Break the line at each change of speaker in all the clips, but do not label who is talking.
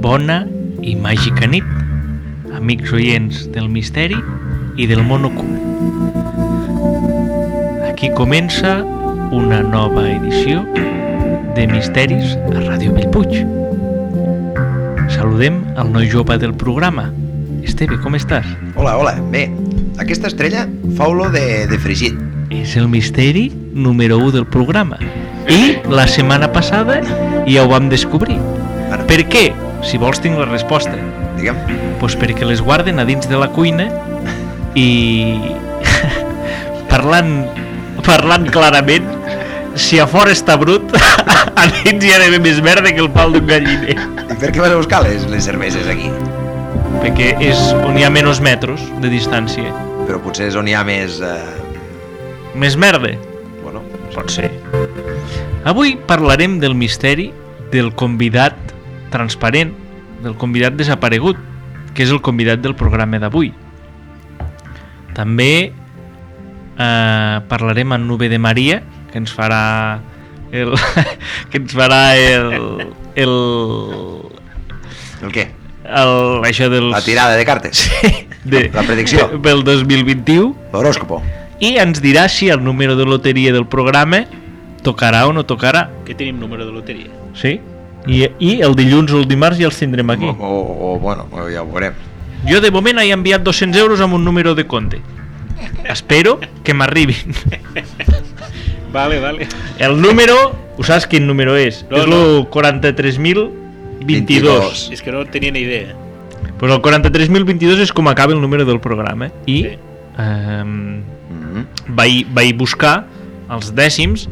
Bona i màgica nit, amics oients del misteri i del món ocult. Aquí comença una nova edició de Misteris a Ràdio Bellpuig. Saludem el noi jove del programa. Esteve, com estàs?
Hola, hola. Bé, aquesta estrella fa olor de, de fregit.
És el misteri número 1 del programa. I la setmana passada ja ho vam descobrir.
Ara,
Per què? Si vols tinc la resposta.
diguem,
Doncs perquè les guarden a dins de la cuina i parlant, parlant clarament, si a fora està brut, a dins hi ha d'haver més verda que el pal d'un galliner.
i per què vas a buscar les, les cerveses aquí?
Perquè és on hi ha menys metros de distància.
Però potser és on hi ha més... Eh,
Més merda.
bueno,
Pot ser. Avui parlarem del misteri del convidat transparent, del convidat desaparegut, que és el convidat del programa d'avui. També eh, parlarem amb Nube de Maria, que ens farà el, que ens farà el, el,
el què?
el això dels...
La tirada de cartes?
de,
la predicció.
Pel 2021
L'horòscopo?
i ens dirà si el número de loteria del programa tocarà o no tocarà.
que tenim número de loteria.
Sí. I, I el dilluns o el dimarts ja els tindrem
O,
aquí.
o, o, bueno, ja ho veurem.
Jo de moment he enviat 200 euros amb un número de compte. Espero que m'arribin.
Vale, vale.
El número, ho saps quin número és?
No,
és el
no.
43.022.
22.
És que no tenia ni idea.
Pues el 43.022 és com acaba el número del programa. I
Sí.
ehm,
Mm
vaig, vaig buscar els dècims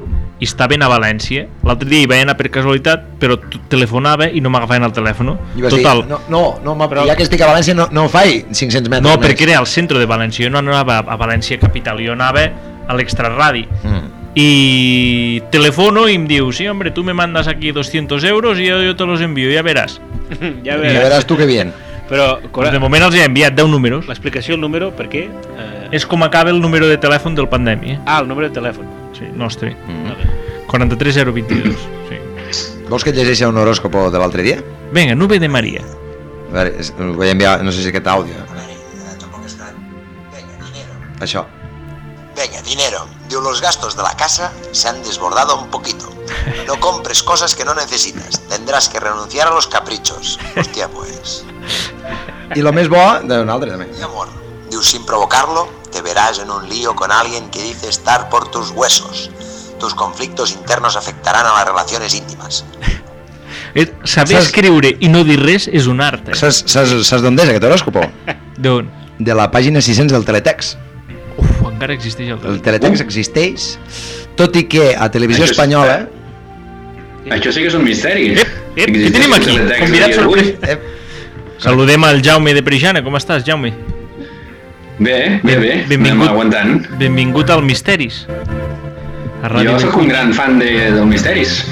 i estaven a València. L'altre dia hi vaig anar per casualitat, però t- telefonava i no m'agafaven el telèfon.
I vas
Total,
dir, no, no, no m'ha-
Però-
ja que estic a València no, no ho faig 500 metres
No,
més.
perquè era al centre de València, jo no anava a València capital, jo anava a l'extraradi.
Mm.
I telefono i em diu, sí, hombre, tu me mandas aquí 200 euros i jo, jo te los envio, ja veràs.
ja
Ja
veuràs.
veràs tu que bien.
Però,
Pues
Cora,
de moment els he enviat 10 números.
l'explicació, el número, per què? Eh...
És com acaba el número de telèfon del pandèmia.
Ah, el número de telèfon.
Sí, nostre.
Mm.
Vale.
43022. Sí.
Vols que et llegeixi un horòscopo de l'altre dia?
Vinga, nube de Maria.
A veure, és- us vull enviar, no sé si aquest àudio.
eh,
Això.
Venga, dinero. Digo, los gastos de la casa se han desbordado un poquito. No compres cosas que no necesitas. Tendrás que renunciar a los caprichos. Hostia, pues.
I lo més bo d'un altre també.
Mi amor. Digo, sin provocarlo, te verás en un lío con alguien que dice estar por tus huesos. Tus conflictos internos afectarán a las relaciones íntimas.
Eh, Saber
Saps-
escriure i no dir res és un art. Eh?
Saps, saps, saps d'on és aquest horòscopo?
D'on?
De la pàgina 600 del Teletext.
Uf, encara existeix el
El
telèfon.
Teletext existeix, tot i que a Televisió
Això és-
Espanyola...
Ah, Això sí que és un misteri.
Ep, ep, Eh, què tenim aquí? Convidat
Convidat
sorpresa.
Eh,
Saludem al Jaume de Preixana. Com estàs, Jaume?
Bé, bé, bé. Anem
Benvingut.
aguantant.
Benvingut al Misteris. A Ràdio
Jo sóc un gran fan de, del misteris.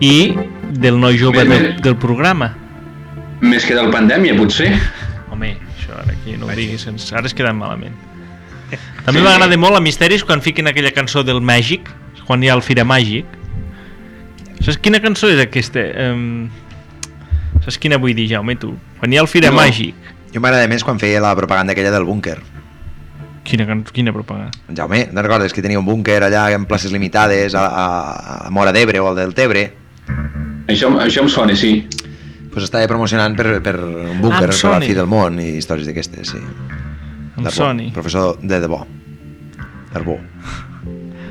Vic. I del noi jove
Bé, bé.
del, del programa.
Més que del pandèmia, potser.
Home, això ara aquí no ho diguis, ens, ara es queden malament. També m'agrada molt a Misteris quan fiquen aquella cançó del Màgic, quan hi ha el Fira Màgic. Saps quina cançó és aquesta? Um, saps quina vull dir, Jaume, tu? Quan hi ha el Fira
No.
no. Màgic.
jo m'agrada més quan feia la propaganda aquella del búnquer.
Quina, can- quina propaganda.
Jaume, no recordes que tenia un búnquer allà en places limitades, a, a, a la Mora d'Ebre o al del Tebre?
Això, això em sona, sí.
Pues estava promocionant per, per un búnquer
em
per la
soni.
fi del món i històries d'aquestes, sí.
Em
Darbó,
Sony.
Professor de debò. Darbó.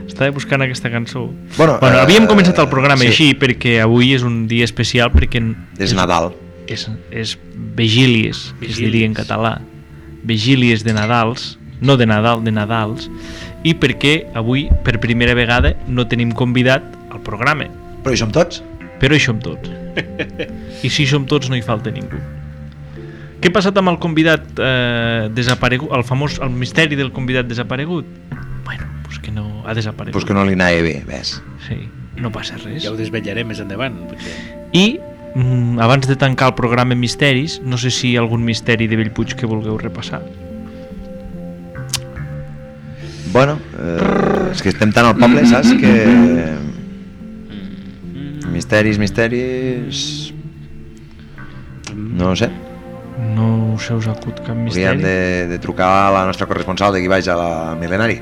Estava buscant aquesta cançó.
Bueno,
bueno
eh,
havíem començat el programa
sí.
sí. així perquè avui és un dia especial perquè n-
És Nadal.
és, és vigílies, que es
Vigílies.
diria en català. Vigílies de Nadals, no de Nadal, de Nadals, i perquè avui, per primera vegada, no tenim convidat al programa.
Però hi som tots?
Però hi som tots. I si hi som tots no hi falta ningú. Què ha passat amb el convidat eh, desaparegut, el famós, el misteri del convidat desaparegut? Bueno, pues que no ha desaparegut.
Pues que no li anava bé, ves.
Sí, no passa res.
Ja ho desvetllarem més endavant. Perquè...
I mm, abans de tancar el programa Misteris, no sé si hi ha algun misteri de Bellpuig que vulgueu repassar.
Bueno, eh, és que estem tan al poble, saps, que... Misteris, misteris... No ho sé.
No us heu acut cap
Hauríem
misteri.
de, de trucar a la nostra corresponsal d'aquí baix a la Milenari.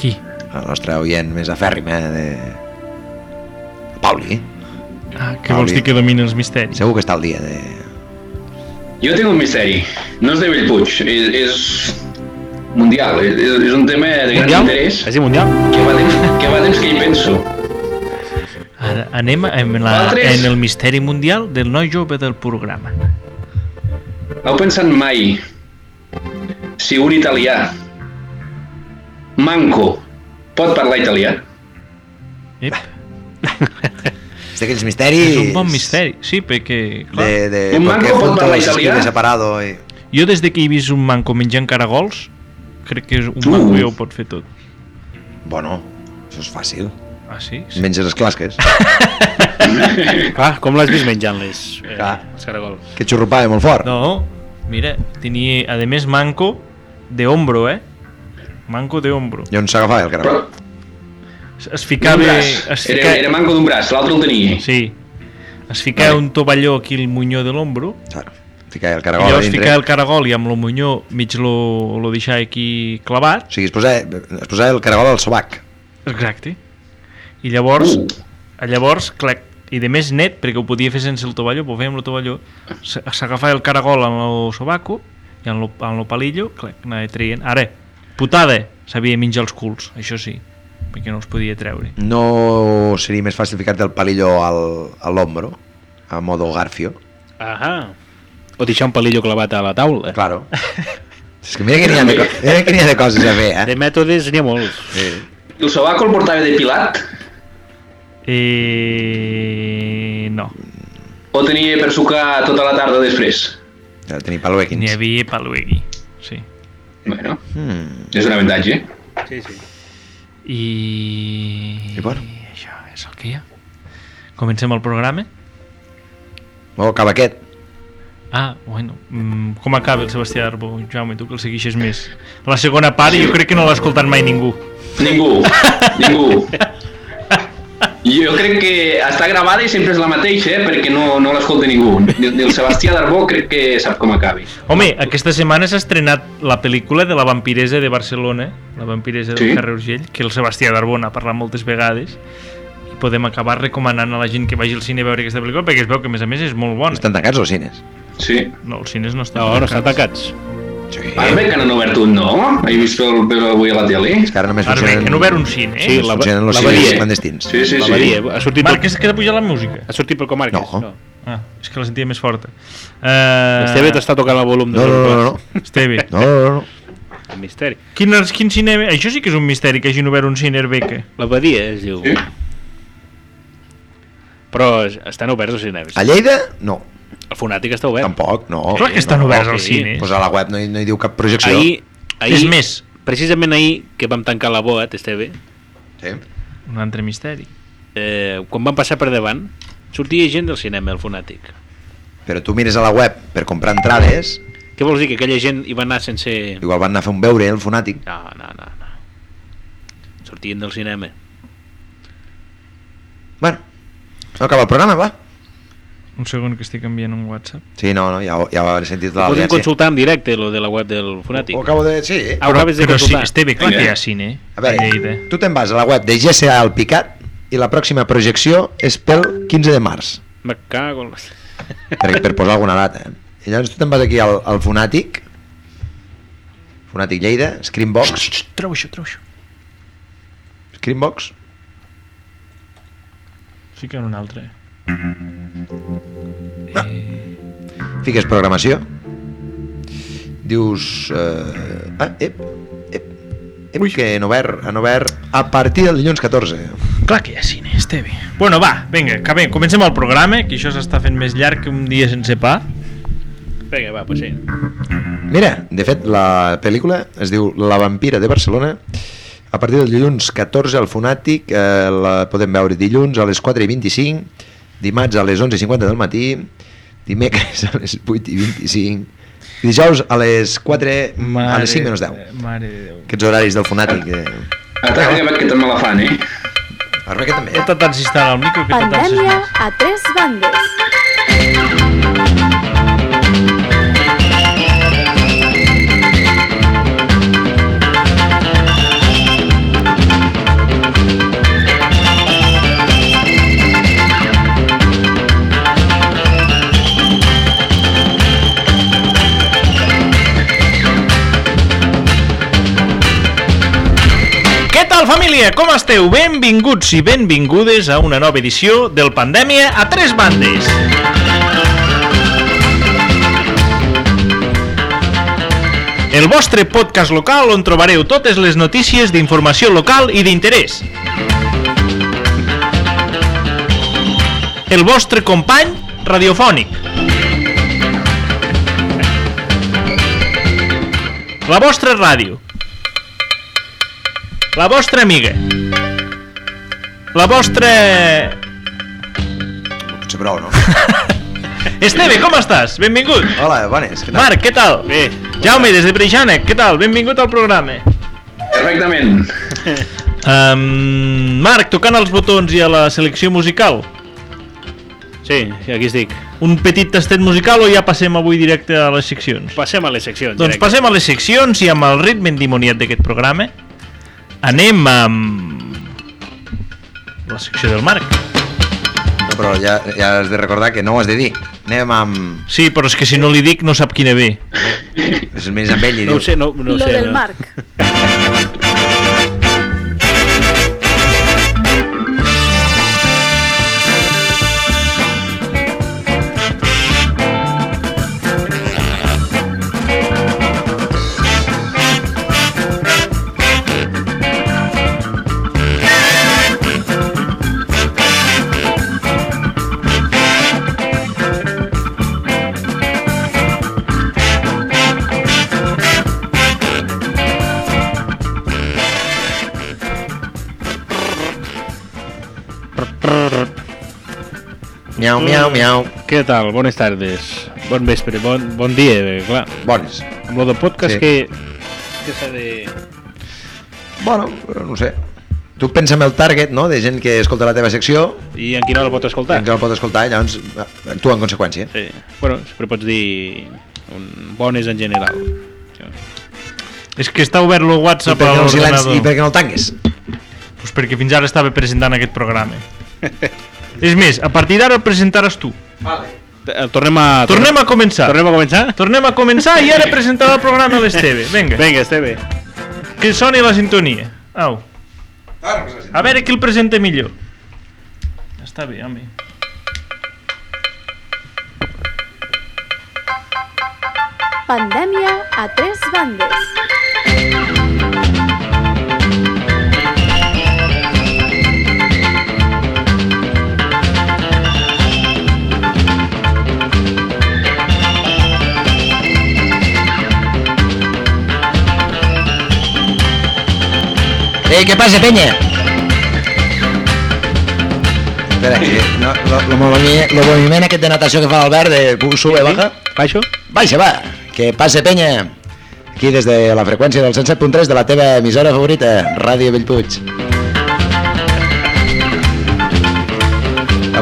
Qui?
La nostra oient més afèrrima de... Pauli.
Ah, què
Ah,
vols
bé.
dir que domina els misteris?
Segur que està al dia de...
Jo tinc un misteri. No és de Bellpuig, és, és mundial. És, és un tema de gran
Mundial?
interès.
És mundial?
Que va temps que, va temps que hi penso.
Ara anem en, la,
Vosaltres?
en el misteri mundial del noi jove del programa.
Heu pensat mai si un italià manco pot parlar italià?
Ep,
És d'aquells misteris...
és un bon misteri. Sí, perquè... Clar,
De, de
Un manco
cualquier
pot
punto
parlar
se escribe
italià?
separado i...
Jo des de que he vist un manco menjant caragols, crec que és un
Uh.
manco ja ho pot fer tot.
Bueno, això és fàcil.
Ah, sí? sí.
Menges les clasques.
Clar, Ah, com l'has vist menjant les... Eh,
Clar.
Els caragols.
que xurrupava molt fort.
No, mira, tenia, a més, manco de hombro, eh? Manco de hombro.
I on s'agafava el
Però
caragol?
Es- Es
d'un
ficava... Es
braç. Era,
ficava
era manco d'un braç, l'altre el tenia.
Sí. Es ficava un tovalló aquí al munyó de l'hombro,
Claro. Ficava el
i
caragol a
llavors
dintre.
ficava el caragol i amb el munyó mig lo, lo deixava aquí clavat,
O sigui, es posava, es posava el caragol al sobac.
Exacte. I llavors, uh. llavors, clar, i de més net, perquè ho podia fer sense el tovalló, ho feia amb el tovalló, s- s'agafava el caragol amb el sobaco i amb el, amb el palillo, clar, anava traient. Ara, putada, sabia menjar els culs, això sí, perquè no els podia treure.
No seria més fàcil ficar-te el palillo al, a l'ombro, a modo Garfio.
Ahà. O deixar un palillo clavat a la taula.
Claro. És que mira que n'hi ha, de co- mira que n'hi ha de coses a fer, eh?
De mètodes n'hi ha molts.
Sí.
El sobaco el portava depilat
Eh, no,
o tenia per sucar tota la tarda després?
Ja tenir paluequins.
n'hi havia paluegui, sí.
Bueno,
Hmm.
és un avantatge.
Sí, sí.
I...
I bueno.
Això és el que hi ha. Comencem el programa.
O cavaquet.
Ah, bueno, mm, com acaba el Sebastià Arbó? Jaume, tu que el seguixes més. La segona part jo crec que no l'ha escoltat mai ningú.
Ningú, ningú. Jo crec que està gravada i sempre és la mateixa, eh? perquè no, no l'escolta ningú. Ni, ni el Sebastià Darbó crec que sap com acabi.
Home, aquesta setmana s'ha estrenat la pel·lícula de la vampiresa de Barcelona, la vampiresa del
Sí.
carrer Urgell, que el Sebastià Darbó n'ha parlat moltes vegades i podem acabar recomanant a la gent que vagi al cine a veure aquesta pel·lícula perquè es veu que a més a més és molt bona.
Estan tancats els cines?
Sí.
No, els cines no estan
No, no estan tancats.
Sí.
Ara bé que no han obert un, no? He vist el, el, avui a la tele.
És que ara només
Ara bé,
funcionen...
que no veure un cine, eh?
Sí,
Sí,
la-
Funcionen els
la
cines
Badia.
clandestins.
Sí, sí, sí.
L'abadia, eh, ha sortit,
Marc,
pel,
és que has de pujar la música.
ha sortit pel comarques.
No.
Ah, és que la sentia més forta. Uh...
Eh, Esteve t'està tocant el volum. de
No, no,
les
no, no.
coses.
no.
Esteve.
No, no, no.
El misteri.
Quin, quin cine... Això sí que és un misteri, que hagin obert un cine Arbeca.
L'abadia es diu.
Sí.
Però es- estan oberts els cinemes.
A Lleida, no.
El fonàtic està obert.
Tampoc, no.
Clar que estan
Oh, no,
oberts
ok.
els cines.
Pues a la web no hi, no hi diu cap projecció.
Ahir, ahir,
És més.
Precisament ahir que vam tancar la BOAT, Esteve,
Sí.
Un altre misteri.
eh, quan vam passar per davant, sortia gent del cinema, el fonàtic.
Però tu mires a la web per comprar entrades,
Què vols dir, que aquella gent hi va anar sense...
igual van anar a fer un veure, el fonàtic.
No, no, no, no. Sortien del cinema.
Bueno, no acaba el programa, va.
Un segon que estic enviant un WhatsApp.
Sí, no, no, ja, ho- ja ho hauré sentit
Ho
tota
podem
l'audiència.
consultar en directe, lo de la web del
Ho
fonàtic.
acabo de... Sí.
Ah, ho acabes de
Oh, però sí,
consultar.
Esteve, clar que hi ha
Vinga.
cine. eh?
A veure,
Lleida.
tu te'n vas a la web de GCA al Picat i la pròxima projecció és pel 15 de març.
Me cago en la-
per, per posar alguna data. eh. I llavors tu te'n vas aquí al, al Fonàtic, Fonàtic Lleida, Screenbox,
Treu això, treu això.
Screenbox,
Sí que en un altre.
fiques programació, dius... Eh, ah, ep, ep, ep que han obert, han obert a partir del dilluns 14.
Clar que hi ha cine, Esteve. Bueno, va, vinga, acabem. Comencem el programa, que això s'està fent més llarg que un dia sense pa.
Vinga, va, pues sí.
Mm.
Mira, de fet, la pel·lícula es diu La vampira de Barcelona, a partir del dilluns 14 al Fonàtic, eh, la podem veure dilluns a les 4 i 25, dimarts a les 11 i 50 del matí, dimecres a les 8 i 25, dijous a les 4, a les 5 menys 10.
Mare de Déu.
Aquests horaris del Fonàtic. Eh.
A tal acabat que també la fan, eh?
Arreca també. eh?
He intentat instal·lar el micro que he intentat
Pandèmia
més.
a tres bandes.
Què tal, família? Com esteu? Benvinguts i benvingudes a una nova edició del Pandèmia a tres bandes. El vostre podcast local on trobareu totes les notícies d'informació local i d'interès. El vostre company radiofònic. La vostra ràdio. La vostra amiga. La vostra...
Potser prou, no?
Esteve, com estàs? Benvingut.
Hola, bones, què tal?
Marc, què tal?
Bé.
Jaume, des de Preixana, què tal? Benvingut al programa.
Perfectament.
Um, Marc, tocant els botons i a la selecció musical,
Sí, aquí estic.
un petit tastet musical o ja passem avui directe a les seccions?
Passem a les seccions.
Doncs passem a les seccions i amb el ritme endimoniat d'aquest programa anem amb la secció del Marc.
No, però ja, ja has de recordar que no ho has de dir. Anem amb...
Sí, però és que si no li dic no sap quina ve.
És més amb ell i
No ho
diu...
sé, no, no ho
Lo
sé.
del
no.
Marc.
Miau, miau, miau.
Què tal? Bones tardes. Bon vespre, bon, bon dia, eh, clar.
Bones.
Amb lo del podcast
Sí.
que... Que s'ha de...
Bueno, però no ho sé. Tu pensa en el target, no?, de gent que escolta la teva secció,
I en quina hora pot escoltar?
gent que la pot escoltar, i llavors actua en conseqüència.
Sí. Bueno, sempre pots dir un bones en general.
És que està obert el
I
WhatsApp
per
a
què no el silenci-
l'ordenador.
I per què no el tanques?
Pues perquè fins ara estava presentant aquest programa. És més, a partir d'ara el presentaràs tu.
Eh, Tornem a...
Tornem a començar.
Tornem a començar?
Tornem a començar i ara presentarà el programa l'Esteve. Vinga,
Vinga, Esteve.
que soni la sintonia. Au. A veure qui el presenta millor. Està bé, home.
Pandèmia a tres bandes.
Eh, què passa, penya? Espera, que no, lo, lo, moviment, lo moviment aquest de natació que fa l'Albert de sube, baja,
Baixo?
baixa, va, que passa, penya. Aquí des de la freqüència del 107.3 de la teva emissora favorita, Ràdio Bellpuig.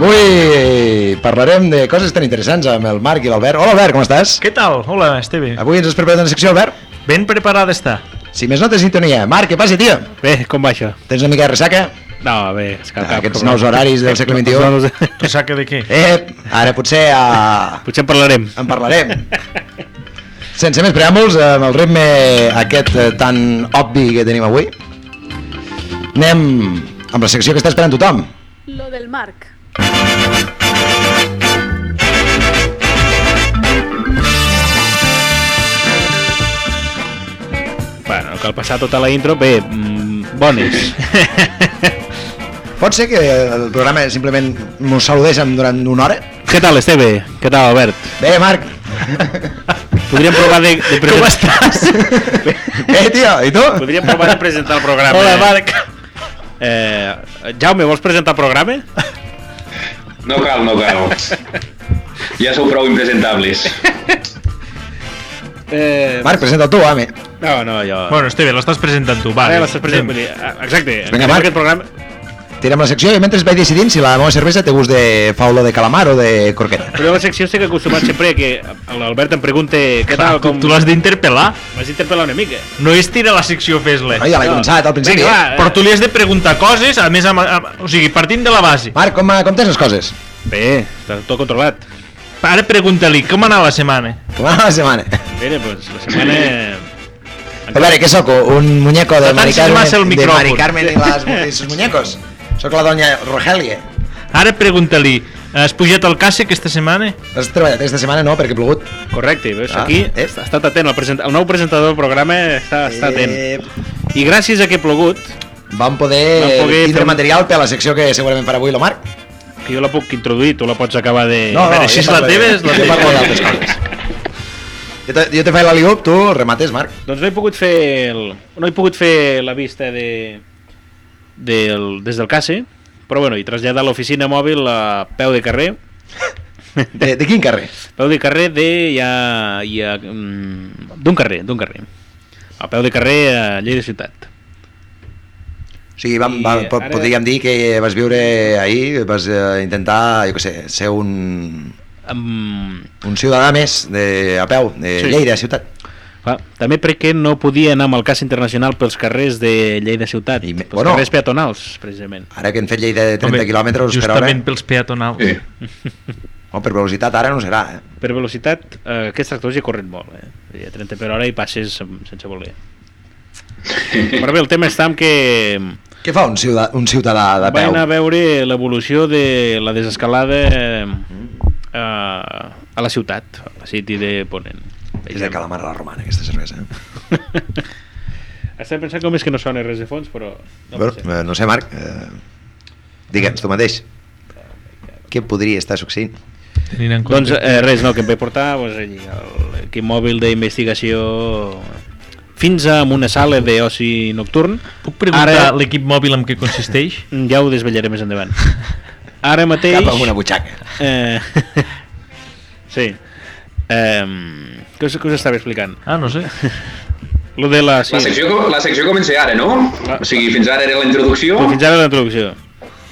Avui parlarem de coses tan interessants amb el Marc i l'Albert. Hola, Albert, com estàs?
Què tal? Hola, Esteve.
Ah.
Avui ens has preparat una secció, Albert?
Ben preparada està.
Si més no, té sintonia. Marc, què passa, tio?
Bé, com baixa?
Tens una mica de ressaca?
No, bé, és que...
Ah, Aquests nous horaris del segle XXI.
Ressaca de què?
Ep, Eh, ara potser a...
Potser en parlarem.
en parlarem. Sense més preàmbuls, amb el ritme aquest eh, tan obvi que tenim avui, anem amb la secció que està esperant tothom.
Lo del Marc.
Bueno, cal passar tota la intro. Bé, mm, bones.
Pot ser que el programa simplement mos saludéssim durant una hora?
Què tal, Esteve? Què tal, Albert?
Bé, Marc.
Podríem provar de... de presen-
Com estàs?
Bé, tio, i tu?
Podríem provar de presentar el programa.
Hola, Marc.
Eh, Jaume, vols presentar el programa?
No cal, no cal. Ja sou prou impresentables.
Eh,
Marc, presenta'l tu, home.
No, no, jo...
Bueno, Esteve, l'estàs presentant tu, va.
Ara
vinga,
Eh, l'estàs presentant...
anem.
vull dir, ah, Exacte.
Vinga,
Vinga,
Marc.
Aquest programa...
Tirem la secció i mentre vaig decidint si la meva cervesa té gust de faula de calamar o de croqueta.
Però la secció estic acostumat sempre que l'Albert em pregunta què
Clar,
tal, com...
Tu l'has d'interpel·lar.
M'has interpel·lat una mica.
No és tira la secció fes-la.
No, ja l'he
No.
començat al principi.
Vinga,
eh?
va.
Però tu li has de preguntar coses, a més, amb, amb, o sigui, partint de la base.
Marc, com, com tens les coses?
Bé, està tot controlat.
Ara pregunta-li com ha anat la setmana.
Com va la setmana?
Bé, doncs la setmana...
A veure, què sóc? Un muñeco de
No
Mari
tancis massa el
Carmen, de Mari
micròfon.
Carmen i las, i sus muñecos. Sóc la doña Rogelia.
Ara pregunta-li, has pujat al caça aquesta setmana?
Has treballat aquesta setmana? No, perquè ha plogut.
Correcte, veus,
Ah,
aquí
eh?
ha estat atent, el, presenta... el nou presentador del programa està, està atent. I gràcies a que ha plogut,
Vam poder,
Vam poder
tindre
fer un-
material per a la secció que segurament farà avui el Marc.
que jo la puc introduir, tu la pots acabar de...
a veure, Eh, si és la
parlaré.
teva, és la
Jo
teva.
parlo d'altres coses. Jo te, jo te faig l'aliup, tu remates, Marc.
Doncs no he pogut fer el, no he pogut fer la vista de, del, des del CASE, però bueno, he traslladat l'oficina mòbil a peu de carrer,
De, de quin carrer?
peu de carrer de ja, ja mm, d'un carrer, d'un carrer. A peu de carrer a Lleida Ciutat.
O sigui, vam,
I
vam, po-
ara-
podríem dir que vas viure ahir, vas eh, intentar, jo què sé, ser un,
Amb...
un ciutadà més de, a peu, de
Sí.
Lleida, ciutat.
Clar, també perquè no podia anar amb el cas internacional pels carrers de Lleida Ciutat,
I me-
pels
bueno.
carrers peatonals, precisament.
Ara que hem fet Lleida de 30
Home,
quilòmetres per hora,
Justament pels peatonals.
Sí.
o per velocitat ara no serà, eh?
Per velocitat, eh, aquests tractors hi corren molt, eh? Vull dir, A 30 per hora hi passes amb- sense voler. Però bé, el tema està en que
Què fa un ciutadà, un ciutadà de
vaig
peu?
anar a veure l'evolució de la desescalada eh, a, a la ciutat, a la City de Ponent.
És de calamar a la romana, aquesta cervesa. eh?
Estava pensant com és que no sona res de fons, però... No
Bueno,
pot
eh,
ser.
no sé, Marc, eh, digue'ns tu mateix. Què podria estar succeint?
Tenint en
Doncs
compte. Doncs,
eh, res, no, que em vaig portar doncs, allí, el- l'equip mòbil d'investigació fins a una sala d'oci nocturn.
Puc preguntar
Ara-
Ara... l'equip mòbil en què consisteix?
Ja ho desvetllaré més endavant. Ara mateix...
Cap a una butxaca.
Eh, sí. Eh, què, us, què us estava explicant?
Ah, no sé.
Lo de la... Sí,
La secció, la secció comença ara, no? O sigui, fins ara era la introducció.
però fins ara la introducció.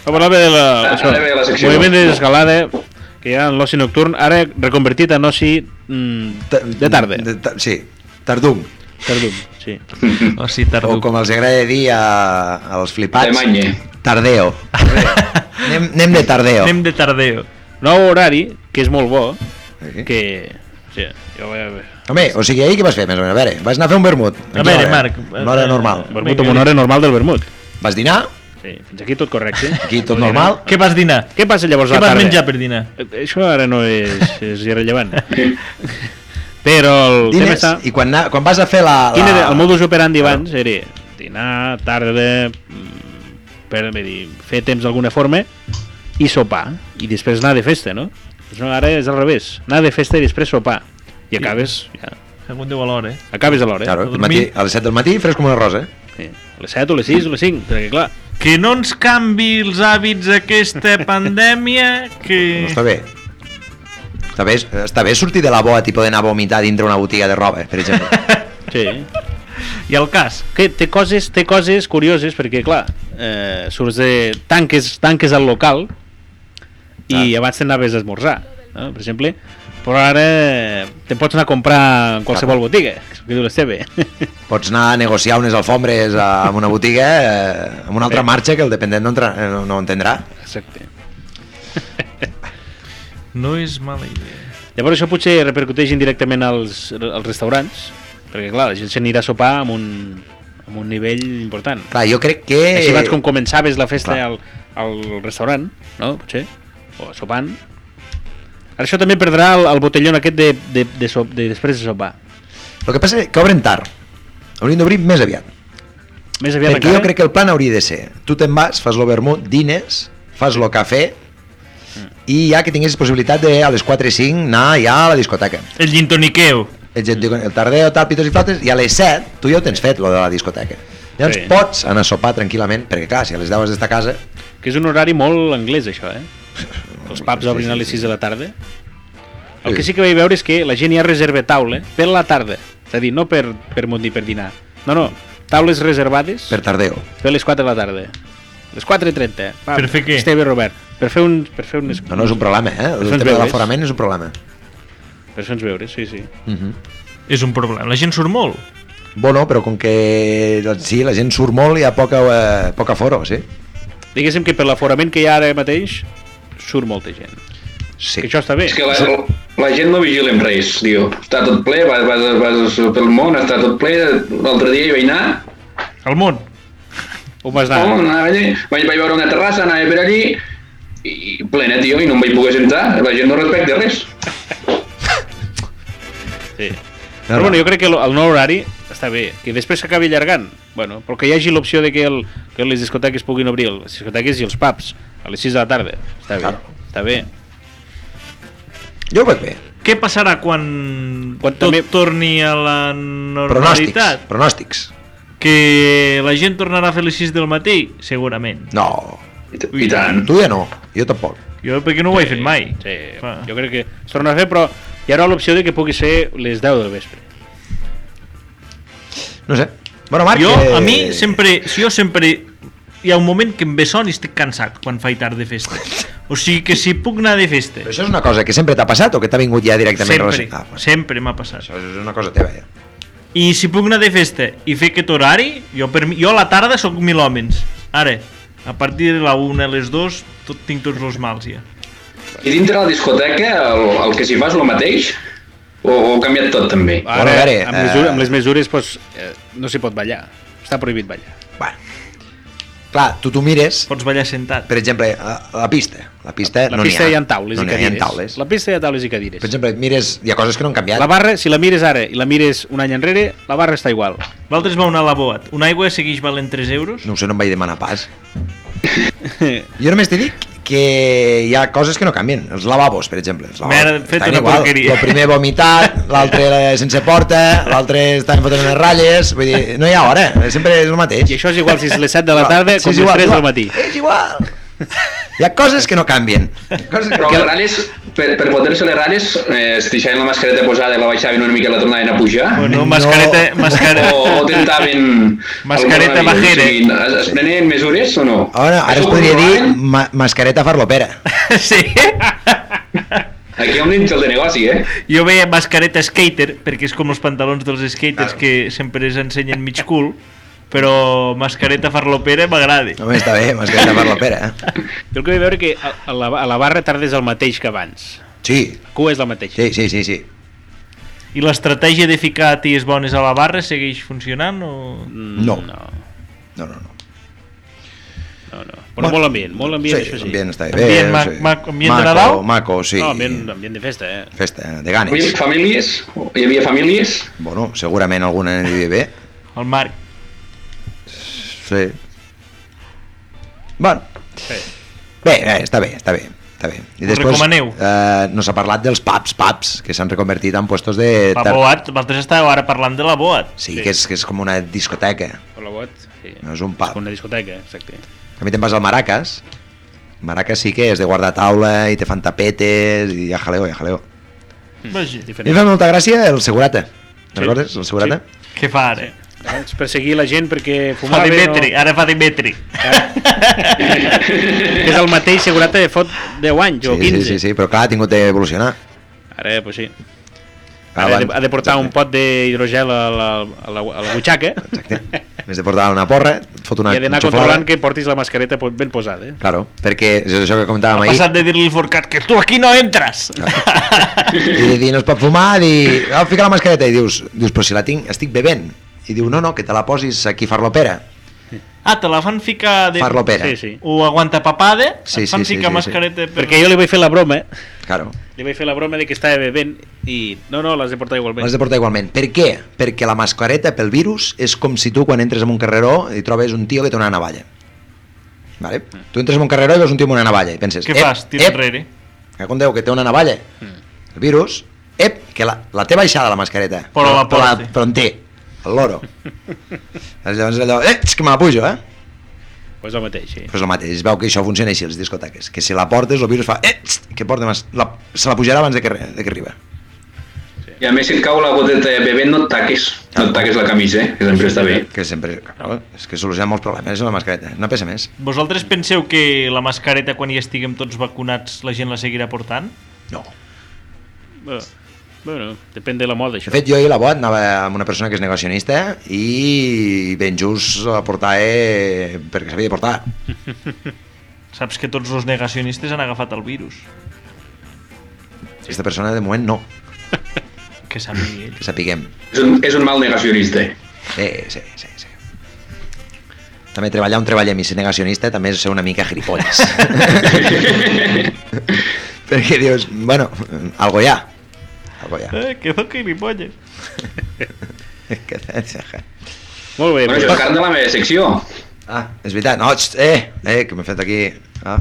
Però parlava de la...
Ara-
això,
ara ve la secció.
moviment de desescalada, que era en l'oci nocturn, ara reconvertit en oci mm,
Ta-
de tarda.
De, ta sí, tardum.
Tardum, sí.
O si
O
tardo.
com els agrada dir a, als flipats...
De manye.
Tardeo. anem, anem de tardeo.
Anem de tardeo.
Nou horari, que és molt bo,
Sí.
que... Sí, jo vaig a veure.
Home, o sigui, ahir què vas fer, més o menys? A veure, vas anar a fer un vermut.
A veure,
Una hora,
Marc,
Una hora
eh,
normal.
Vermut amb una hora normal del vermut.
Vas dinar,
Sí, fins aquí tot correcte.
aquí tot normal.
Què vas dinar?
Què passa llavors
Què
a la
vas
tarda?
menjar per dinar?
Eh, Això ara no és, és irrellevant. Però el tema
Dines,
està...
i quan, na, quan vas a fer la... la...
Quin era el modus operandi abans? Era dinar, tarda, mm, per, vull dir, fer temps d'alguna forma i sopar, i després anar de festa, no? Doncs no, ara és al revés, anar de festa i després sopar, i acabes, ja,
Segon Déu a l'hora, eh?
acabes a l'hora.
Claro,
a
al matí,
dormir.
a les 7 del matí, fresc com una rosa.
Sí. A les 7 o les 6 o les 5, perquè clar,
Que no ens canvi els hàbits aquesta pandèmia, que...
Mm.
No està bé. Està bé, està bé sortir de la boa, tipus d'anar a vomitar dintre una botiga de roba, eh, per exemple.
sí.
I el cas?
Que té coses, té coses curioses perquè clar, eh, surts de tanques, tanques al local i abans t'anaves a esmorzar, no? per exemple, però ara te pots anar a comprar en qualsevol botiga, que diu l'Esteve.
Pots anar a negociar unes alfombres a, amb una botiga, eh, amb una altra marxa que el dependent no, entra, eh, no, no entendrà.
Exacte.
No és mala idea.
Llavors això potser repercuteix indirectament als, als restaurants, perquè clar, la gent s'anirà a sopar amb un, amb un nivell important.
Clar, jo crec que...
Així abans com començaves la festa
Eh, clar.
al, al restaurant, no? Potser, o sopant. Ara això també perdrà el, el botellón aquest de, de, de, sop, de després de sopar.
El que passa és que obren tard. Haurien d'obrir més aviat.
Més aviat
Perquè jo crec que el plan hauria de ser, tu te'n vas, fas lo vermut, dines, fas lo cafè, i ja que tinguessis possibilitat de a les 4 i 5 anar ja a la discoteca.
El gintoniqueu.
El, gent diu, el tardeo, tal, pitos i flautes, i a les 7 tu ja ho tens fet, lo de la discoteca. Llavors
Sí.
pots anar a sopar tranquil·lament, perquè clar, si a les 10 has d'estar a casa,
que és un horari molt anglès, això, eh? Els pubs obrin a les 6 de la tarda. El que sí que vaig veure és que la gent ja reserva taula per la tarda. És a dir, no per, per munt i per dinar. No, no, taules reservades
per tardeo.
per les 4 de la tarda. Les 4.30. Va,
Per fer què?
Esteve Robert. Per fer un... Per fer un
No, no és un problema, eh? El
Això ens
tema de
veus.
l'aforament és un problema.
Per fer uns veures, sí, sí.
Mhm.
És un problema. La gent surt molt.
Bueno, però com que doncs, sí, la gent surt molt i hi ha poca, eh, poca foro, sí?
Diguéssim que per l'aforament que hi ha ara mateix surt molta gent.
Sí.
Que això està bé.
És que la, la gent no vigila en res, tio. Està tot ple, vas, vas, vas pel món, està tot ple. L'altre dia hi vaig anar,
Al món.
On vas
Ah.
anar?
anava allí, vaig, vaig veure una terrassa, anava per allí, i, i plena, tio, i no em vaig poder sentar. La gent no respecta res.
Sí. Però bueno, jo crec que lo- el nou horari està bé, que després s'acabi allargant, bueno, però que hi hagi l'opció de que, el, que les discoteques puguin obrir, les discoteques i els pubs, a les 6 de la tarda. Està bé,
Claro.
està bé.
Jo ho veig bé.
Què passarà quan,
Quan
tot
també-
torni a la
Pronòstics.
normalitat?
Pronòstics.
Que la gent tornarà a fer les 6 del matí? Segurament.
No.
I, t- i tant.
Tu ja no. Jo tampoc.
Jo perquè no ho he fet mai. Ah.
Sí,
Clar.
jo crec que es torna a fer, però hi haurà l'opció de que pugui ser les 10 del vespre.
No sé. Bueno, Marc...
Jo,
eh,
a mi, sempre, si jo sempre hi ha un moment que em ve son i estic cansat quan faig tard de festa. O sigui que si puc anar de festa,
Però això és una cosa que sempre t'ha passat o que t'ha vingut ja
sempre,
directament relacionat? Ah, bueno,
sempre m'ha passat.
Això és una cosa teva, ja.
I si puc anar de festa i fer aquest horari, jo, per, mi- jo a la tarda sóc mil hòmens. Ara, a partir de la una, a les dues, tot, tinc tots els mals ja.
I dintre la discoteca, el, el que s'hi fa és el mateix? O, o ha canviat tot, també?
Ara,
Bueno, a veure,
amb,
eh,
mesura, amb les mesures doncs, eh, no s'hi pot ballar, està prohibit ballar.
Bueno. Clar, tu t'ho mires,
Pots ballar sentat.
per exemple, a a la pista. La pista
La
no n'hi ha.
pista hi ha taules
no
i
n'hi ha,
cadires.
Hi ha taules.
La pista hi ha taules i cadires.
Per exemple, mires, hi ha coses que no han canviat.
La barra, si la mires ara i la mires un any enrere, la barra està igual.
L'altre es va anar a la boat. Una aigua segueix valent 3 euros?
No ho sé, no em vaig demanar pas. Jo només t'hi dic que hi ha coses que no canvien. Els lavabos, per exemple. Els lavabos,
M'he fet
estan
una porqueria.
El primer vomitat, l'altre era sense porta, l'altre estan fotent unes ratlles. Vull dir, no hi ha hora, eh? sempre és el mateix.
I això és igual si és les 7 de la
No,
tarda
sí,
com
és
les
igual,
3 del
igual.
matí.
És igual. Hi ha coses que no canvien. Coses
Però
que...
les ratlles, per, per poder-se les ratlles, eh, es deixaven la mascareta posada, la baixaven una mica i la tornaven a pujar?
Bueno,
No.
mascareta, mascareta...
Oh.
O, o tentaven...
Mascareta
el coronavirus?
bajera.
O sigui, es, es prenien mesures o no?
Ara, ara
Això
es
ho
podria dir
controlaven?
ma mascareta farlopera.
Sí.
Aquí hi ha un nínxol de negoci, eh?
Jo veia mascareta skater, perquè és com els pantalons dels skaters que sempre es ensenyen mig cul, però mascareta farlopera m'agrada.
Només està bé, mascareta farlopera. eh?
Jo el que vaig veure que a, a, la, a la barra tardes el mateix que abans.
Sí,
La cua és la mateixa.
sí, sí, sí. sí.
I l'estratègia de ficar ties bones a la barra segueix funcionant o...
Mm,
No.
No,
No, no, no.
no, no. Però molt ambient, molt ambient,
sí,
això sí.
ambient està bé.
Ambient
no
ma-
sé.
ma- ambient de
maco,
Nadal?
Maco, sí.
No, ambient, ambient de festa, eh?
Festa de
Hi havia
ganes.
famílies? Hi havia famílies?
Bueno, segurament alguna aniria bé.
El Marc.
Sí. Bueno. Bé, bé, està bé, està bé. Està bé. I
Us recomaneu?
Eh, no s'ha parlat dels pubs, pubs, que s'han reconvertit en puestos de...
La
tar-
Boat, vosaltres estàveu ara parlant de la Boat.
Sí,
Sí.
Que, és, que és com una discoteca.
Per la bot, sí.
No és un pub.
És com una discoteca, exacte.
A mi te'n vas al Maracas. Maracas sí que és de guardar taula i te fan tapetes i ja jaleo, ja jaleo.
Vaja,
A mi em
Diferent.
fa molta gràcia el segurata. Te'n recordes? El segurata?
què fa ara?
Abans perseguir la gent perquè
Fa
fumava...
Dimitri,
no?
ara fa Dimitri.
Ah,
Que és el mateix segurata de fot 10 anys o
sí,
15.
sí, sí, però clar, ha tingut d'evolucionar.
Ara, pues sí.
Ah,
Ara ha de, ha de portar un pot d'hidrogel a, la, a, la, a la butxaca
Exacte. Més de portar una porra, et fot una
i ha d'anar
xuflada.
controlant que portis la mascareta po- ben posada. Eh?
Claro, perquè és això que comentàvem ahir.
Passat de dir-li al Forcat que tu aquí no entres.
I li dic, no es pot fumar, i ah, fica la mascareta, i dius, dius, però si la tinc, estic bevent. I diu, no, no, que te la posis aquí farlopera.
Ah, te la fan ficar... De...
Farlopera.
Sí, sí.
O aguanta papada,
Sí,
et fan
sí, sí,
ficar
sí, sí.
mascareta per...
Perquè jo li vaig fer la broma, eh?
Claro.
li vaig fer la broma de que estava bevent i no, no, l'has de portar igualment.
L'has de portar igualment. Per què? Perquè la mascareta pel virus és com si tu quan entres en un carreró i trobes un tio que té una navalla. Vale? Tu entres en un carreró i veus un tio amb una navalla i penses...
Què
"Ep,
fas? Tira
ep,
enrere.
Que conteu que té una navalla.
Mm.
El virus, ep, que la, la té baixada la mascareta.
Però la
però,
porti.
però en té, el loro. Llavors allò, eh, és que me la pujo, eh?
Pues el mateix, sí.
Però és el mateix, es veu que això funciona així a les discoteques, que si la portes el virus fa, eh, txt, que porta mas... la... se la pujarà abans de que, re- de que arriba.
sí.
I a més, si et cau la goteta bevent, no et taques. No et taques la camisa, eh? que sempre està bé.
Que sempre... Claro, és que soluciona molts problemes la mascareta. No pesa més.
Vosaltres penseu que la mascareta, quan hi estiguem tots vacunats, la gent la seguirà portant?
No.
Bueno, bueno, depèn de la
De
moda, això.
fet, jo i la bot anava amb una persona que és negacionista i ben just la portava eh, perquè s'havia de portar.
Saps que tots els negacionistes han agafat el virus.
Aquesta persona, de moment, no.
Que sàpiga ell.
Que sapiguem.
És un, és un mal negacionista. eh?
Sí, sí, sí, sí. També treballar on treballem i ser negacionista també és ser una mica gilipolles. perquè dius, bueno, algo hi ha. Algo hi ha.
Eh, que no que ni polles.
Molt bé,
Bueno,
doncs,
això és carn de la meva secció.
ah, és veritat. No, xt, eh, eh, que m'he fet aquí. Ah.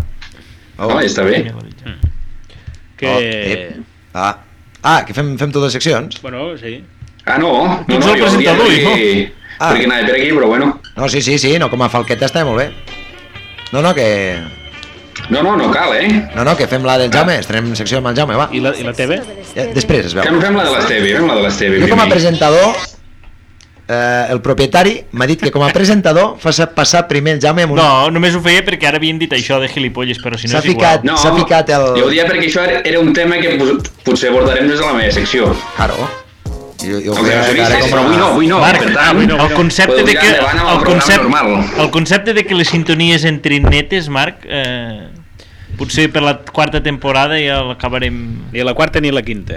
Oh. Home, està
Eh.
bé.
que...
Oh, ep. ah. ah, que fem, fem totes les seccions?
Bueno, sí.
Ah, no? No,
Tu ets el
jo diria
presentador,
perquè-
Ah.
Perquè anava per aquí, però bueno.
No, sí, sí, sí, no, com a falqueta està molt bé. No, no, que,
No, no, no cal, eh?
no, no, que fem la del Jaume, estrenem secció amb el Jaume, va.
I la, i la TV?
Ja, després es veu.
Que em fem la de l'Esteve, fem la de l'Esteve.
Jo com a
primer.
presentador, eh, el propietari m'ha dit que com a presentador fa passar primer el Jaume amb un...
No, només ho feia perquè ara havien dit això de gilipolles, però si no
S'ha
és igual.
ficat. S'ha ficat el-
Jo ho dia perquè això era un tema que pos- potser abordarem des de la meva secció.
Claro. Jo, jo
Els
volia
negacionistes,
com a-
però avui no, avui no.
Marc,
per tant,
avui no.
El concepte,
Podeu
de
tirar
que,
endavant amb el
el,
programa normal.
concepte, el concepte de que les sintonies entrin netes, Marc, eh, potser per la quarta temporada ja l'acabarem...
Ni la quarta ni la quinta.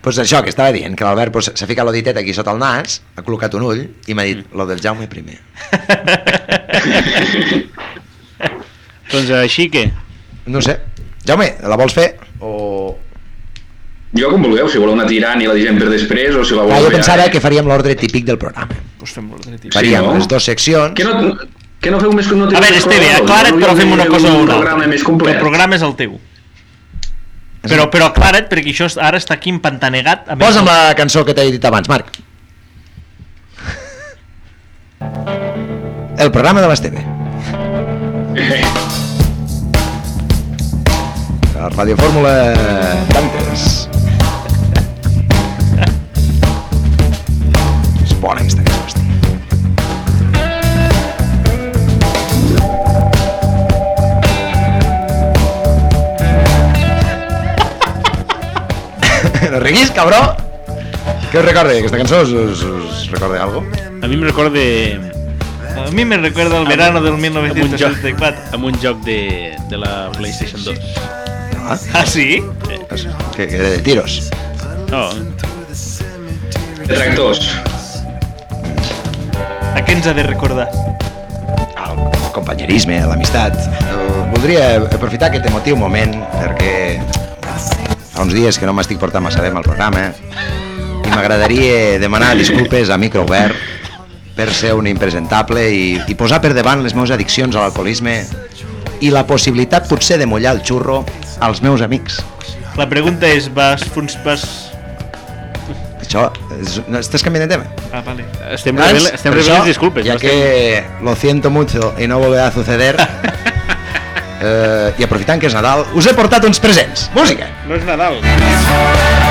Pues això que estava dient, que l'Albert pues, s'ha ficat l'oditet aquí sota el nas, ha col·locat un ull i m'ha dit
Mm.
lo del Jaume primer.
doncs així que...
No ho sé. Jaume, la vols fer? O...
Jo com vulgueu, si voleu anar tirant i la direm per després o si
Clar,
la voleu...
jo
fer
pensava
ara.
que faríem l'ordre típic del programa.
Pues fem l'ordre, tio.
Faríem
eh. no?
les dues seccions.
Que no, que no feu més... No
A veure, Esteve, aclara't, però fem una cosa o
un
una altra.
programa més
El
complet.
programa és el teu. Però, però aclara't, perquè això es- ara està aquí empantanegat. A més,
Posa'm la cançó que t'he dit abans, Marc. El programa de l'Esteve. La Radio Fórmula Tantes. És bona aquesta cançó, hòstia. No riguis, cabró! Què us recorda? Aquesta cançó us, us, us recorda algo?
A mi em recorda
A mi me recuerda el verano del
amb un joc,
1974.
amb un joc de, de la PlayStation 2.
Ah,
Ah, sí?
és- Ah, que, que era de tiros.
No,
De tractors.
A què ens ha de recordar?
el, el companyerisme, l'amistat. Eh, Voldria aprofitar aquest emotiu moment perquè fa uns dies que no m'estic portant massa bé amb el programa eh? i m'agradaria demanar disculpes a micro obert per ser un impresentable i, i posar per davant les meves addiccions a l'alcoholisme i la possibilitat potser de mullar el xurro als meus amics.
La pregunta és, vas... Fons, vas...
Això, és, no, estàs canviant de tema?
Ah, vale.
estem
Abans,
rebent, estem
per
rebent
això,
les disculpes.
Ya
no
que lo siento mucho y no volverá a suceder. eh, I aprofitant que és Nadal, us he portat uns presents. Música!
estem... No és Nadal.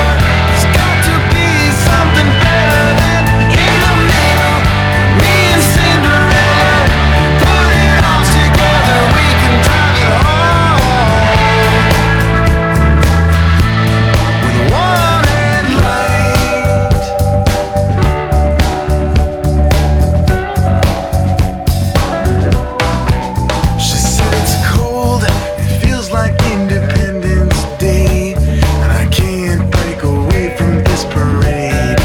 She said it's cold, it feels like Independence Day, and I can't break away from this parade.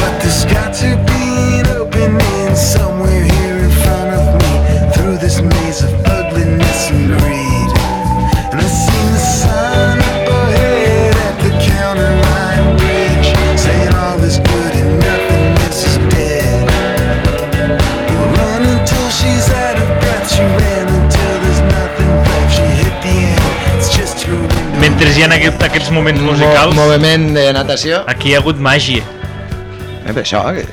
But there's got to be an opening somewhere here in front of me, through this maze of ugliness and greed. And I seen the sign up ahead at the counter line bridge, saying all is good and nothing else is dead. You run until she's out of breath. She ran until there's nothing left. She hit the end. It's just your window.
Mentre hi ha aquest, aquests moments musicals,
Mo moviment de natació.
aquí hi ha hagut màgia.
Eh, però això, eh,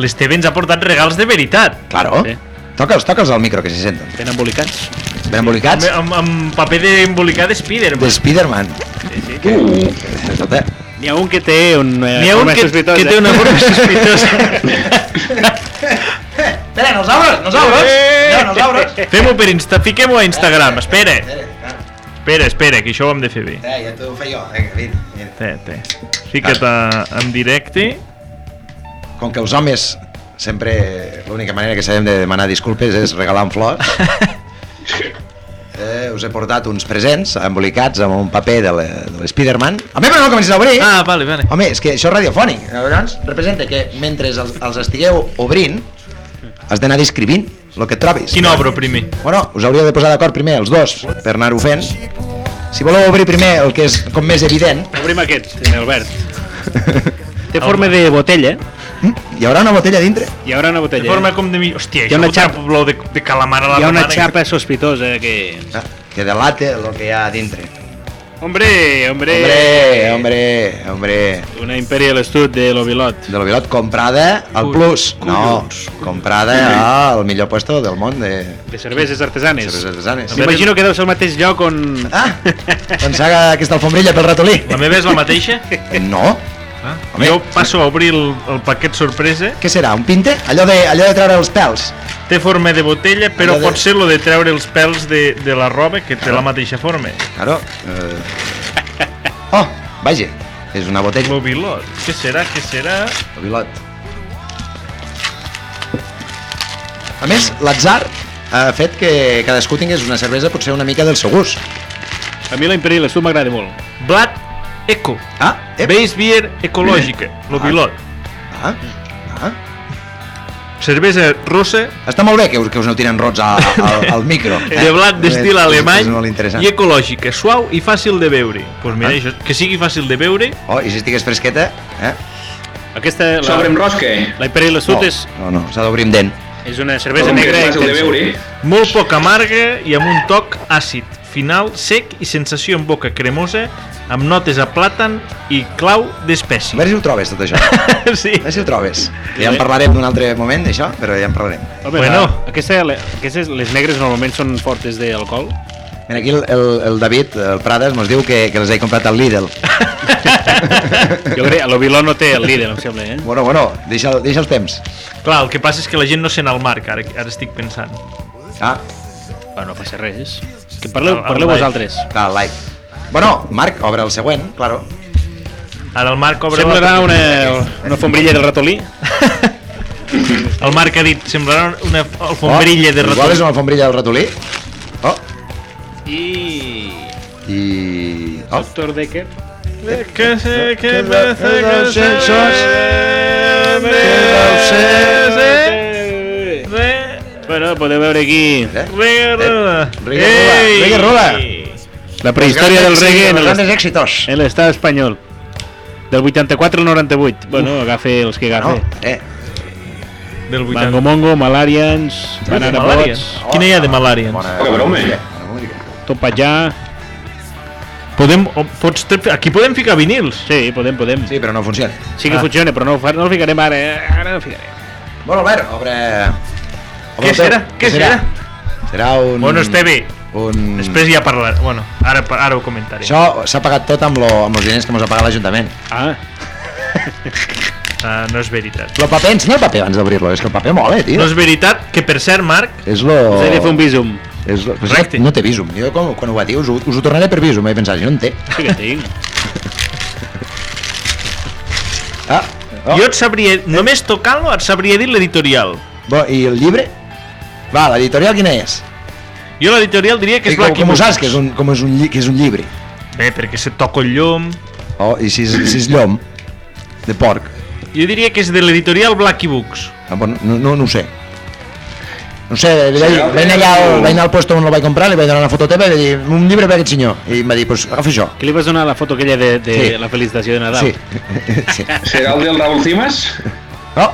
L'Esteve ens ha portat regals de veritat.
claro.
Sí.
Toca'ls, toca'ls al micro que se senten.
Ben embolicats.
Ben embolicats.
Amb, amb, amb paper d'embolicar de Spiderman.
De Spiderman.
Sí. sí, sí.
Uh,
Escolta,
N'hi ha un que té un... eh,
N'hi ha un
forma
que,
sospitosa.
que té una forma sospitosa.
Espera, nos abres, nos abres.
Eh.
Ja, nos abres.
Fem-ho per Insta... Fiquem-ho a Instagram, espera. Espera, espera, que això ho hem de fer bé.
Eh, ja t'ho feia jo. Vinga, vine, vine.
Té, té. Fica't a, en directe.
com que els homes sempre l'única manera que sabem de demanar disculpes és regalant flors eh, us he portat uns presents embolicats amb un paper de l'Spiderman a mi no comencis a obrir
Ah, vale, vale.
home, és que això és radiofònic llavors doncs, representa que mentre els, els estigueu obrint has d'anar descrivint el que et trobis
Quin obro primer?
Bueno, us hauríeu de posar d'acord primer els dos per anar-ho fent. Si voleu obrir primer el que és com més evident,
Obrim aquest, Albert. Té forma de botella,
hi haurà una botella a dintre?
hi haurà una botella.
De forma com de mi... Hòstia,
Hi ha
això
una
fotrà
xapa.
olor de, de calamar a la
Hi ha una
banana.
xapa sospitosa que...
Ah, que delate el que hi ha a dintre.
Hombre, hombre...
Hombre, hombre, hombre.
Una Imperial Stud de l'Ovilot.
De la Vilot comprada al
Cul-
plus. No,
collons.
comprada al millor puesto del món de
De cerveses artesanes.
cerveses artesanes.
M'imagino que deu ser el mateix lloc on...
Ah, doncs haga aquesta alfombrilla pel ratolí.
La meva és la mateixa?
Eh, No.
Ah. Jo passo a obrir el, el paquet sorpresa.
Què serà, un pinte? Allò de, allò de treure els pèls.
Té forma de botella, però
Allò de-
pot ser lo de treure els pèls de, de la roba, que té la mateixa forma.
Claro. Eh... Oh, vaja, és una botella.
L'ovilot. Què serà? Què serà?
El Vilot. A més, l'atzar ha fet que cadascú tingués una cervesa potser una mica del seu gust.
A mi la Imperial Stud m'agrada molt.
Blat Eco.
Ah, ep,
Base beer ecològica. L'ovilot.
ah, ah.
Cervesa rossa
Està molt bé que us, que us aneu tirant rots al, al, al micro. eh?
de blat d'estil
És- és-
alemany
És molt interessant. Ah.
i ecològica, suau i fàcil de beure. Doncs pues mira, això, que sigui fàcil de beure,
Oh, i si estigués fresqueta, eh?
Aquesta... La,
sobre amb rosca.
la Imperial Stud
no,
és,
no, no, s'ha d'obrir amb dent.
és una cervesa
Com que
negra
és fàcil de veure.
molt poc amarga i amb un toc àcid, final sec i sensació en boca cremosa, amb notes a plàtan i clau
A
d'espècie.
veure si ho trobes, tot això.
Sí.
A veure si ho trobes. Ja en parlarem d'un altre moment, d'això, però ja en parlarem.
Home,
Bueno.
bueno. aquesta, la- aquestes, les negres normalment són fortes d'alcohol.
Mira, aquí el, el, el David, el Prades, mos diu que, que les he comprat al Lidl.
Jo crec que l'Oviló no té el líder, em sembla, eh?
Bueno, bueno, deixa, el- deixa els temps.
Clar, el que passa és que la gent no sent el marc, ara, ara estic pensant.
Ah,
Bueno, no passa res. Que parleu,
El- el
parleu
live.
vosaltres.
clar, like. Bueno, Marc, obre el següent, claro.
Ara el Marc obre
Semblarà
la...
una, una fombrilla del ratolí.
El Marc ha dit, semblarà una alfombrilla de ratolí.
Oh, Igual és una alfombrilla del ratolí. Oh,
I...
i... Oh,
Doctor Decker.
Que sé que
Que
me
deu-
hace que
deu ser
se
sos-
me-
que deu ser-
Re-
Bueno, podeu veure aquí
eh?
Reggae
Reggae rola, reggae rola.
la prehistòria del reggae
Els
en l'est-
grandes èxitos.
Eh,
en l'estat espanyol. Del 84 al 98. Bueno, agafe els que
No,
agafe.
eh,
Del
Mango
80.
Mongo, Malarians, Banana
Malarian.
Bots,
Quina hi ha de malària?
Poca broma, eh?
bona música.
Topajà...
Podem, o, pots, tre- aquí podem ficar vinils.
Sí, podem, podem.
Sí, però no funciona.
Sí que
Ah.
funciona, però no, ho fa- no el ficarem ara, eh? ara no el ficarem.
Bueno, Albert, obre... obre
Què
el teu.
serà? Què serà?
Serà un...
Bueno, està bé.
Un...
Després ja parlaré. Bueno, ara, pa- ara ho comentaré.
Mm. Això s'ha pagat tot amb, lo, amb els diners que mos ha pagat l'Ajuntament.
Ah,
Ah, no és veritat.
El paper, ensenya el paper abans d'obrir-lo, és que el paper mola, eh, tio.
No és veritat que, per cert, Marc,
És lo...
oh. s'ha de fer un visum.
És lo... Pues
Recte.
no, no té visum. Jo quan, quan ho va dir us, ho- us ho tornaré per visum. He pensat, jo en té.
Sí que tinc.
Ah, oh.
jo et sabria... Només tocant-lo et sabria dir l'editorial.
Bo, I el llibre? Va, l'editorial quina és?
Jo l'editorial diria que
I
és
com,
Black
com ho
Box.
saps que és un, com és un, lli- que és un llibre?
Bé, perquè se toca el llom...
Oh, I si és, si és llom? De porc?
Jo diria que és de l'editorial Blacky Books.
Ah, bueno, No, no, no ho sé. No ho sé, li vaig,
Sí, no?
vaig, anar allà, al, vaig anar al puesto on el vaig comprar, li vaig donar una foto teva i vaig dir, un llibre per aquest senyor. I em va dir, pues, agafa això.
Que li vas donar la foto aquella de, de
Sí.
sí. la felicitació de Nadal.
Sí. sí.
Serà el del Raúl Cimas?
Oh, oh,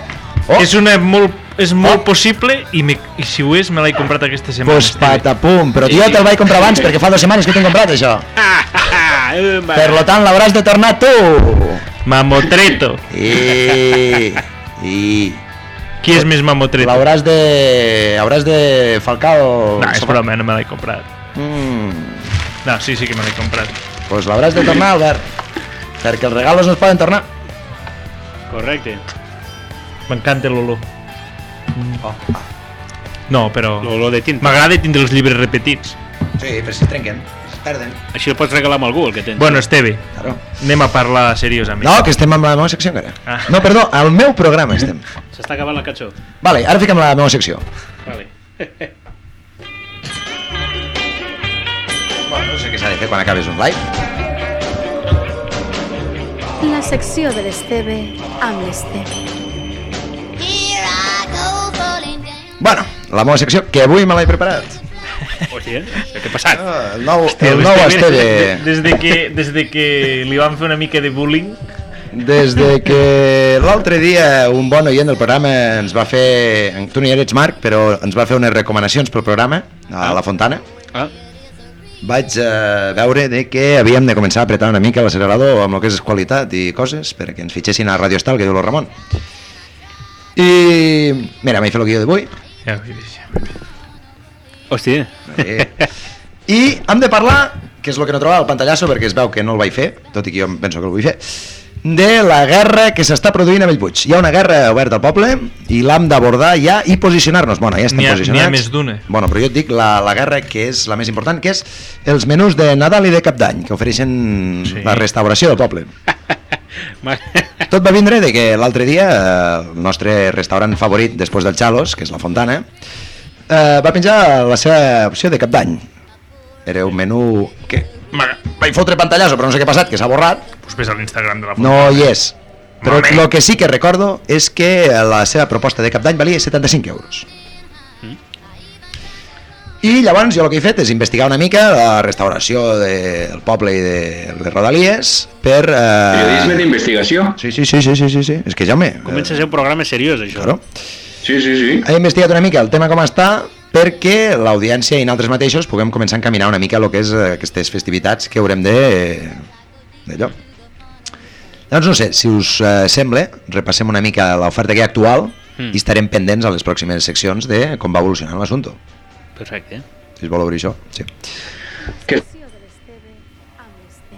Oh. És una molt, és molt oh. possible i, me, i si ho és me l'he comprat aquesta setmana.
pues patapum, però jo te'l vaig comprar abans perquè fa dues setmanes que t'he comprat això.
Ah, eh, va.
Per lo tant, l'hauràs de tornar tu.
Mamotreto.
I... I...
Qui és més mamotreto?
L'hauràs de... Hauràs de falcar o...
eh, No, és broma, no me l'he comprat.
Mm.
No, sí, sí que me l'he comprat.
pues l'hauràs de tornar, Albert. Perquè els regalos no es poden tornar.
Correcte.
M'encanta l'olor.
Oh.
No, però...
L'olor de tinta.
M'agrada tindre els llibres repetits.
Sí, però si es trenquen, es perden.
Així el pots regalar amb algú, el que tens.
Bueno, Esteve,
Claro.
anem a parlar seriosament.
No, que estem amb la meva secció encara.
Ah.
No, perdó, al meu programa estem.
S'està acabant la catxó.
Vale, ara fiquem la meva secció.
Vale.
Bueno, no sé què s'ha de fer quan acabes un live.
La secció de l'Esteve amb l'Esteve.
Bueno, la meva secció, que avui me l'he preparat.
Hòstia, què ha passat?
Ah, el nou, el nou
Esteve,
Esteve,
Des de, que, des de que li van fer una mica de bullying,
des de que l'altre dia un bon oient del programa ens va fer, tu no hi eres Marc, però ens va fer unes recomanacions pel programa a la Fontana.
Ah,
Vaig eh, veure de que havíem de començar a apretar una mica l'accelerador amb el que és qualitat i coses perquè ens fitxessin a Radio Estal, que diu el Ramon. I mira, m'he fet el guió d'avui.
ja ho he vist.
hòstia.
Eh. I hem de parlar, que és el que no trobava al pantallasso perquè es veu que no el vaig fer, tot i que jo em penso que el vull fer, de la guerra que s'està produint a Bellpuig. Hi ha una guerra oberta al poble i l'hem d'abordar ja i posicionar-nos. Bueno, ja estem
N'hi ha-
posicionats.
n'hi ha més d'una.
Bueno, però jo et dic la, la guerra que és la més important, que és els menús de Nadal i de Cap d'Any, que ofereixen
Sí.
sí. la restauració del poble.
Ma-
Tot va vindre de que l'altre dia eh, el nostre restaurant favorit després del Xalos, que és la Fontana, eh, va penjar la seva opció de cap d'any. Era un menú que me- vaig fotre pantallasso, però no sé què ha passat, que s'ha borrat,
Pues ves a l'Instagram de la foto.
no hi és. Però
Mame.
el que sí que recordo és que la seva proposta de cap d'any valia 75 euros. I llavors jo el que he fet és investigar una mica la restauració de- del poble i de les rodalies per... Eh,
Periodisme d'investigació.
Sí, sí, sí, sí, sí, sí, sí. És que Jaume...
Comença a ser un programa seriós, això.
Claro.
Sí, sí, sí.
He investigat una mica el tema com està perquè l'audiència i nosaltres mateixos puguem començar a encaminar una mica el que és eh, aquestes festivitats que haurem de... d'allò. Doncs no sé, si us eh, sembla, repassem una mica l'oferta que hi ha actual
Mm.
i estarem pendents a les pròximes seccions de com va evolucionant l'assumpte.
Perfecte.
Si es vol obrir això, sí.
Que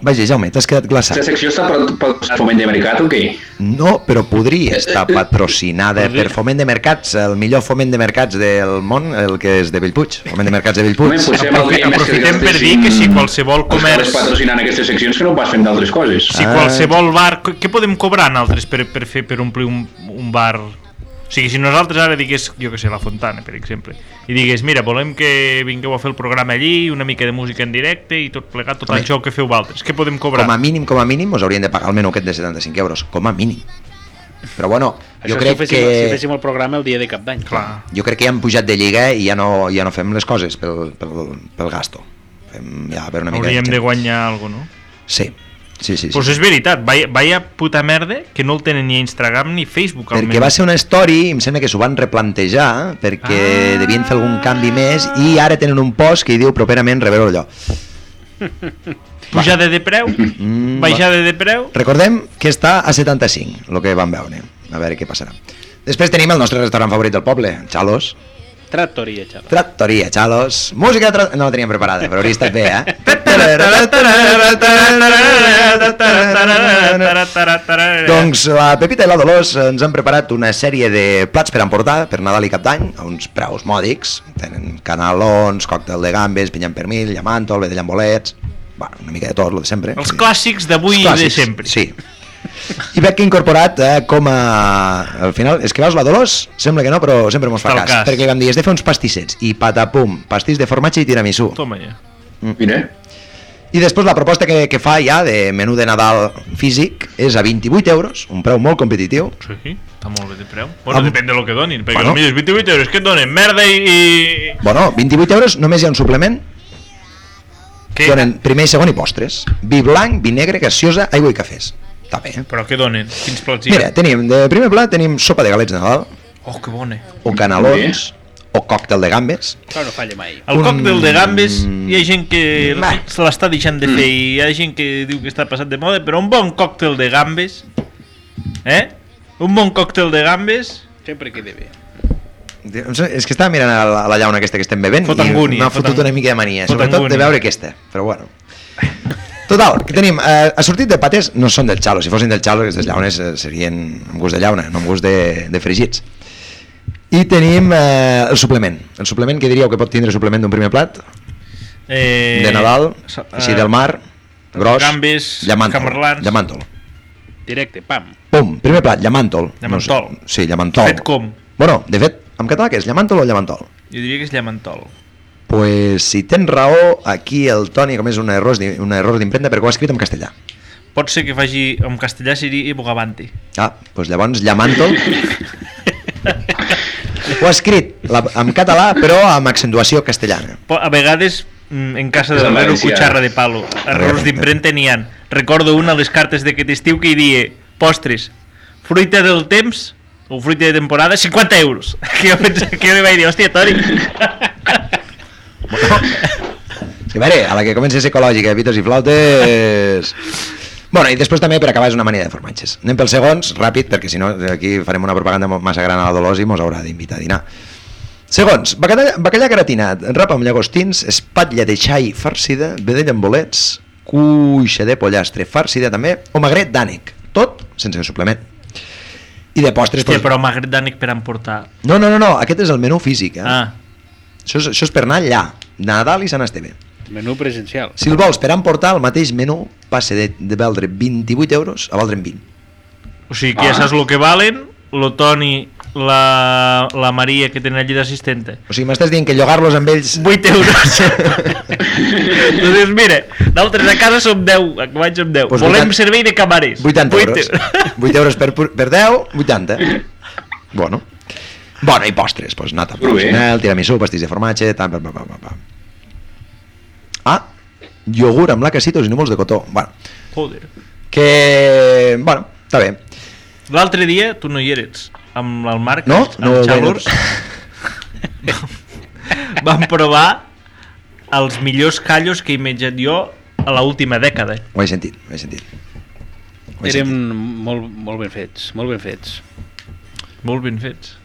Vaja, Jaume, t'has quedat glaçat.
la secció està per, per foment de mercat o què?
No, però podria estar patrocinada per Foment de Mercats, el millor Foment de Mercats del món, el que és de Bellpuig. Foment de Mercats de Bellpuig.
Home, potser
Aprofi-
valdria més
aprofitem per dir
gastessin
que si qualsevol
els que
comerç-
Les patrocinant aquestes seccions que no pas fem d'altres coses.
Si
Ah.
qualsevol bar... qu- Què podem cobrar nosaltres per, per, fer, per omplir un, un bar? O sigui, si nosaltres ara digués, jo que sé, la Fontana, per exemple, i digués, mira, volem que vingueu a fer el programa allí, una mica de música en directe i tot plegat, tot
Home.
això que feu vosaltres. Què podem cobrar?
Com a mínim, com a mínim, us haurien de pagar el menú aquest de 75 euros. Com a mínim. Però bueno,
Això
jo crec
si féssim, Si
que...
féssim el programa el dia de cap d'any.
Clar.
Jo crec que ja hem pujat de lliga i ja no, ja no fem les coses pel, pel, pel gasto. Fem ja per una mica...
Hauríem de guanyar alguna cosa, no?
Sí, sí, sí. sí.
Doncs pues és veritat, vaya, vaya puta merda que no el tenen ni a Instagram ni Facebook. almenys.
Perquè va ser una story, i em sembla que s'ho van replantejar, perquè
Ah.
devien fer algun canvi més, i ara tenen un post que hi diu properament reveure allò.
Pujada de preu,
Mm,
baixada de preu...
Recordem que està a 75, el que vam veure. A veure què passarà. Després tenim el nostre restaurant favorit del poble, Xalos.
Tractoria, xaval.
Tractoria, Xalos. Música... Tra... No la teníem preparada, però hauria estat bé, eh? Doncs la Pepita i la Dolors ens han preparat una sèrie de plats per emportar per Nadal i Cap d'Any a uns preus mòdics. Tenen canalons, còctel de gambes, pinyam pernil, llamàntol, bé de llambolets... Bueno, una mica de tot, el de sempre.
Els clàssics d'avui i
Els
de
clàssics,
sempre.
Sí. I veig que he incorporat eh, com a... Al final, és que veus la Dolors? Sembla que no, però sempre mos fa
Està al
cas,
cas.
Perquè vam dir, és de fer uns pastissets. I patapum, pastís de formatge i tiramisú.
Toma ja.
Ah, Mira,
I després la proposta que, que fa ja de menú de Nadal físic és a 28 euros, un preu molt competitiu.
Sí, està molt bé de preu. Bueno,
Am-
depèn de lo que donin, perquè
Bueno.
bueno. potser és 28 euros que et donen merda i... i...
Bueno, 28 euros només hi ha un suplement,
Què?
donen primer i segon i postres. Vi blanc, vi negre, gaseosa, aigua i cafès. Està bé. eh?
Però què donen? Quins plats hi ha?
Mira, tenim, de primer plat tenim sopa de galets de Nadal,
Oh, que bona.
o canalons, o còctel de gambes,
Clar, no falla mai.
El
Un-
còctel de gambes, hi ha gent que
Va.
se l'està deixant de fer i hi ha gent que diu que està passat de moda, però un bon còctel de gambes, eh? Un bon còctel de gambes,
Sempre queda bé.
Em sembla- "Eh, És que estava mirant a la, a la llauna aquesta que estem bevent
Fot angúnia,
i m'ha
fot
fotut
ang-
una mica de mania,
fot
sobretot de
angúnia.
veure aquesta, però bueno. Total, que tenim, eh, ha sortit de patés, no són del xalo, si fossin del xalo aquestes llaunes eh, serien amb gust de llauna, no amb gust de, de fregits. I tenim eh, el suplement, el suplement que diríeu que pot tindre suplement d'un primer plat,
Eh,
de Nadal,
so- eh,
així del mar, gros,
gambes,
llamàntol,
camarlans.
llamàntol.
Directe, pam.
Pum, primer plat, llamàntol.
Llamàntol.
No sé, sí, llamàntol.
eh, Fet com?
Bueno, de fet, en català què és, llamàntol o llamàntol?
Jo diria que és llamantol.
Pues si tens raó, aquí el Toni com és un error, d'im- un error d'impremta perquè ho ha escrit en castellà.
Pot ser que faci, en castellà seria bogavante.
Ah, doncs llavors llamàntol... ho ha escrit la, en català però amb accentuació castellana.
Po- A vegades, mm, en casa
És
de
en
l'herrero,
valencià.
cucharra de palo. Errors d'impremta n'hi han. Recordo una de les cartes d'aquest estiu que hi dia postres, fruita del temps o fruita de temporada, 50 euros. Que jo, pensava, que jo li vaig dir, hòstia, Tori.
Bueno, és que, a veure, a la que comença a ser ecològica, pitos i flautes... Bueno, i després també per acabar és una manera de formatges. Anem pels segons, ràpid, perquè si no aquí farem una propaganda mo- massa gran a la Dolors i mos haurà d'invitar a dinar. Segons, bacallà, bacallà gratinat, rap amb llagostins, espatlla de xai farcida, vedella amb bolets, cuixa de pollastre farcida també, o magret d'ànec, tot sense suplement. I de postres...
Hòstia,
doncs-
però m'agrada d'ànec per emportar.
No, no, no, no, aquest és el menú físic, eh?
Ah,
Això, és, això és per anar allà, Nadal i Sant Esteve.
Menú presencial.
Si el vols per emportar, el mateix menú passa de, de valdre 28 euros a valdre 20.
o sigui, que ja
Ah.
saps el que valen, lo Toni, la, la Maria, que tenen allí d'assistenta.
O sigui, m'estàs dient que llogar-los amb ells...
8 euros. tu dius, mira, nosaltres a casa som 10, acabats amb 10.
Pues
Pues Volem
80
servei de camarers.
80
Vuit
Doncs euros. 8 euros per, pu- per 10, 80. Bueno. Bueno, i postres, doncs nata
Molt bé.
professional, tiramisú, pastís de formatge, tal, pam, pam, pam, pam. Ah, iogurt amb lacacitos i núvols de cotó. Bueno,
Joder.
que... Bueno, està bé.
L'altre dia tu no hi eres, amb el Marc,
No?
amb
No ho
el
veig.
Xalurs, vam provar els millors callos que he menjat jo a l'última dècada.
Ho he sentit, ho he sentit. Ho he
Érem
sentit.
molt, molt ben fets, molt ben fets.
Molt ben fets.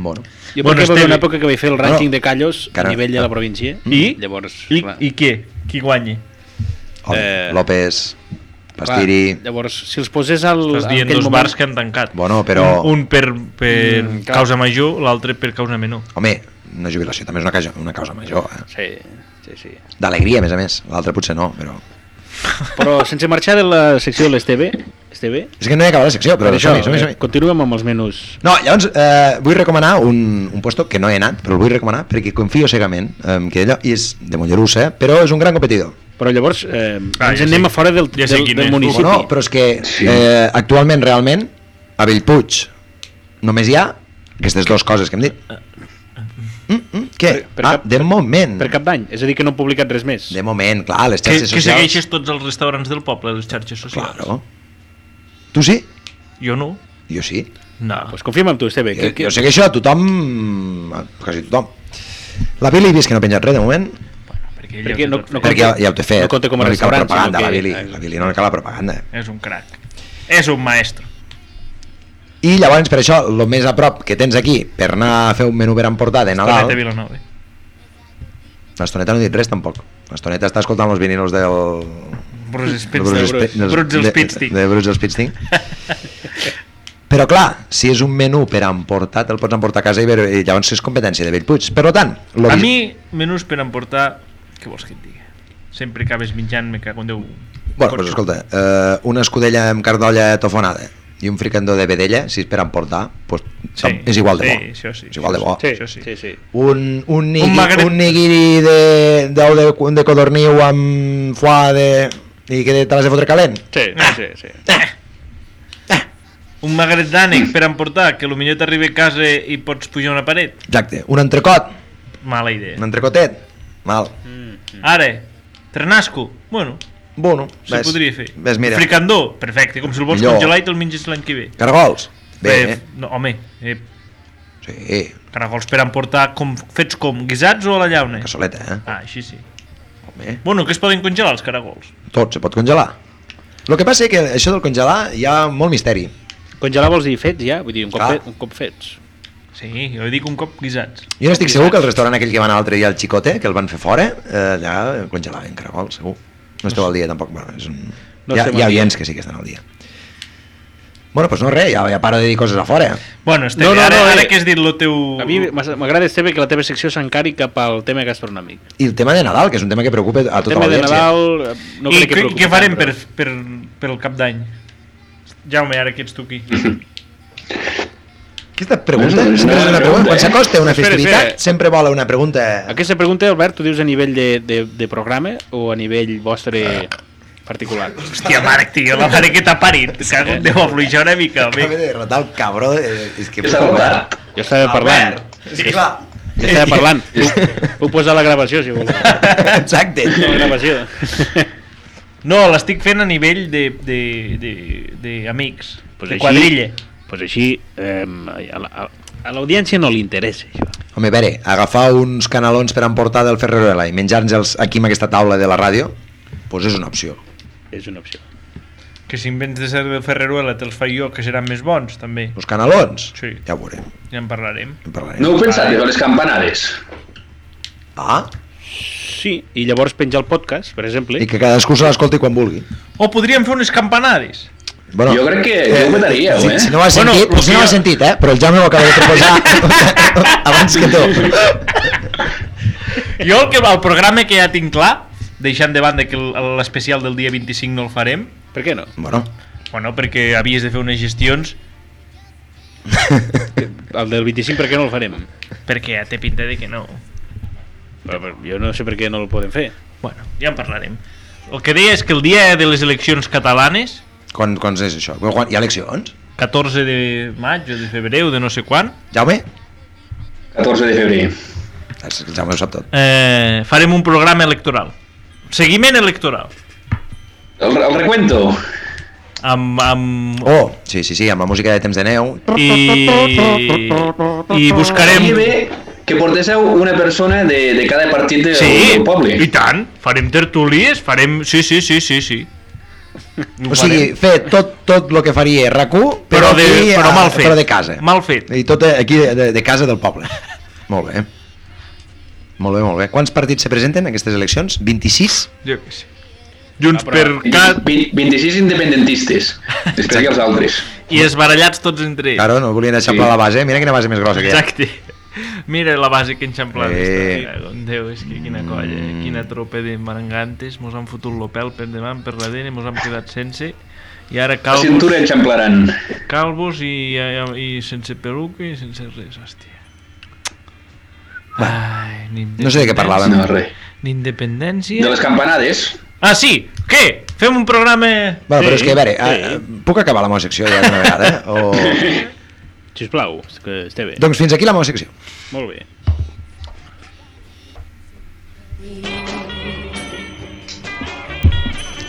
Bueno.
Jo
Bueno,
bueno, perquè va haver una
Esteve.
època que vaig fer el rànquing de callos
Cara.
a nivell de la província.
Mm.
I?
Llavors,
I,
clar,
i què? Qui guanyi?
Ole,
Eh,
López,
clar,
Pastiri...
llavors, si els posés al,
Estàs
en
dient
aquell
dos
moment...
bars que han tancat.
Bueno, però-
Un, un per, per
Mm, clar.
causa major, l'altre per causa menor.
Home, una jubilació també és una causa, una causa major. Eh?
Sí, sí, sí.
D'alegria, a més a més. L'altra potser no, però...
Però sense marxar de la secció de l'Esteve, Esteve, eh,
És que no he acabat la secció, però som-hi, som-hi, som-hi.
continuem amb els menús.
No, llavors eh, vull recomanar un, un puesto que no he anat, però el vull recomanar perquè confio cegament en que allò i és de Mollerussa, eh, però és un gran competidor.
Però llavors eh,
Ah,
ens
ja
anem
sé.
a fora del,
Ja sé
del,
quin
del
és.
municipi.
Bueno, però és que eh, actualment, realment, a Bellpuig només hi ha aquestes dues coses que hem dit. Mm, mm, què?
Eh, Per- per
ah,
cap-
de moment.
Per cap d'any, és a dir que no han publicat res més.
De moment, clar, les
Que,
xarxes
que
socials...
segueixes tots els restaurants del poble, les xarxes socials.
Claro. Tu sí?
Jo no.
Jo sí.
No.
Pues confiem amb tu, Esteve.
Jo,
Que, que...
Eh, jo sé que això a tothom... a quasi tothom. La Billy he vist que no ha penjat res de moment,
perquè, ella
Perquè
ho
no,
pot
no
fer.
perquè ja, ja ho té fet.
No compta com a
no li cal
restaurant,
propaganda, la
sinó que- Ah,
Billy. La Billy no li cal la propaganda.
És un crac. És un maestro.
I llavors, per això, el més a prop que tens aquí per anar a fer un menú per emportar de
Nadal.
Nadal...
Vilanova.
L'Estoneta no ha dit res, tampoc. L'Estoneta està escoltant els vinilos del...
Bruce
del
Springsteen.
Sp-
Bruce.
dels-
Bruce
de-
Springsteen.
De Bruce Spitting. Però clar, si és un menú per emportar, te'l pots emportar a casa i, veure, i llavors és competència de Bellpuig. Per tant, lo
A
vi-
mi, menús per emportar... Què vols que et digui? Sempre acabes menjant, me cago en Déu.
Bueno, doncs escolta, eh, una escudella amb cardolla tofonada i un fricandó de vedella, si és per emportar, doncs, sí, és igual de bo.
Sí, això sí.
és igual de bo.
Sí,
Sí,
això sí.
sí, sí.
Un, un, nigui, un,
magret.
nigiri de, de, de, de codorniu amb foie de... i que te l'has de fotre calent.
Sí, sí, sí.
Eh. Un magret d'ànec per emportar, que potser t'arriba a casa i pots pujar una paret.
Exacte, un entrecot,
Mala
un
idea.
entrecotet. Mal.
Mm. Ara, trenasco. Bueno,
Bueno,
se podria fer.
Ves, mira.
Fricandó, perfecte. Com si el vols
Millor.
congelar i te'l menges l'any que ve.
Cargols. Bé, eh?
no, home, eh,
Sí,
caragols per emportar com, fets com, guisats o a la llauna?
cassoleta, eh?
Ah, així sí.
Home.
Bueno, que es poden congelar els caragols?
Tot se pot congelar. El que passa és que això del congelar hi ha molt misteri.
Congelar vols dir fets, ja? Vull dir, un cop,
Clar.
fet, un cop fets.
Sí, jo dic un cop guisats.
Jo n'estic eh, segur que el restaurant aquell que va anar l'altre dia al Xicote, que el van fer fora, eh, allà congelaven caragols, segur. No esteu al dia tampoc. Bueno, és un...
No
no hi ha,
estem
hi ha
al dia.
oients que sí que estan al dia. Bueno, doncs no res, ja, ja paro de dir coses a fora.
Bueno, Esteve,
No,
no,
no,
no, ara,
no,
ara
eh,
que has dit el teu...
A mi m'ha- m'agrada, Esteve, que la teva secció s'encari cap al tema gastronòmic.
I el tema de Nadal, que és un tema que preocupa a
El
tota
tema de
l'audiència.
Nadal... eh, No
I
crec que
què,
preocupi
què
tant,
farem per,
però-
per, pel cap d'any? Jaume, ara que ets tu aquí.
Aquesta pregunta,
No, no,
sempre és
no,
una pregunta.
eh?
Quan s'acosta una
Espera,
festivitat,
espera.
sempre vola una pregunta...
Aquesta pregunta, Albert, tu dius a nivell de, de, de programa o a nivell
Ah.
vostre particular?
Hòstia, Marc, tio, la mare que t'ha parit. Cago en Déu, afluixa una mica,
Acaba
home.
de derrotar el cabró... eh, És que...
És adobat.
Jo estava parlant.
És clar.
Jo estava parlant. Puc, puc posar la gravació, si vols.
Exacte.
La gravació.
No, l'estic fent a nivell de, de, de, de amics,
Pues
de
així-
quadrilla.
pues així, eh, a la- a- a l'audiència no li interessa, això.
Home, a veure, agafar uns canalons per emportar del Ferreruela i menjar-nos aquí amb aquesta taula de la ràdio, doncs és una opció.
És una opció.
Que si en vens de ser de Ferreruela te'ls faig jo, que seran més bons, també.
Els canalons?
Sí.
Ja ho veurem.
Ja en parlarem.
En parlarem.
No heu pensat de les campanades?
Ah,
Sí, i llavors penjar el podcast, per exemple.
i que cadascú se l'escolti quan vulgui.
O podríem fer unes campanades.
Bueno,
Jo crec que jo ho mataríeu,
si,
eh?
Si no ho has
Bueno,
sentit,
lo
potser
que
no ho has
jo-
sentit, eh? Però el Jaume ho acaba de proposar abans que tu.
Jo el, que, el programa que ja tinc clar, deixant de banda que el- l'especial del dia 25 no el farem,
Per què no?
Bueno,
bueno, perquè havies de fer unes gestions,
El del 25 per què no el farem?
perquè ja té pinta de que no.
Però, però, jo no sé per què no el podem fer.
Bueno, ja en parlarem. El que deia és que el dia de les eleccions catalanes,
quan, quan és això? Quan, quan, hi ha eleccions?
14 de maig o de febrer o de no sé quan,
Jaume?
14 de febrer.
És- El Jaume ho sap tot.
eh, farem un programa electoral. Seguiment electoral.
El, el recuento.
Amb, amb,
Oh, sí, sí, sí, amb la música de temps de neu.
i, i buscarem...
Estaria bé que portéssiu una persona de, de cada partit del,
Sí,
del poble.
i tant. Farem tertúlies, farem... Sí, sí, sí, sí, sí. Ho
O sigui,
farem.
fer tot, tot el que faria RAC1, però,
Però de-
aquí,
però
a-
mal fet.
Però de casa.
Mal fet.
I tot eh, aquí de, de, de casa del poble. Molt bé. Molt bé, molt bé. Quants partits se presenten en aquestes eleccions? 26?
Jo què sé. Junts
Ah,
per
però-
cat
20, 26 independentistes. Després hi ha els altres.
i esbarallats tots entre ells.
Claro, no volien eixamplar
Sí.
la base. Mira quina base més grossa que hi ha.
Exacte. Mira la base que enxamplada eh. està.
Eh.
Mira, con Déu, és que quina colla, eh? quina tropa de marangantes. Mos han fotut l'opel per davant, per darrere, mos hem quedat sense. I ara
La cintura
calvos,
enxamplaran.
calvos i, i, i sense peruca i sense res, hòstia. Ai, ni
No sé de què parlàvem.
No, res.
Ni independència...
De les campanades.
Ah, sí? Què? Fem un programa...
Bueno, però és
Sí,
que, a veure,
sí.
eh, puc acabar la meva secció ja d'una vegada? eh? O...
Sisplau, és que està bé.
Doncs fins aquí la meva secció.
Molt bé.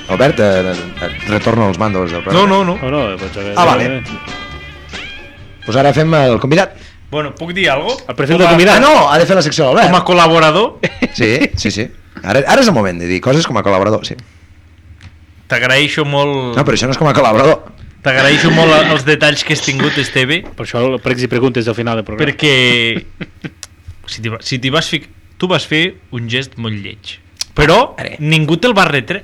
Albert, eh, eh, retorno als mandos del
No,
programa.
no, no.
Oh, no, doncs, eh,
Ah, vale. Pues ara fem el convidat.
Bueno, puc dir alguna cosa?
El perfil del
Com a-
convidat.
Ah, no, ha de fer la secció
Com a
l'Albert.
col·laborador,
Sí, sí, sí. Ara, ara és el moment de dir coses com a col·laborador, sí.
t'agraeixo molt...
No, però això no és com a col·laborador.
T'agraeixo molt els detalls que has tingut, Esteve,
Per això el pregs i preguntes del final del programa.
perquè... Si t'hi va- si t'hi vas fic... Tu vas fer un gest molt lleig. Però
Ara.
ningú te'l va retre.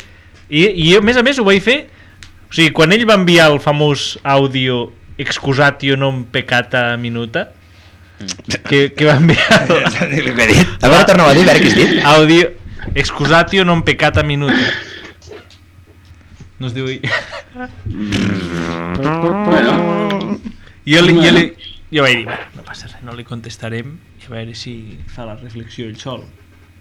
I, I, a més a més, ho vaig fer... O sigui, quan ell va enviar el famós àudio excusatio non peccata minuta, que, que va enviar...
Li he dit. A veure, torna a dir, a veure què has dit.
Audio excusatio non peccata minuta. No es diu...
Bueno,
Jo, li, jo, li, jo vaig dir, "Bueno, no passa res, no li contestarem i a veure si fa la reflexió ell sol.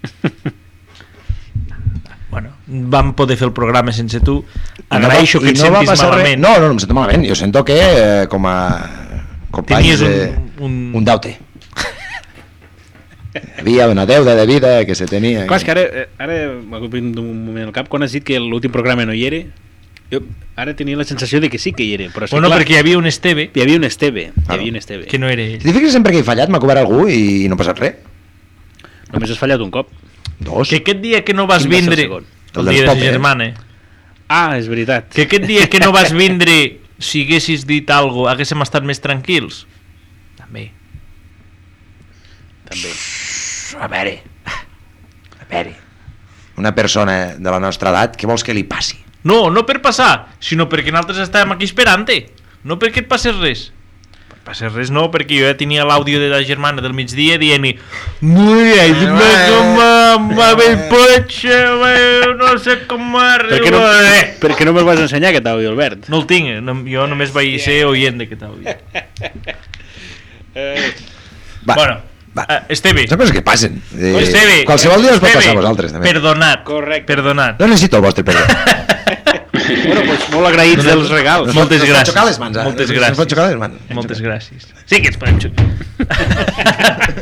bueno, vam poder fer el programa sense tu.
Ah,
Agraeixo
I
que et
no va
sentis
passar res.
malament.
No, no, no em sento malament. Jo sento que eh, com a companys
Tenies un-
eh,
un-
un deute. Hi havia una deuda de vida que se tenia.
Clar, és que ara, eh, ara m'ha vingut un moment al cap quan has dit que l'últim programa no hi era. Jo ara tenia la sensació de que sí que hi era, però és que,
Bueno,
clar,
perquè hi havia un Esteve
hi havia un Esteve, hi
Ah,
havia
no.
un Esteve.
que no era ell.
Si t'hi fixes sempre que he fallat, m'ha cobrat algú i no ha passat res.
Només has fallat un cop.
Dos.
Que aquest dia que no vas
Quin va ser el
vindre...
segon?
El
El del
dia de
pop,
la
eh?
germana.
Ah, és veritat.
Que aquest dia que no vas vindre, si haguessis dit algo, haguéssim estat més tranquils? També.
També.
A veure. A veure. una persona de la nostra edat, què vols que li passi?
No, no per passar, sinó perquè nosaltres estàvem aquí esperant-te. No perquè et passés res. Per passés res no, perquè jo ja tenia l'àudio de la germana del migdia dient-hi Mira,
Eh,
dime com va bé el cotxe, va, no sé com
Per què no,
arriba... eh."
per què no me'l vas ensenyar, aquest àudio, Albert?
No el tinc, eh, no, jo només vaig ser oient d'aquest àudio.
Va,
bueno,
va.
eh, Esteve,
Són coses que passen. Eh,
Esteve,
qualsevol dia us pot
Esteve,
passar a vosaltres, també.
Perdonat,
Correcte.
perdonat.
No necessito el vostre perdó.
Bueno, doncs molt agraïts dels regals.
Moltes
Ens pot
gràcies.
xocar les mans, ara.
Moltes
Ens pot
gràcies.
xocar les mans.
Moltes gràcies. Sí que ets panxo.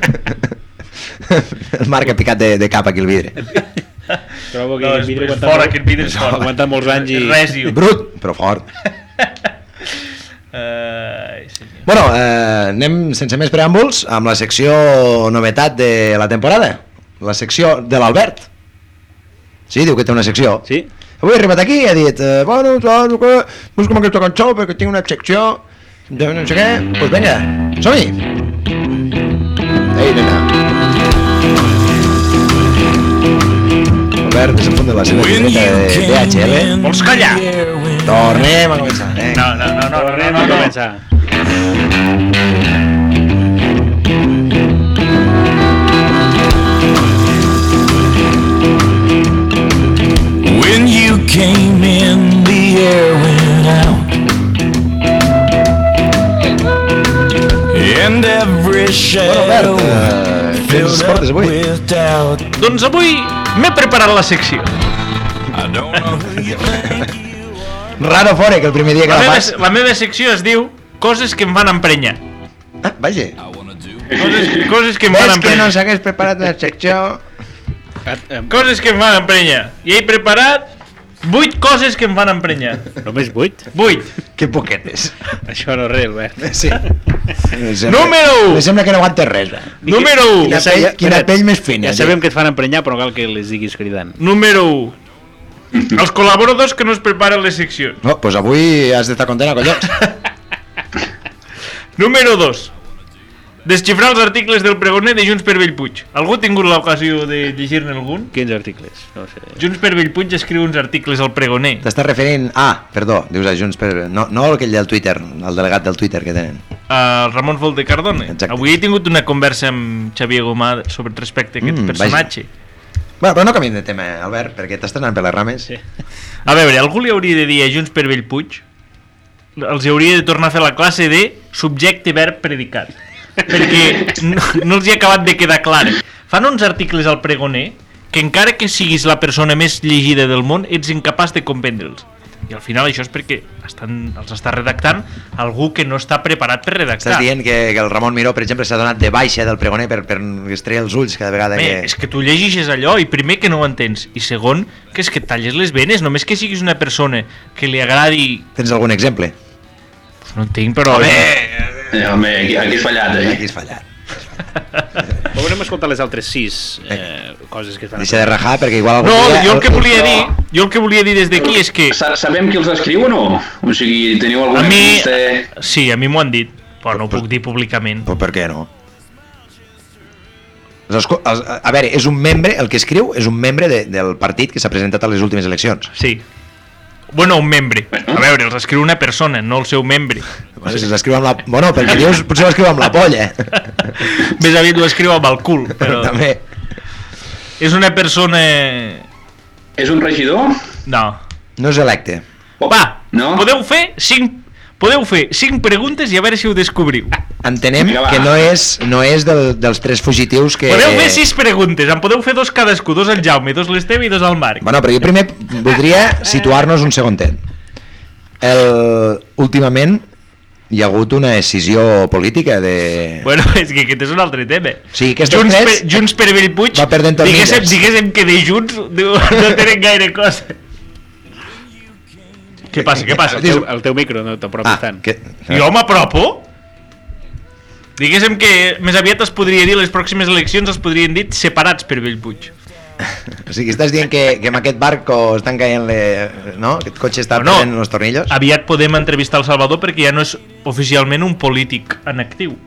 el Marc ha picat de, de cap aquí el vidre.
Trobo que
No,
el vidre
és
aguanta
Doncs, fora,
molt-
aquest vidre és fora.
Ha aguantat molts anys i...
Rèsiu.
Brut, però fort.
Ai, senyor.
Bueno, eh, anem sense més preàmbuls amb la secció novetat de la temporada. La secció de l'Albert. Sí, diu que té una secció.
Sí?
Avui ha arribat aquí i ha dit eh, bueno, doncs, eh, busca'm aquesta cançó perquè tinc una secció de no sé què, doncs pues vinga, som-hi! Ei, nena. Albert, és el punt de la seva llibreta de DHL.
eh? Vols callar?
Tornem a començar. Vinga.
No, no, no, no, no,
Tornem
no,
a
no.
començar.
When you came in, the air went out. And every
Bueno,
shadow
Albert, eh, què ens
filled up
portes avui?
with doubt.
Doncs avui m'he preparat la secció.
I don't know who you think
Raro fora que el primer dia que
La
la
meva,
fas...
la meva secció es diu Coses que em van emprenyar.
Ah, vaja.
Coses, coses que em van
És que no
emprenyar.
s'hagués preparat la secció...
Ah, em-
Coses que em van emprenyar. I he preparat 8 coses que em van emprenyar.
Només vuit?
8.
Que poquetes.
Això no eh? és res, Albert.
Sí.
Número u.
Em sembla que no aguantes res. eh. Va.
Número 1.
Ja pell-
sabem-
quina pell més fina,
Ja
tio.
sabem que et fan emprenyar, però cal que les diguis cridant.
Número 1. Els col·laboradors que no es preparen les seccions.
No, doncs avui has d'estar content, collons.
Número 2. Desxifrar els articles del pregoner de Junts per Bellpuig. Algú ha tingut l'ocasió de llegir-ne algun?
Quins articles? No sé.
Junts per Bellpuig escriu uns articles al pregoner.
T'estàs referint... Ah, perdó, dius a Junts per... No, no aquell del Twitter, el delegat del Twitter que tenen.
El Ramon Vol de Cardone.
Exacte.
Avui he tingut una conversa amb Xavier Gomà sobre respecte a aquest
Mm,
mm, personatge.
Bueno, però no canviem de tema, Albert, perquè t'estàs anant per les rames.
Sí.
A veure, algú li hauria de dir a Junts per Bellpuig els hauria de tornar a fer la classe de subjecte verb predicat perquè no, no els hi ha acabat de quedar clar fan uns articles al pregoner que encara que siguis la persona més llegida del món ets incapaç de comprendre'ls i al final això és perquè estan, els està redactant algú que no està preparat per redactar
Estàs dient que, que el Ramon Miró, per exemple, s'ha donat de baixa del pregoner per, per es treia els ulls cada vegada
Bé, és
que...
que tu llegeixes allò i primer que no ho entens i segon que és que et talles les venes només que siguis una persona que li agradi
Tens algun exemple?
no en tinc però
Eh, home, aquí, aquí has fallat, eh?
Aquí has fallat.
Però volem escoltar les altres sis eh, coses que es fan
Deixa de rajar perquè igual... algun
No,
dia-
jo el que volia dir, jo el que volia dir des d'aquí és que
Sa sabem qui els escriu o no? O sigui, teniu
a
alguna
mi,
llista?
sí, a mi m'ho han dit, però no ho puc dir públicament.
Però per què no? Els esco- els- a veure, és un membre, el que escriu és un membre de, del partit que s'ha presentat a les últimes eleccions.
Sí. Bueno, un membre. A veure, els escriu una persona, no el seu membre.
No sé si l'escriu amb la... Bueno, perquè dius, potser l'escriu amb la polla.
Més aviat ho escriu amb el cul, però...
També.
És una persona...
És un regidor? Oh,
No.
No és electe.
Va,
No?
podeu fer cinc... Podeu fer cinc preguntes i a veure si ho descobriu.
Eh. Entenem
Vinga, va.
que no és, no és del, dels tres fugitius que...
Podeu fer sis preguntes, en podeu fer dos cadascú, dos al Jaume, dos l'Esteve i dos al Marc.
Bueno, però jo primer voldria situar-nos un segondet. El, últimament hi ha hagut una decisió política de...
Bueno, és que aquest és un altre tema.
Sí, aquestes
Junts,
tres-
per, Junts per Bellpuig,
Va perdent amb
diguéssim,
elles.
diguéssim que de Junts no, no tenen gaire cosa. què passa, què passa?
El teu, el teu micro no t'apropis
Ah,
ah, tant.
que...
Jo m'apropo? Diguéssim que més aviat es podria dir, les pròximes eleccions es podrien dir separats per Bellpuig.
O sigui, estàs dient que, que amb aquest barco estan caient le... No? Aquest cotxe està
No, Ah, no.
perdent els tornillos?
Aviat podem entrevistar el Salvador perquè ja no és oficialment un polític en actiu. eh?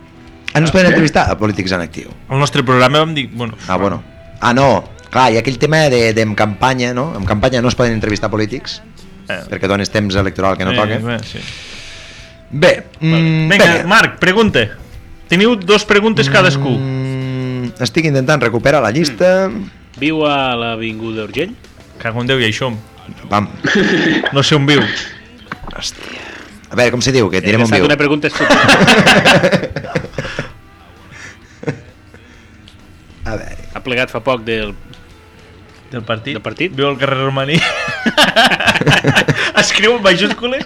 Ah, no es poden entrevistar a polítics en actiu.
Al nostre programa vam dir, bueno,
Ah, bueno. Ah, no. Clar, i aquell tema de, de en campanya, no? En campanya no es poden entrevistar polítics,
Eh.
perquè dones temps electoral que no toca.
Bé, sí.
Bé,
Mm,
mm,
Vinga, Marc, pregunta. Teniu dos preguntes cadascú.
Mm, estic intentant recuperar la llista.
Viu a l'Avinguda Urgell?
Cago en Déu i això.
Vam.
No sé on viu.
Hòstia. A veure, com se diu?
Eh,
Que tirem
Ha
un viu.
estat una pregunta estúpida.
A veure.
ha plegat fa poc del...
Del partit?
Del partit.
Viu al carrer Romaní. Escriu en majúscules?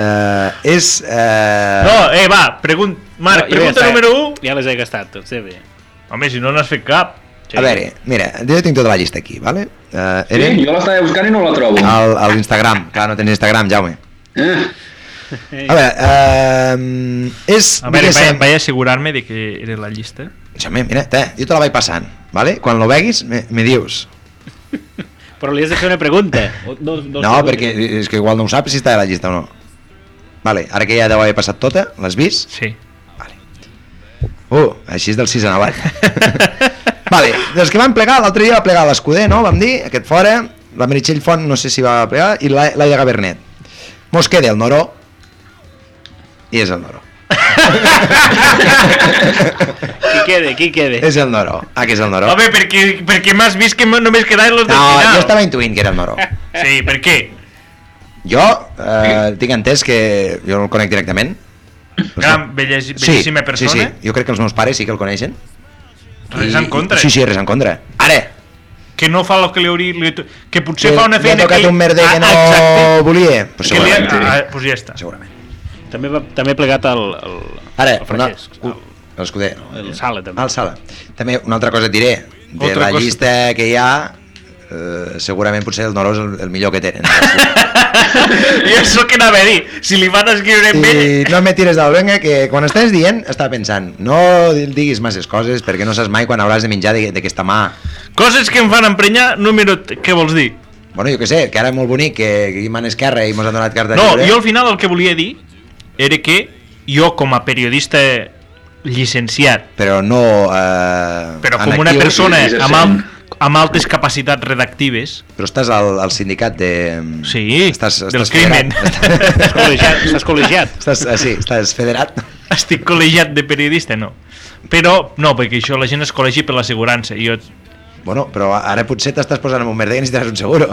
Uh, és... Uh...
No, eh, va, pregun... Marc,
ja
pregunta
està,
número 1.
Ja les he gastat, tot sé bé.
Home, si no n'has fet cap.
Sí.
A veure, mira, jo tinc tota la llista aquí, vale? Uh,
Sí,
eren Ah.
jo l'estava buscant i no la trobo.
al, a l'Instagram. Clar, no tens Instagram, Jaume.
Eh?
A veure, uh, és...
A veure, vaig,
diguéssim-
vaig assegurar-me de que era la llista.
Jaume, mira, te, jo te la vaig passant, vale? Quan lo veguis, me, me dius.
Però li has de fer una pregunta. O Dos, dos
No,
preguntes.
perquè és que igual no ho saps si està a la llista o no. Vale, ara que ja te l'he passat tota, l'has vist?
Sí.
Uh, així és del 6 en avall. vale, dels que van plegar, l'altre dia va plegar l'Escuder, no? Vam dir, aquest fora, la Meritxell Font no sé si va plegar, i la- l'Aida Gabernet. Mos queda el Noró, i és el Noró.
Qui quede, qui quede.
És el Noró. Ah, que és el Noró.
Home, perquè, perquè m'has vist que només quedaven los del
No,
final.
jo estava intuint que era el Noró.
Sí, per què?
Jo eh, tinc entès que jo no el conec directament.
Gran, belles, bellíssima
sí,
persona.
Sí, sí, jo crec que els meus pares sí que el coneixen.
Res
I-
en contra. eh?
Sí, sí, res en contra. Ara,
Que no fa el que li hauria... Li, que potser
li-
fa una
li ha
feina
tocat
que...
un merder que no
Ah, exacte.
volia. Pues
Que li ha...
segurament.
sí.
Ah, pues ja està.
segurament.
També, va, també he plegat el, el,
Ara,
el
una...
Francesc.
u- L'escuder. no.
El Sala, també.
Ah, el Sala. També una altra cosa et diré. De
Altra
la
cosa.
llista que hi ha, eh, segurament potser el Noró és el, el millor que tenen.
I això que anava a dir. Si li van escriure amb ell...
I no me tires del venga, que quan estàs dient, estava pensant, no diguis masses coses perquè no saps mai quan hauràs de menjar d'aqu- d'aquesta mà.
Coses que em fan emprenyar, número... t- Què vols dir?
Bueno, jo que sé, que ara és molt bonic, que Guim en esquerra i mos han donat carta
No,
lliure.
jo al final el que volia dir era que jo com a periodista llicenciat,
Però no... Eh,
però
en
com una
actiu,
persona
i- i
amb, al,
exercent.
amb altes capacitats redactives,
Però estàs al, al sindicat de...
sí,
estàs, estàs
del
federat.
crimen,
Estàs col·legiat. Estàs col·legiat.
Estàs, eh, sí, estàs federat.
estic col·legiat de periodista, no. Però, no, perquè això la gent es col·legi per l'assegurança, i jo...
Bueno, però ara potser t'estàs posant en un merder i necessitaràs un seguro.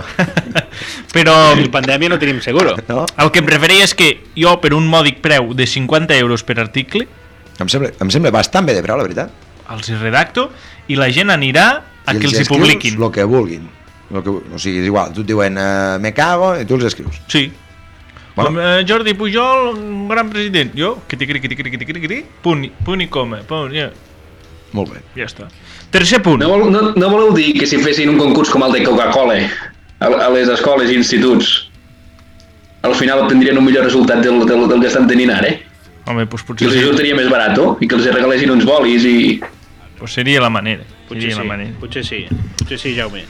Però
En pandèmia no tenim seguro.
No?
el que em referia és que jo, per un mòdic preu de 50 euros per article,
Em sembla, em sembla bastant bé de prou, la veritat.
els hi redacto i la gent anirà a
I
que els hi
escrius
publiquin.
El que vulguin. Lo que, o sigui, és igual, tu et diuen eh, me cago i tu els escrius.
Sí.
Bueno.
Bueno. eh, Jordi Pujol, un gran president. Jo, que ticri, que ticri, que ticri, que ticri, punt, i- punt i coma. Punt, ja,
Molt bé.
ja està. Tercer punt.
No, vol, no, no voleu dir que si fessin un concurs com el de Coca-Cola a, a les escoles i instituts, al final obtindrien un millor resultat del, del, del que estan tenint ara, eh?
Home, doncs
Que
potser
els hi
sí,
resultaria més barat, oh? i que els hi regalessin uns bolis i...
doncs seria la manera.
Potser
seria la
sí,
manera.
potser sí, potser sí, Jaume.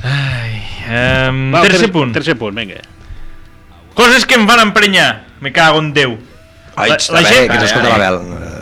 Um,
Va, el
tercer
ter-
punt.
Tercer punt, vinga.
Coses que em van emprenyar. Me cago en Déu.
Ai,
La-
està
la
bé,
gent-
que ens
Ai,
escolta
ai.
la Eh, Bel.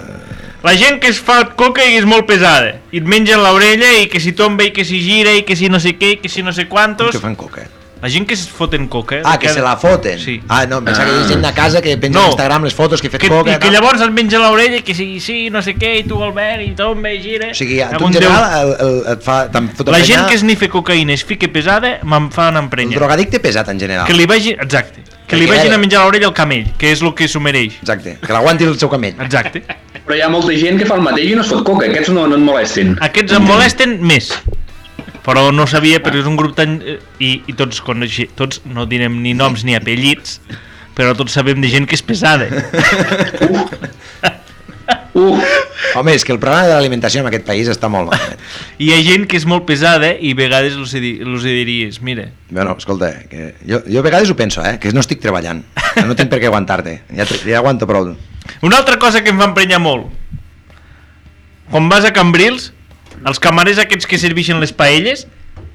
La gent que es fa coca i és molt pesada. I et mengen l'orella i que si tomba i que si gira i que si no sé què i que si no sé
Com
quantos.
que fan coca.
La gent que es foten coca... eh,
Ah, que se la foten.
Sí.
Ah, no, em pensava que hi ha gent a casa que penja
No.
a Instagram les fotos que he fet
que,
coca.
i que
tal.
llavors et menja l'orella i que sigui sí, no sé què, i tu Albert, i tomba, i gira...
O sigui, a tu
Algun
en
Déu.
general eh, tota el, el, et fa... Te'n fot
la
emprenyar.
gent que es nifa cocaïna i es fica pesada, me'n fan
El
emprenyar.
drogadicte pesat en general.
Que li vagin... Exacte. Que
Perquè
li vagin
ara-
a menjar l'orella al camell, que és el que s'ho mereix.
Exacte, que l'aguanti el seu camell.
Exacte.
Però hi ha molta gent que fa el mateix i no es fot coca, aquests no, no en molesten.
Aquests em molesten més. Però no sabia, perquè és un grup tan... eh, I, i tots, coneixi, tots no direm ni noms ni apellits, però tots sabem de gent que és pesada.
Uh,
Home, és que el problema de l'alimentació en aquest país està molt malament.
I hi ha gent que és molt pesada i a vegades els hi di- els hi diries, mira,
Bueno, escolta, que jo, jo a vegades ho penso, eh? Que no estic treballant. que No tinc per què aguantar-te. Ja, tr- ja aguanto prou.
Una altra cosa que em va emprenyar molt. Quan vas a Cambrils, els camarers aquests que serveixen les paelles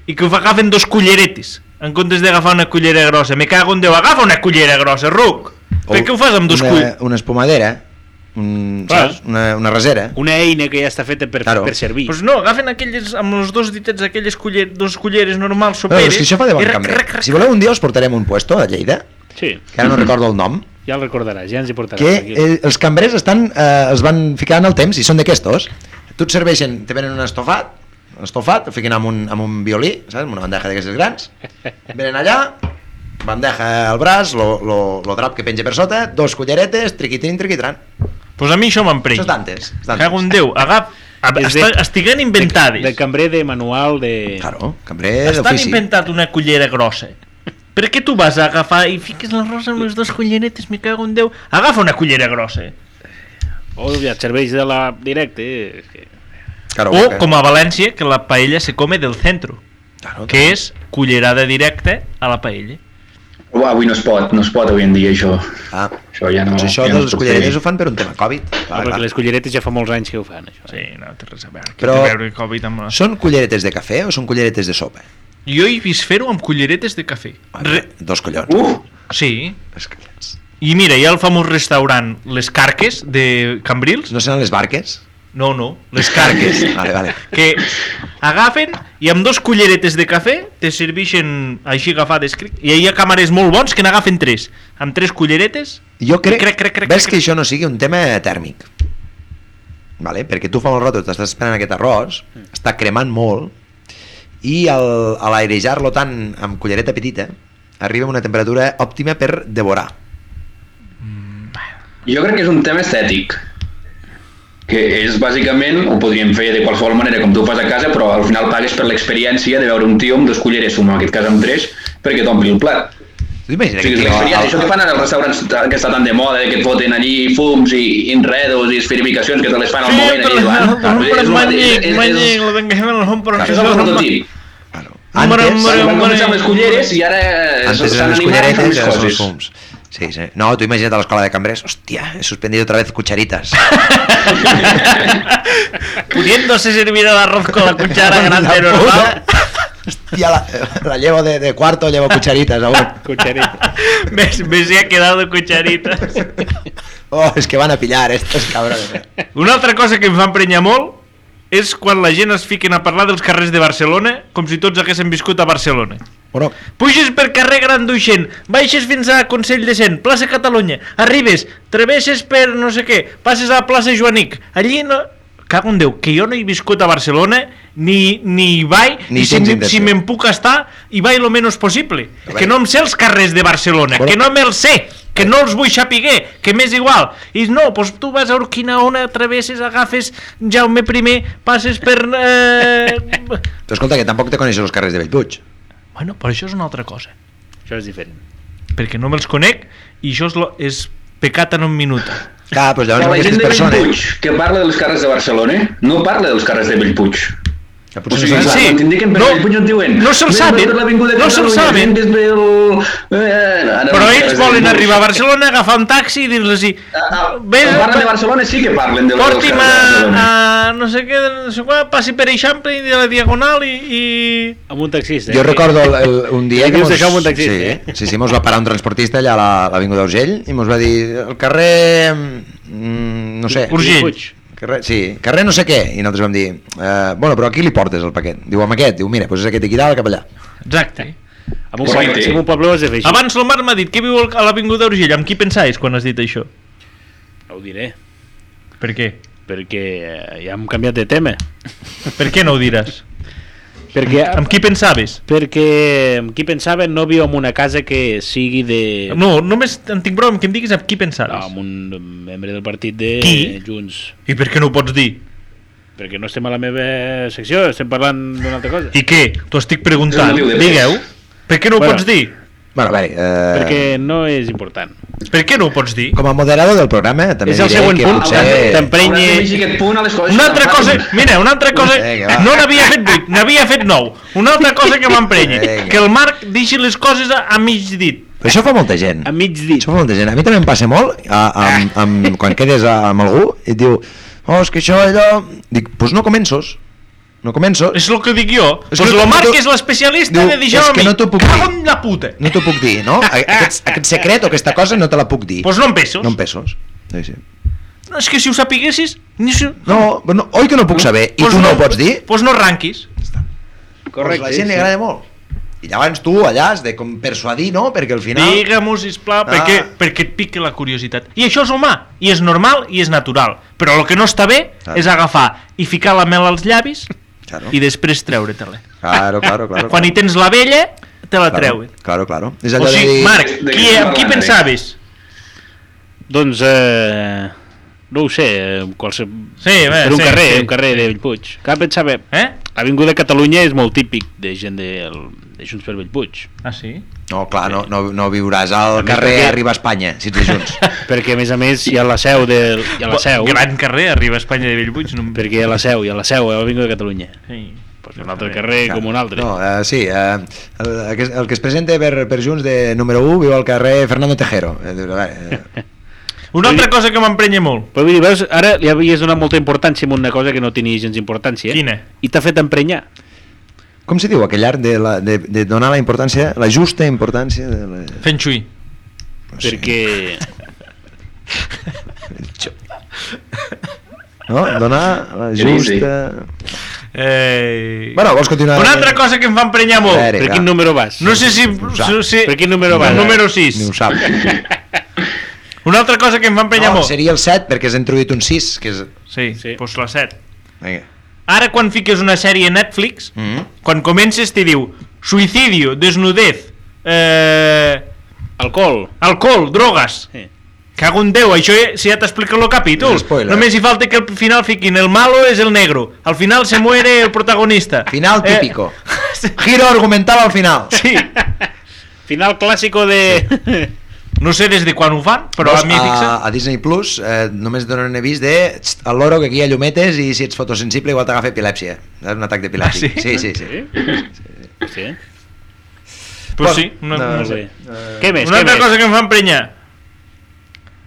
i que ho agafen dos culleretes en comptes d'agafar una cullera grossa. Me cago en Déu, agafa una cullera grossa, ruc! Per què ho fas amb dos
una,
cull...
Una espumadera. un,
Clar.
saps? Una, una resera.
Una eina que ja està feta per,
Claro.
per servir.
Pues no, agafen aquelles, amb els dos ditets, aquelles culler, dos culleres normals,
No,
soperes...
és que això fa de
i
bon
rac,
cambrer.
rac, rac.
Si voleu un dia us portarem un puesto a Lleida,
Sí,
que
Mm-hmm.
ara no recordo el nom,
ja el recordaràs, ja ens hi portaràs.
que
tranquil.
eh, els cambrers estan, eh, els van ficar en el temps i són d'aquestos. Tu et serveixen, te venen un estofat, un estofat, el fiquen amb un, amb un violí, saps? amb una bandeja d'aquestes grans, venen allà, bandeja al braç, lo, lo, lo drap que penja per sota, dos culleretes, triquitín, triquitran.
Pues a mi això m'emprenya.
Això és d'antes. és d'antes.
Cago en Déu, agaf... A,
És de-
està, estiguen inventades.
De, de cambrer de manual de...
Claro, cambrer
Estan
d'ofici.
inventat una cullera grossa. Per què tu vas a agafar i fiques la rosa amb les dues culleretes, me cago en Déu? Agafa una cullera grossa.
O ja et serveix de la directe. eh, és que-
Claro,
O, com a València, que la paella se come del centro,
Claro,
que és cullerada directa a la paella.
Uau, avui no es pot, no es pot avui en dia això.
Ah,
Això ja no...
doncs això
ja no
dels
es pot
culleretes
fer.
ho fan per un tema Covid. Clar,
No, perquè
clar.
les culleretes ja fa molts anys que ho fan, això.
Sí, no té res a veure. Però...
Però-
Té a veure el Covid amb la...
Són culleretes de cafè o són culleretes de sopa?
Jo he vist fer-ho amb culleretes de cafè. Re...
Dos collons.
Uf,
Sí.
Dos collons.
I mira, hi ha el famós restaurant Les Carques de Cambrils.
No seran les barques?
No, no, Les Carques.
Vale, vale.
que agafen i amb dos culleretes de cafè te serveixen així agafades cric, i hi ha càmeres molt bons que n'agafen tres amb tres culleretes
Jo crec,
Crec, crec, crec,
ves
crec.
que això no sigui un tema tèrmic. Vale? Perquè tu fa molt rato t'estàs esperant aquest arròs,
Mm.
està cremant molt, i al, a l'airejar-lo tant amb cullereta petita, arriba a una temperatura òptima per devorar.
jo crec que és un tema estètic que és bàsicament, ho podríem fer de qualsevol manera com tu ho fas a casa, però al final pagues per l'experiència de veure un tio amb dos culleres, en aquest cas amb tres, perquè t'ompli el plat.
Tu imagina
O sigui,
que
és l'experiència, això que fan ara els restaurants que està tan de moda, que et foten allí fums i enredos i esferificacions que te les fan al moment. allí, davant. és, el mateix, és, és, és, és el prototip.
Claro.
Número-
Antes,
número-
Van començar amb les culleres i ara
antes eren
s'han
les
animat a fer
culleretes i
més
ara són els
coses.
fums. Sí, sí. No, tu imagina't a l'escola de cambrers, hòstia, he suspendido otra vez cucharitas.
pudiéndose servir el arroz con la cuchara grande
La
normal
puta. Hostia, la, la llevo de, de cuarto, llevo cucharitas aún.
Cuchareta.
me, me se ha quedado cucharitas
Oh, es que van a pillar estos cabrones. eh.
una altra cosa que em fa emprenyar molt és quan la gent es fiquen a parlar dels carrers de Barcelona com si tots haguessin viscut a Barcelona
Bueno,
Puges per carrer Gran Duixent, baixes fins a Consell de Cent, plaça Catalunya, arribes, travesses per no sé què, passes a plaça Joanic, allí no... Cago en Déu, que jo no he viscut a Barcelona, ni, ni hi vaig,
Ni
i si,
tens
m-
intenció.
si me'n puc estar, hi vaig el menys possible. Que no em sé els carrers de Barcelona,
Bueno.
que no me'ls sé, que no els vull saber, que m'és igual. I no, doncs tu vas a Urquinaona, travesses, agafes Jaume I, passes per... Eh...
tu escolta, que tampoc te coneixes els carrers de Bellpuig.
bueno, però això és una altra cosa.
eh? això és diferent.
perquè no me'ls conec i això és, lo, és pecat en un minut.
Clar, doncs llavors amb
Però la gent
aquestes
de
persones...
Bellpuig, que parla dels carrers de Barcelona, no parla dels carrers de Bellpuig.
Que
O
potser
sigui,
no
clar,
saben.
quan t'indiquen per
no,
Bellpuig on diuen...
no se'l
"Ves per
saben,
l'Avinguda
no se'l
Catalunya,
saben."
ves pel, eh, ara
Però ells
dels carrers de
volen
Bellpuig.
arribar a Barcelona, eh, agafar un taxi i dir-los així...
Ah, ah,
Ves,
quan parlen de Barcelona sí que parlen de dels
Porti'm
carrers de Barcelona.
a, a no sé què, no sé quan, passi per Eixample i de la Diagonal i... i...
Amb un taxista.
Jo
eh?
recordo el, el, un dia
Dius
que
això amb un
sí,
taxista, eh?
sí, sí, mos va parar un transportista allà a la- a l'Avinguda Urgell i mos va dir el carrer... mm, no sé...
Urgell.
Puig.
Carrer, sí, carrer no sé què. I nosaltres vam dir, eh, bueno, però aquí li portes el paquet. Diu, amb aquest. Diu, mira, poses aquest aquí dalt, cap allà.
Exacte.
Amb un,
Correcte.
poble, si amb un poble ho has de fer així.
Abans el Marc m'ha dit que viu al- a l'Avinguda Urgell. Amb qui pensaves quan has dit això?
No ho diré,
Per què?
perquè eh, ja hem canviat de tema.
Per què no ho diràs?
Perquè,
Amb qui pensaves?
perquè amb qui pensava no viu en una casa que sigui de...
No, només en tinc prou amb que em diguis amb qui
No,
pensaves.
amb un eh, membre del partit de
Qui?
Junts.
I per què no ho pots dir?
Perquè no estem a la meva secció, estem parlant d'una altra cosa.
I què? T'ho estic preguntant.
No diu de res.
Digueu. Per què no ho
Bueno.
pots dir?
Bueno, a veure... Eh,
Perquè no és important.
Per què no ho pots dir?
Com a moderador del programa, també
És el
diré
següent
que
punt,
potser...
hauràs de-
Hauràs
t'emprenyi-
de llegir aquest punt a les coses
Una
que
altra
em
cosa,
fan.
mira, una altra cosa,
Vinga, va.
no n'havia fet 8, n'havia fet 9. Una altra cosa que m'emprenya,
Vinga.
que el Marc deixi les coses a, a mig dit.
Però això fa molta gent.
A mig dit.
Això fa molta gent. A mi també em passa molt a, amb, amb, quan quedes a, amb algú i et diu oh, és que això, allò... Dic, doncs pues no començos. No començo.
És el que dic jo.
És
Doncs
que
el
no-
Marc
no-
és l'especialista
Diu,
de dir jo
és
a
que
mi.
no t'ho puc
Cago
dir.
en la puta.
No t'ho puc dir, no? A- Aquest, aquest secret o aquesta cosa no te la puc dir.
Doncs no em pesos.
No em pesos. Sí, sí.
No, és que si ho sapiguessis... Ni si...
No, no, oi que no puc saber? I
Doncs
tu no ho pots dir?
Doncs no ranquis.
Correcte. Doncs la gent li agrada molt. I llavors tu allà has de com persuadir, no? Perquè al final...
Digue-m'ho, sisplau,
Ah.
perquè, perquè et pique la curiositat. I això és humà, i és normal, i és natural. Però el que no està bé
Clar.
és agafar i ficar la mel als llavis
Claro,
i després treure-te-la.
claro, claro. claro
Quan hi tens la vella, te la
claro,
treuen.
Claro, claro. És allò
O
de
sigui,
dir...
Marc,
De
qui,
què
amb qui
parlen,
pensaves?
Doncs, eh, no ho sé, eh, qualsevol...
Sí, bé,
per un
sí,
carrer,
sí.
un carrer de Bellpuig. Clar, pensava,
Eh?
l'Avinguda Catalunya és molt típic de gent de, de Junts per Bellpuig.
Ah, sí?
No, clar, no, no, no viuràs al
més
carrer
perquè-
Arriba a Espanya, si ets de Junts.
Perquè, a més a més, hi ha la seu de... Hi ha la seu,
Gran carrer, arriba a Espanya de Bellbuig. No... em-
perquè hi ha la seu, hi ha la seu, a l'Avinguda Catalunya.
Sí.
Pues un altre carrer
Clar.
com un altre.
No, eh, sí, eh, el, el que es- el que es presenta per, per Junts de número 1 viu al carrer Fernando Tejero. Eh, dius, a veure, eh,
Una altra cosa que m'emprenya molt.
Però vull dir, veus, ara li havies donat molta importància a una cosa que no tenia gens importància.
Quina?
I t'ha fet emprenyar.
com se diu aquell art de, la, de, de donar la importància, la justa importància? De la,
Feng Shui.
no sé,
Perquè...
No? Donar la
Sí,
justa...
Eh...
Bueno, vols continuar?
Una altra cosa que em fa emprenyar molt.
A veure.
Per quin número vas?
No sé si...
sap.
no sé-
Per quin número vas?
El número
Ni
6.
ho sap.
Una altra cosa que em va emprenyar
No,
molt.
seria el 7 perquè has introduït un 6, que és...
Sí,
Sí.
sí. doncs la 7.
Vinga.
Ara quan fiques una sèrie a Netflix,
Mm
quan comences t'hi diu suïcidio, desnudez, eh,
Alcohol.
alcohol, drogues.
Sí.
Cago en Déu, això ja- si ja t'explica el capítol.
És spoiler.
Només hi falta que al final fiquin el malo és el negro, al final se muere el protagonista.
Final típico.
Eh,
Giro argumental al final.
sí,
Final clàssico de...
no sé des de quan ho fan, però
Veus,
a mi fixa...
a, a Disney Plus eh, només donen avís de "Txt, el loro que aquí hi ha llumetes i si ets fotosensible igual t'agafa epilèpsia. És un atac d'epilèpsia.
Ah, sí?
Sí, sí, sí.
sí.
Pues sí, no,
no,
no,
no
sé.
sí.
eh,
Què més?
Una
què
altra
més?
cosa que em fa emprenyar.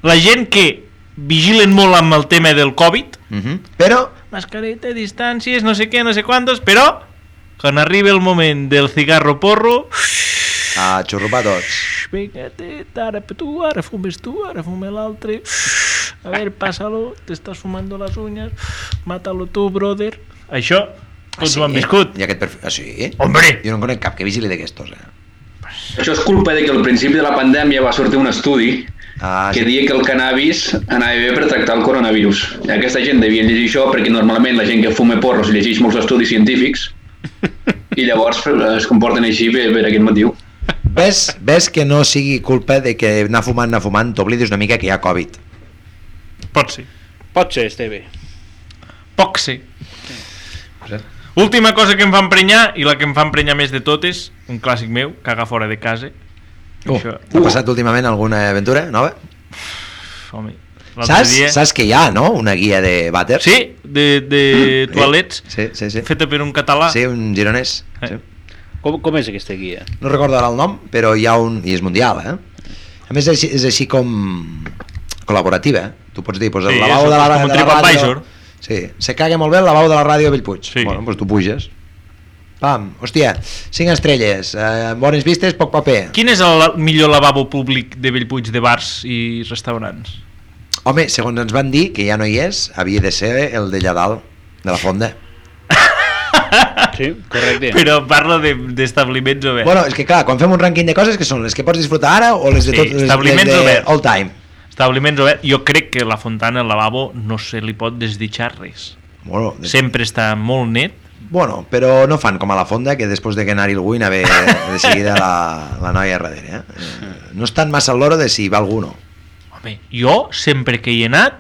La gent que vigilen molt amb el tema del Covid,
Uh -huh. Però,
mascareta, distàncies, no sé què, no sé quantos, però quan arriba el moment del cigarro porro,
a xurrupar tots.
"Xx, vinga, tet, eh, ara tu, ara fumes tu, ara fume l'altre, xx, a veure, pásalo, te estás fumando las uñas, mátalo tu, brother. Això, tots ho han viscut.
I aquest perfil... Ah, sí?
Ah, Hombre!
Jo no en conec cap que vigili d'aquestos. Eh?
Això és culpa de que al principi de la pandèmia va sortir un estudi
Ah,
que
sí.
deia que el cannabis anava bé per tractar el coronavirus. Aquesta gent devia llegir això perquè normalment la gent que fume porros llegeix molts estudis científics i llavors eh, es comporten així per, per aquest motiu.
Ves, ves que no sigui culpa de que anar fumant, anar fumant, t'oblidis una mica que hi ha Covid.
Pot ser.
Pot ser, Esteve.
Poc sí. Última cosa que em va emprenyar, i la que em fa emprenyar més de totes, un clàssic meu, cagar fora de casa.
Oh.
Això,
T'ha passat últimament alguna aventura nova?
pf, home, l'altre
Saps,
dia...
saps que hi ha, no?, una guia de vàter.
Sí, de, de mm, toalets,
Sí, sí, sí.
feta per un català.
Sí, un gironès.
Eh.
Sí.
Com, com és aquesta guia?
no recordo ara el nom, però hi ha un... i és mundial, eh? A més, és, així- és així com col·laborativa, eh? tu pots dir, doncs el
Sí,
lavabo
és
de la,
com un
de la ràdio...
TripAdvisor.
Sí, se caga molt bé el lavabo de la ràdio de Bellpuig.
Sí.
Bueno, doncs tu puges. Pam, hòstia, 5 estrelles, eh, bones vistes, poc paper.
Quin és el la- millor lavabo públic de Bellpuig de bars i restaurants?
Home, segons ens van dir, que ja no hi és, havia de ser el de allà dalt, de la fonda.
Sí, correcte.
Però parlo de- d'establiments de, oberts.
Bueno, és que clar, quan fem un rànquing de coses, que són les que pots disfrutar ara o les de
Sí,
tot, les, les
establiments
de
oberts.
all time?
Establiments oberts. Jo crec que la fontana, el lavabo, no se li pot desditxar res.
Bueno, de-
Sempre està molt net.
Bueno, però no fan com a la fonda, que després de que anar-hi algú hi anava de seguida la, la noia darrere. Eh? Eh, No estan massa al loro de si va algú o no.
Home, jo, sempre que hi he anat,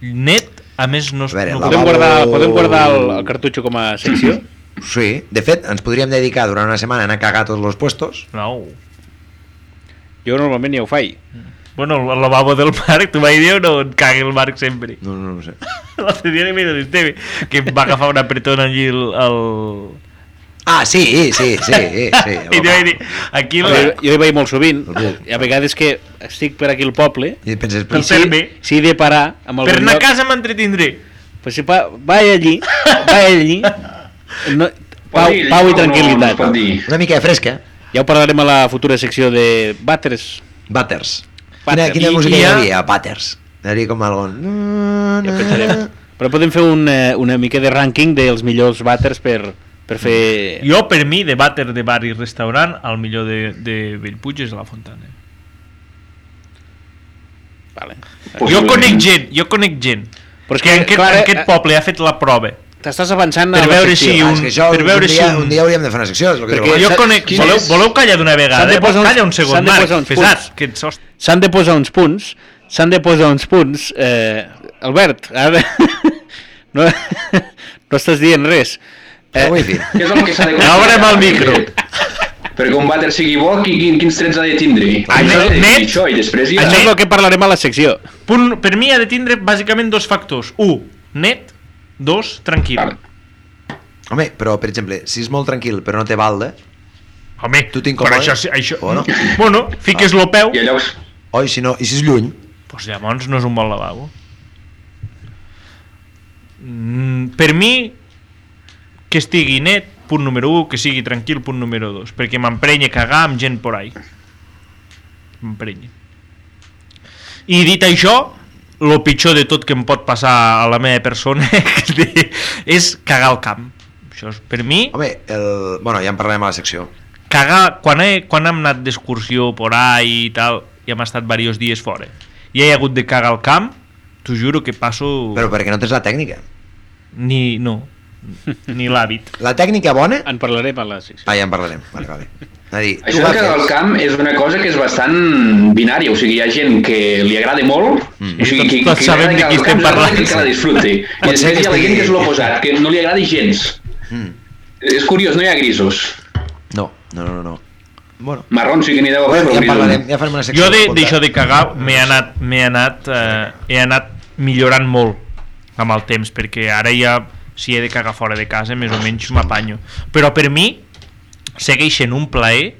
net, a més no...
A veure,
no
Podem
lavabo-
guardar, podem guardar el, el cartutxo com a secció?
Sí, de fet, ens podríem dedicar durant una setmana a anar a cagar a tots els puestos.
No.
Jo normalment ja ho faig.
Bueno, el lavabo del Marc, tu mai diu, no et cagui el Marc sempre.
No, no, no ho sé.
L'altre dia li vaig dir, "Esteve", que em va agafar una pretona allí el... el...
Ah, sí, sí, sí, sí. sí
I li vaig dir, aquí...
Jo,
La...
jo hi vaig molt sovint.
El buc.
Hi ha vegades que estic per aquí al poble
I penses,
i
El
"Pis,
si,
terme.
si he de parar amb
Per
algun
anar a
lloc-
casa m'entretindré.
Pues si pa, vaig allí, vaig allí, no, pau,
Dir,
pau i
no, No, no es
tranquil·litat.
pot dir.
una mica de fresca.
Ja ho parlarem a la futura secció de Batters.
Butters. Quina, quina
I-
música
i
hi
ha-
havia? Butters. Daria com algo... No,
Ja pensarem. Però podem fer un, eh, una mica de rànquing dels millors vàters per, per fer...
Jo, per mi, de vàter de bar i restaurant, el millor de, de Bellpuig és la Fontana.
Vale.
Jo conec gent, jo conec gent.
Però és
que
que,
en aquest,
clar,
en
eh,
aquest poble ha fet la prova.
T'estàs avançant
Per
a la
veure
secció.
si
Ah,
un-
és que això,
per veure
un, dia,
si un-
un dia hauríem de fer una secció, és el que
Perquè
diu.
Jo
s'ha-
conec...
quin
Voleu,
és?
voleu callar d'una
S'han
vegada?
de
Eh? Vols
posar uns-
callar un
s'han
segon,
de
Marc?
posar uns punts.
Fesat, que ets host...
S'han de posar uns punts, s'han de posar uns punts. Eh, Albert, ara... no, no estàs dient res.
Eh, ho he dit.
Què és el que s'ha de
Obre'm el micro.
Perquè un vàter sigui bo, qui, quin, quins trets ha de tindre?
Ah,
Primer ha de
net.
dir això, i després ja...
Eh, Això és el que parlarem a la secció.
Punt, per mi ha de tindre bàsicament dos factors. Un, net. Dos, tranquil.
Vale.
Home, però, per exemple, si és molt tranquil però no té balda,
Home,
Tu t'incomoda?
però això... sí- això...
O no?
Bueno, fiques lo peu,
I llavors,
oi, si no, i si és lluny,
doncs llavors no és un bon lavabo. Mm, per mi, que estigui net, punt número 1, que sigui tranquil, punt número 2, perquè m'emprenye cagar amb gent por ahí. M'emprenye. I dit això, el pitjor de tot que em pot passar a la meva persona és cagar al camp. Això és, per mi,
home, el... bueno, ja en parlarem a la secció.
cagar, quan, he, quan hem anat d'excursió por ahí i tal, i hem estat diversos dies fora, i he hagut de cagar al camp, t'ho juro que passo...
Però perquè no tens la tècnica.
Ni, no, ni l'hàbit.
La tècnica bona...
En parlarem a la secció.
Ah, ja en parlarem. Vale, vale. És a dir, tu
això
la
de cagar al
fes.
camp és una cosa que és bastant binària, o sigui, hi ha gent que li agrada molt, o sigui,
Mm. Tots-
qui,
tots
qui
sabem
agrada
de qui estem
cagar al camp, és una cosa
parlant.
Que la disfruti. I
Pot ser
després
que
hi ha la gent
estigui-
que és l'oposat, que no li agradi gens.
Mm.
És curiós, no hi ha grisos.
No, no, no, no. no. Bueno,
Marrons sí que n'hi deu haver,
bueno ja
però
en
grisos
parlarem,
no.
ja farem una secció.
Jo de-
contra.
d'això de, de cagar m'he anat, m'he anat, eh, he anat millorant molt amb el temps, perquè ara ja si he de cagar fora de casa més o menys m'apanyo. Però per mi segueix sent un plaer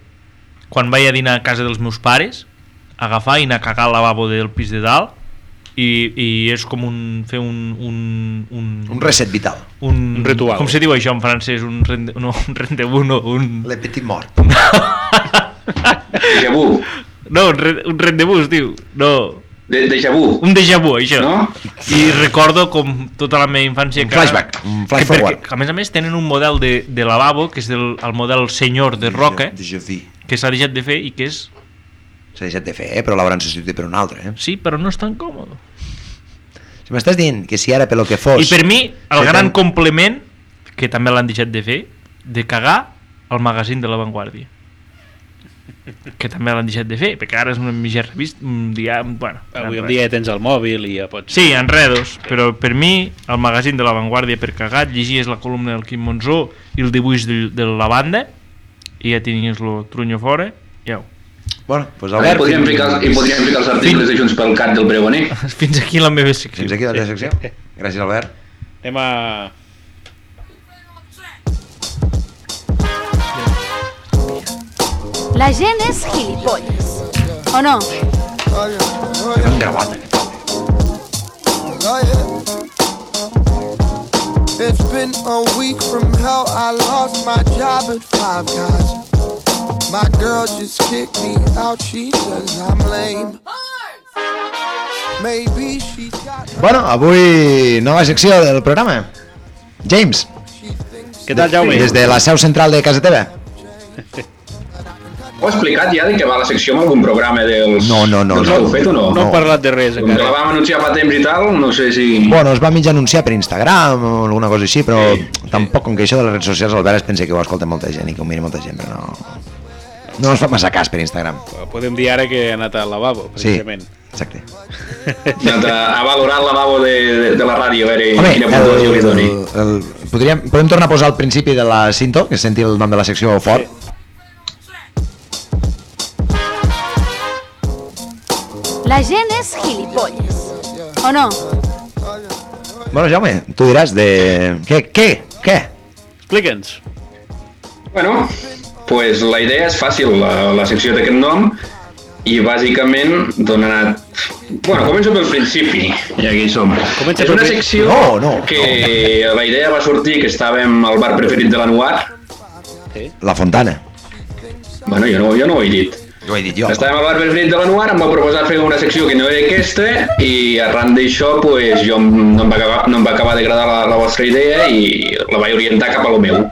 quan vaig a dinar a casa dels meus pares agafar i anar a cagar al lavabo del pis de dalt i, i és com un, fer un, un, un,
Un reset vital.
un,
un ritual.
Com se diu això en francès? Un rende, no, un rendezvous, no, un...
Le petit mort.
Déjà vu.
No, un, re, un rendezvous, diu. No,
De, déjà vu.
un déjà vu, això.
No?
I recordo com tota la meva infància...
Un flashback, un flash
que perquè,
forward.
A més a més, tenen un model de, de lavabo, que és del, el model senyor de roca, eh?
Déjà vu.
que s'ha deixat de fer i que és...
S'ha deixat de fer, eh? però l'hauran substituït per un altre. Eh?
Sí, però no és tan còmode.
Si m'estàs dient que si ara pel que fos...
I per mi, el
Sí,
gran
tant.
complement, que també l'han deixat de fer, de cagar al magazín de La Vanguardia. Que també l'han deixat de fer, perquè ara és una mitja revista, un dia... Bueno,
Avui en
enredo.
dia ja tens el mòbil i ja pots...
Sí, enredos, però per mi el magazín de La Vanguardia per cagat, llegies la columna del Quim Monzó i el dibuix de, de la banda i ja tenies lo trunyo fora, ja ho.
Bueno, doncs
I
Albert,
podríem ficar, I podríem ficar els articles de Junts pel Cat del Pregoner.
Fins aquí la meva secció.
Fins aquí la teva secció. Gràcies, Albert.
Anem a...
La gent és gilipolles. O no?
Hem gravat.
It's been a week from hell. I lost my job at Five Guys. My girl just kicked me out. She says I'm lame. Maybe she got.
Bueno, avui nova secció del programa. James,
Què tal, Jaume?
des de la seu central de casa teva.
Ho he explicat ja de que va la secció amb algun programa dels...
No, no, no,
Dels
no.
que heu fet o no?
No
no.
hem parlat de res,
Com que la
encara.
vam anunciar fa temps i tal, no sé si...
Bueno, es va mig anunciar per Instagram o alguna cosa així, però
Mm. Sí, sí.
tampoc, com que això de les redes socials, Albert es pensa que ho escolta molta gent i que ho mira molta gent, però no... No ens fa massa cas per Instagram.
Podem dir ara que he anat al lavabo,
Sí,
precisament.
exacte.
Ja t'ha- ha valorat la lavabo de, de, de la ràdio, a veure
Home,
Eh, quina
el,
puntuació li
el,
doni.
el, podríem, podem tornar a posar al principi de la cinto, que senti el nom de la secció fort.
La gent és gilipolles. O no?
Bueno, Jaume, tu diràs de... Què? Què? Què?
Explica'ns.
Bueno, pues la idea és fàcil, la, la secció d'aquest nom, i bàsicament donarà... Bueno, començo pel principi, ja que hi som.
Comença
és
pel
una
prin-
secció
No, no,
que la idea va sortir que estàvem al bar preferit de l'Anuar.
La Fontana.
Bueno, jo no, jo no ho he dit.
Ho he dit jo.
Estàvem al Barber Fred de l'Anuar, em va proposar fer una secció que no era aquesta i arran d'això pues, jo em- no em, va acabar, no em va acabar d'agradar la, la vostra idea i la vaig orientar cap a lo meu.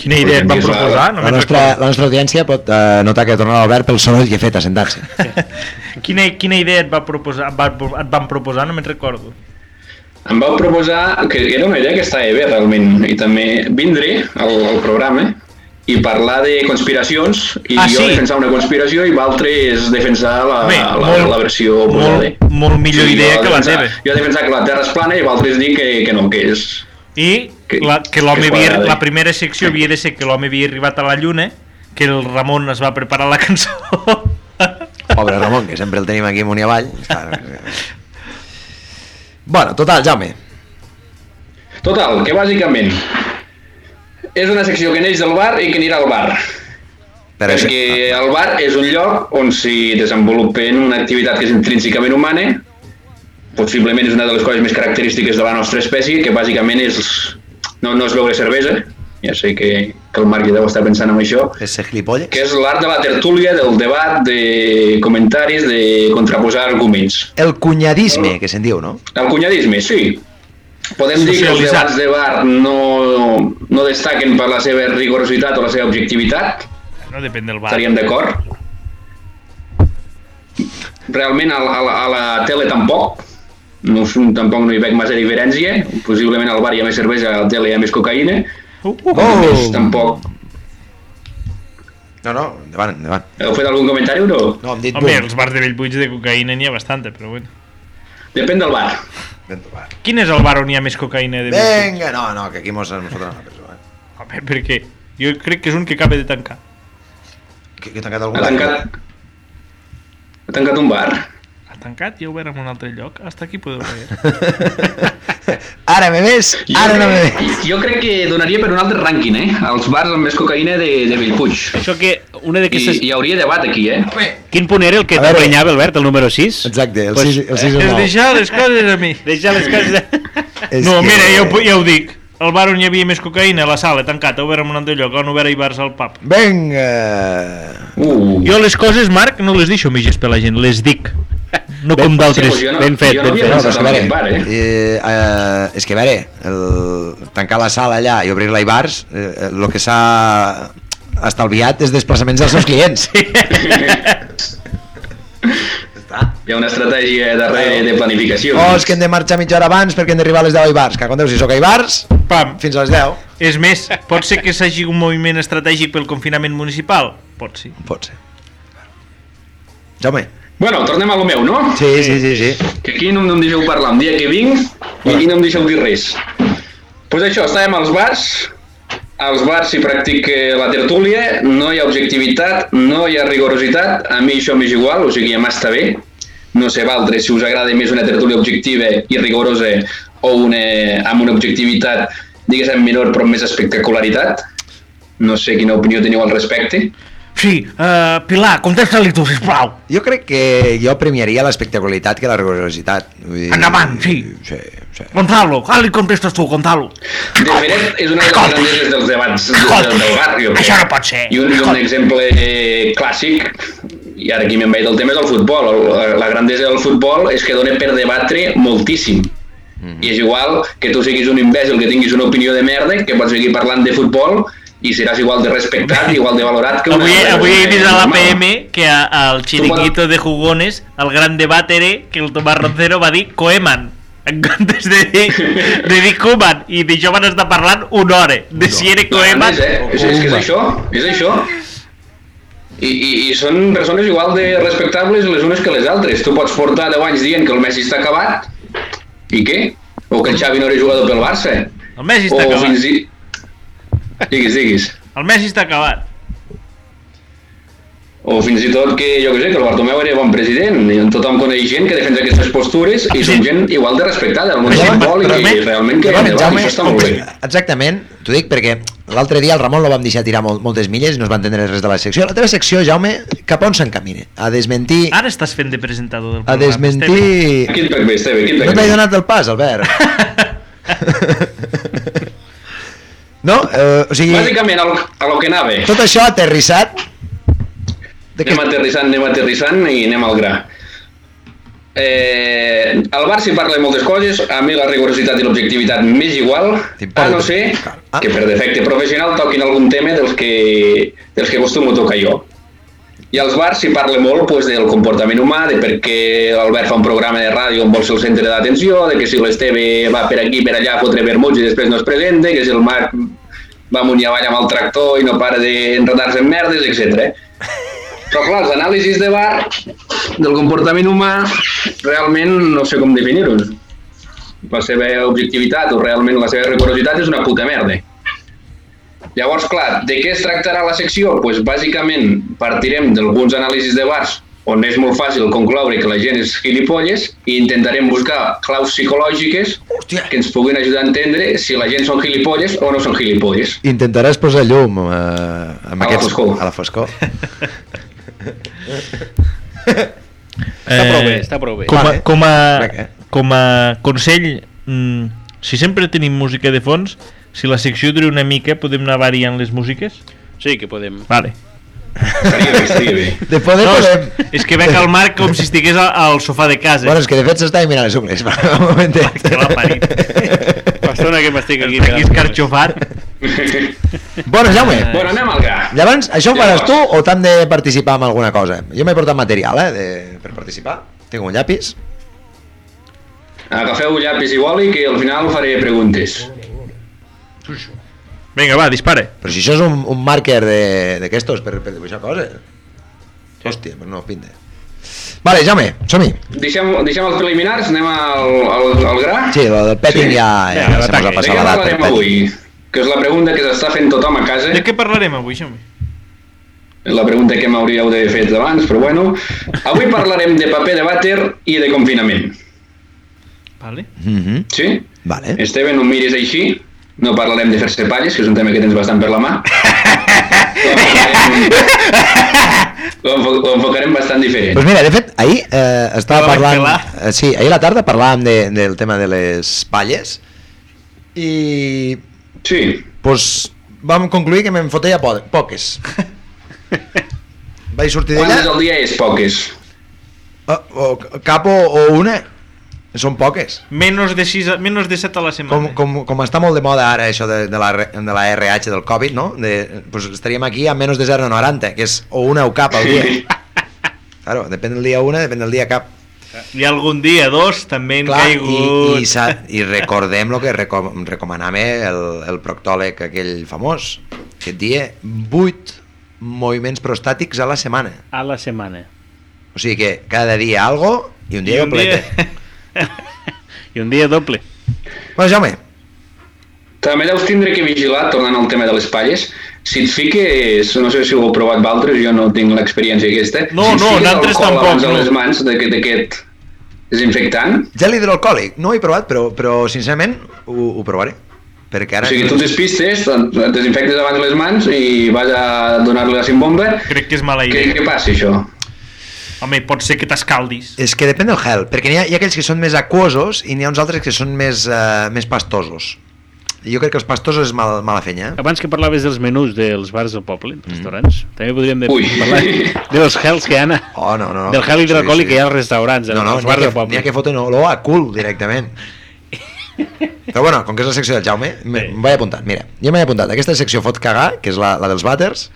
Quina idea et van proposar? No
Doncs La
me'n
nostra, la nostra audiència pot eh, notar que tornarà l'Albert pel soroll que he fet a sentar-se.
recordo. quina, quina idea et, va proposar, va, et van proposar? No me'n recordo.
Em vau proposar, que era una idea que estava bé realment, i també vindré al, al programa i parlar de conspiracions, i
Ah,
jo
sí?
defensar una conspiració i l'altre és defensar la,
Bé,
la,
molt-
la versió
molt-
posada.
molt millor idea
jo
que la
defensar-
teva.
Jo he defensat que la Terra és plana i l'altre és dir que, que no, que és...
I
Que-
la, que l'home
que
havia...
quadrada.
La primera secció havia de ser que l'home havia arribat a la lluna, que el Ramon es va preparar la cançó.
Pobre Ramon, que sempre el tenim aquí amunt i avall. Bueno, total, Jaume.
Total, que bàsicament és una secció que neix del bar i que anirà al bar.
Però és-
perquè el bar és un lloc on s'hi desenvolupen una activitat que és intrínsecament humana, possiblement és una de les coses més característiques de la nostra espècie, que bàsicament és no, no és beure cervesa, ja sé que, que el Marc ja deu estar pensant en això,
és ser gilipolles.
que és l'art de la tertúlia, del debat, de comentaris, de contraposar arguments.
El cunyadisme, que se'n diu, no?
El cunyadisme, sí. Podem dir que els
Socialitzar.
debats de bar no, no destaquen per la seva rigorositat o la seva objectivitat,
no depèn del bar.
estaríem d'acord. Realment a, la- a, la- a la tele tampoc, no, us- tampoc no hi veig massa diferència, possiblement al bar hi ha més cervesa, a la tele hi ha més cocaïna,
Uh, uh.
oh. tampoc.
No, no, endavant, endavant.
Heu fet algun comentari o no?
No, hem dit
Home,
boom.
els bars de Bellbuig de cocaïna n'hi ha bastanta, però bueno.
Depèn del bar.
Quin és el bar on hi ha més cocaïna de Bellpuig?
Vinga, no, no, que aquí mos en fotran a la presó. Eh?
Home, per què? Jo crec que és un que acaba de tancar.
Que, que he tancat
Ha
algun
tancat, ha tancat un bar.
Ha tancat i ha obert en un altre lloc. Hasta aquí podeu veure.
Ara me ves, ara no me ves.
Jo crec que donaria per un altre rànquing, eh? Els bars amb més cocaïna de, de Bellpuig.
Això que una
I,
d'aquestes...
hi hauria debat aquí, eh?
Quin punt era el que
A veure.
t'emprenyava, Albert, el número 6?
Exacte, el 6 el sis i el
És
nou.
deixar les coses a mi.
Deixar les cases...
És
no,
que-
mira, ja
Eh,
ho, ja ho dic. El bar on hi havia més cocaïna, la sala, tancat, ha obert en un altre lloc, han obert i bars al pub.
Vinga.
Uh.
Jo les coses, Marc, no les deixo mitges per la gent, les dic. No com d'altres.
Sí, pues jo no-
ben fet,
jo no
ben
havia
fet.
No, però és
pensat
que,
en
a
aquest bar,
veure,
eh?
eh, eh, és que, a veure, el, tancar la sala allà i obrir-la i bars, eh, eh, el que s'ha estalviat és desplaçaments dels seus clients.
Hi ha una estratègia darrere de planificació.
Oh, és que hem de marxar mitja hora abans perquè hem d'arribar a les 10 i bars. Que quan Déu, si sóc a bars,
Pam.
fins a les 10.
És més, pot ser que s'hagi un moviment estratègic pel confinament municipal? Pot ser.
Pot ser. Jaume.
Bueno, tornem a lo meu, no?
Sí, sí, sí, sí.
Que aquí no, no em deixeu parlar un dia que vinc i aquí no em deixeu dir res. Doncs pues això, estàvem als bars, als bars s'hi practica la tertúlia, no hi ha objectivitat, no hi ha rigorositat, a mi això m'és igual, o sigui, ja m'està bé. No sé valtres si us agrada més una tertúlia objectiva i rigorosa o una, amb una objectivitat, diguéssim, menor però amb més espectacularitat. No sé quina opinió teniu al respecte.
Sí, uh, Pilar, contesta-li tu, sisplau.
Jo crec que jo premiaria l'espectacularitat que la rigorositat. Vull dir-
Endavant, sí.
Sí, sí.
Gonzalo, ara li contestes tu, Gonzalo.
De fet, és una de les grandeses dels debats de- del, del barri. o què?
Això no pot ser.
I un, i un exemple eh, clàssic, i ara aquí me'n veig del tema, és el futbol. El- La grandesa del futbol és que dona per debatre moltíssim.
Mhm.
I és igual que tu siguis un imbècil, que tinguis una opinió de merda, que pots seguir parlant de futbol i seràs igual de respectat, igual de valorat que una...
Avui, avui he vist a la
normal.
PM que a- al chiringuito de jugones, al gran debate era que el Tomàs Roncero va dir Coeman en comptes de dir, de dir Koeman i de jo van estar parlant una hora de si era Coeman
Més, eh? És, és que és això, és això. I, i, I són persones igual de respectables les unes que les altres. Tu pots portar 10 anys dient que el Messi està acabat, i què? O que el Xavi no era jugador pel Barça.
el Messi
o
està acabat
fins i... Diguis, diguis.
el Messi està acabat
O fins i tot que, jo què sé, que el Bartomeu era bon president. I tothom coneix gent que defensa aquestes postures i són gent igual de respectada al món del
Però,
futbol i que
Jaume,
realment que
Jaume,
debat,
Jaume,
això està molt bé.
exactament, t'ho dic perquè l'altre dia el Ramon lo vam deixar tirar molt, moltes milles i no es va entendre res de la secció. La teva secció, Jaume, cap on s'encamina? A desmentir...
ara estàs fent de presentador del
A
programa eh,
desmentir...
Aquí et veig bé, Esteve, aquí et veig
No
bé.
t'he donat el pas, Albert. no? Eh, o sigui, Eh,
Bàsicament, el, a lo que anava.
tot això aterrissat... De què?
Anem aterrissant, anem aterrissant i anem al gra. Eh, al bar s'hi parla de moltes coses, a mi la rigorositat i l'objectivitat m'és igual, a
T'importa.
no ser
Ah.
que per defecte professional toquin algun tema dels que, dels que acostumo a tocar jo. I als bars s'hi parla molt pues, del comportament humà, de per què l'Albert fa un programa de ràdio on vol ser el centre d'atenció, de que si l'Esteve va per aquí, per allà, a fotre vermuts i després no es presenta, que si el Marc va amunt i avall amb el tractor i no para d'enredar-se en merdes, eh? etc. Però clar, els anàlisis de bar del comportament humà realment no sé com definir-ho. La seva objectivitat o realment la seva rigorositat és una puta merda. Llavors, clar, de què es tractarà la secció? Doncs pues, bàsicament partirem d'alguns anàlisis de bars on és molt fàcil concloure que la gent és gilipolles i intentarem buscar claus psicològiques
Hòstia.
que ens puguin ajudar a entendre si la gent són gilipolles o no són gilipolles.
Intentaràs posar llum eh, amb
A la
aquests...
foscor.
A la foscor.
Està prou bé, està prou bé.
Eh, Com a,
Vale.
com a,
Crec, eh?
com a consell, mm, si sempre tenim música de fons, si la secció dura una mica, podem anar variant les músiques?
Sí, que podem.
Vale.
Estaria bé, estaria bé.
De poder
No,
no, podem...
és, és que veig el Marc com si estigués al, al sofà de casa.
Bueno, és que de fet s'està mirant les ungles. Va, un momentet.
que la parit.
L'estona que m'estic aquí...
Aquí
mirant.
escarxofat.
Bueno, Jaume.
Eh.
bueno, anem al gra.
Llavors, això ho faràs
Llavors.
tu o t'han de participar en alguna cosa? Jo m'he portat material, eh, de, per participar. Tinc un llapis.
Agafeu llapis i boli que al final faré preguntes.
Vinga, va, dispara.
Però si això és un, un marker de- d'aquestos per, per dibuixar coses. Hòstia, però no pinta. Vale, Jaume, som-hi.
Deixem, deixem els preliminars, anem al, al, al gra?
Sí, la del petting sí. ja, ja,
Vinga,
ja se
l'ataque.
mos ha
De
passat
què
la data.
parlarem
petting.
avui? Que és la pregunta que s'està fent tothom a casa.
De què parlarem avui, Xami?
La pregunta que m'hauríeu d'haver fet abans, però bueno. Avui parlarem de paper de vàter i de confinament.
Vale.
Mhm,
Sí?
Vale.
Esteve, no em miris així. No parlarem de fer-se palles, que és un tema que tens bastant per la mà. Ho enfocarem- Ho enfo- ho enfocarem bastant diferent.
Doncs mira, de fet, ahir eh, estava
Estava
parlant...
pelar.
Eh, sí, ahir a la tarda parlàvem de, del tema de les palles i
Sí.
pues, vam concluir que me'n fotia po poques. Vaig sortir
Quantes
d'ella
al dia és poques?
o, o, cap o, o una. Són poques.
Menos de, 6, menos de 7 a la setmana.
Com, com, com està molt de moda ara això de, de, la, R- de la RH del Covid, no? De, pues estaríem aquí a menys de 0,90, que és o una o cap al dia. Claro, depèn del dia una, depèn del dia cap.
I algun dia, dos, també han
Clar,
caigut.
i, i, sa- i recordem el que recom recomanava el, el proctòleg aquell famós, que et dia 8 moviments prostàtics a la setmana.
A la setmana.
O sigui que cada dia algo i un dia
I
I complete. Dia...
I un dia doble.
Bueno, Jaume,
També deus tindre que vigilar, tornant al tema de les palles, si et fiques, no sé si ho heu provat valtres, jo no tinc l'experiència aquesta,
No,
si et
no,
fiques
nosaltres
alcohol
tampoc,
abans a
no.
les mans d'aquest- d'aquest desinfectant,
gel hidroalcohòlic, no ho he provat, però, però sincerament ho, ho provaré. Perquè
o
ara...
sigui, tu et despistes, et et desinfectes abans les mans i vas a donar-li la simbomba,
Crec que és mala
què,
idea.
què passa això?
Home, pot ser que t'escaldis.
És que depèn del gel, perquè n'hi ha, hi ha aquells que són més aquosos i n'hi ha uns altres que són més, uh, més pastosos. I jo crec que els pastosos és mal, mala fenya. eh?
Abans que parlaves dels menús dels bars del poble,
Mm.
dels restaurants, també podríem de
Ui.
parlar dels gels que hi ha, a-
Oh, no, no. no.
del gel hidroalcohòlic
Sí, sí.
que hi ha als restaurants,
No, no,
als
n'hi ha,
bars del
que, n'hi ha
poble.
que foten olor a cul directament. Però bueno, com que és la secció del Jaume, me- em vaig apuntant. Mira, jo m'he apuntat. Aquesta secció fot cagar, que és la, la dels vàters,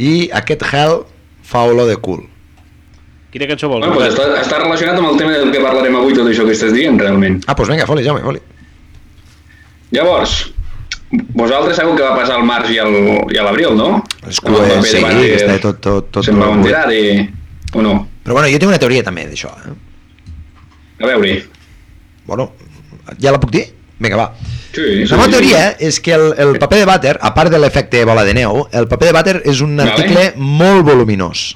i aquest gel fa olor de cul.
Quina cançó vols?
Bueno, doncs
Albert?
està, està relacionat amb el tema del que parlarem avui, tot això que estàs dient, realment.
Ah, doncs pues vinga, foli, Jaume, foli.
Llavors, vosaltres sabeu què va passar al març i al, i a l'abril, no?
Els
Amb el
cues,
paper
eh?
de
sí,
vàter,
està tot- tot- tot
Se'n va
molt
enterar de... o no?
Però bueno, jo tinc una teoria també d'això. Eh?
A veure,
Bueno, ja la puc dir? Vinga, va.
Sí,
La meva teoria eh? és que el, el paper de vàter, a part de l'efecte bola de neu, el paper de vàter és un
Vale.
article molt voluminós.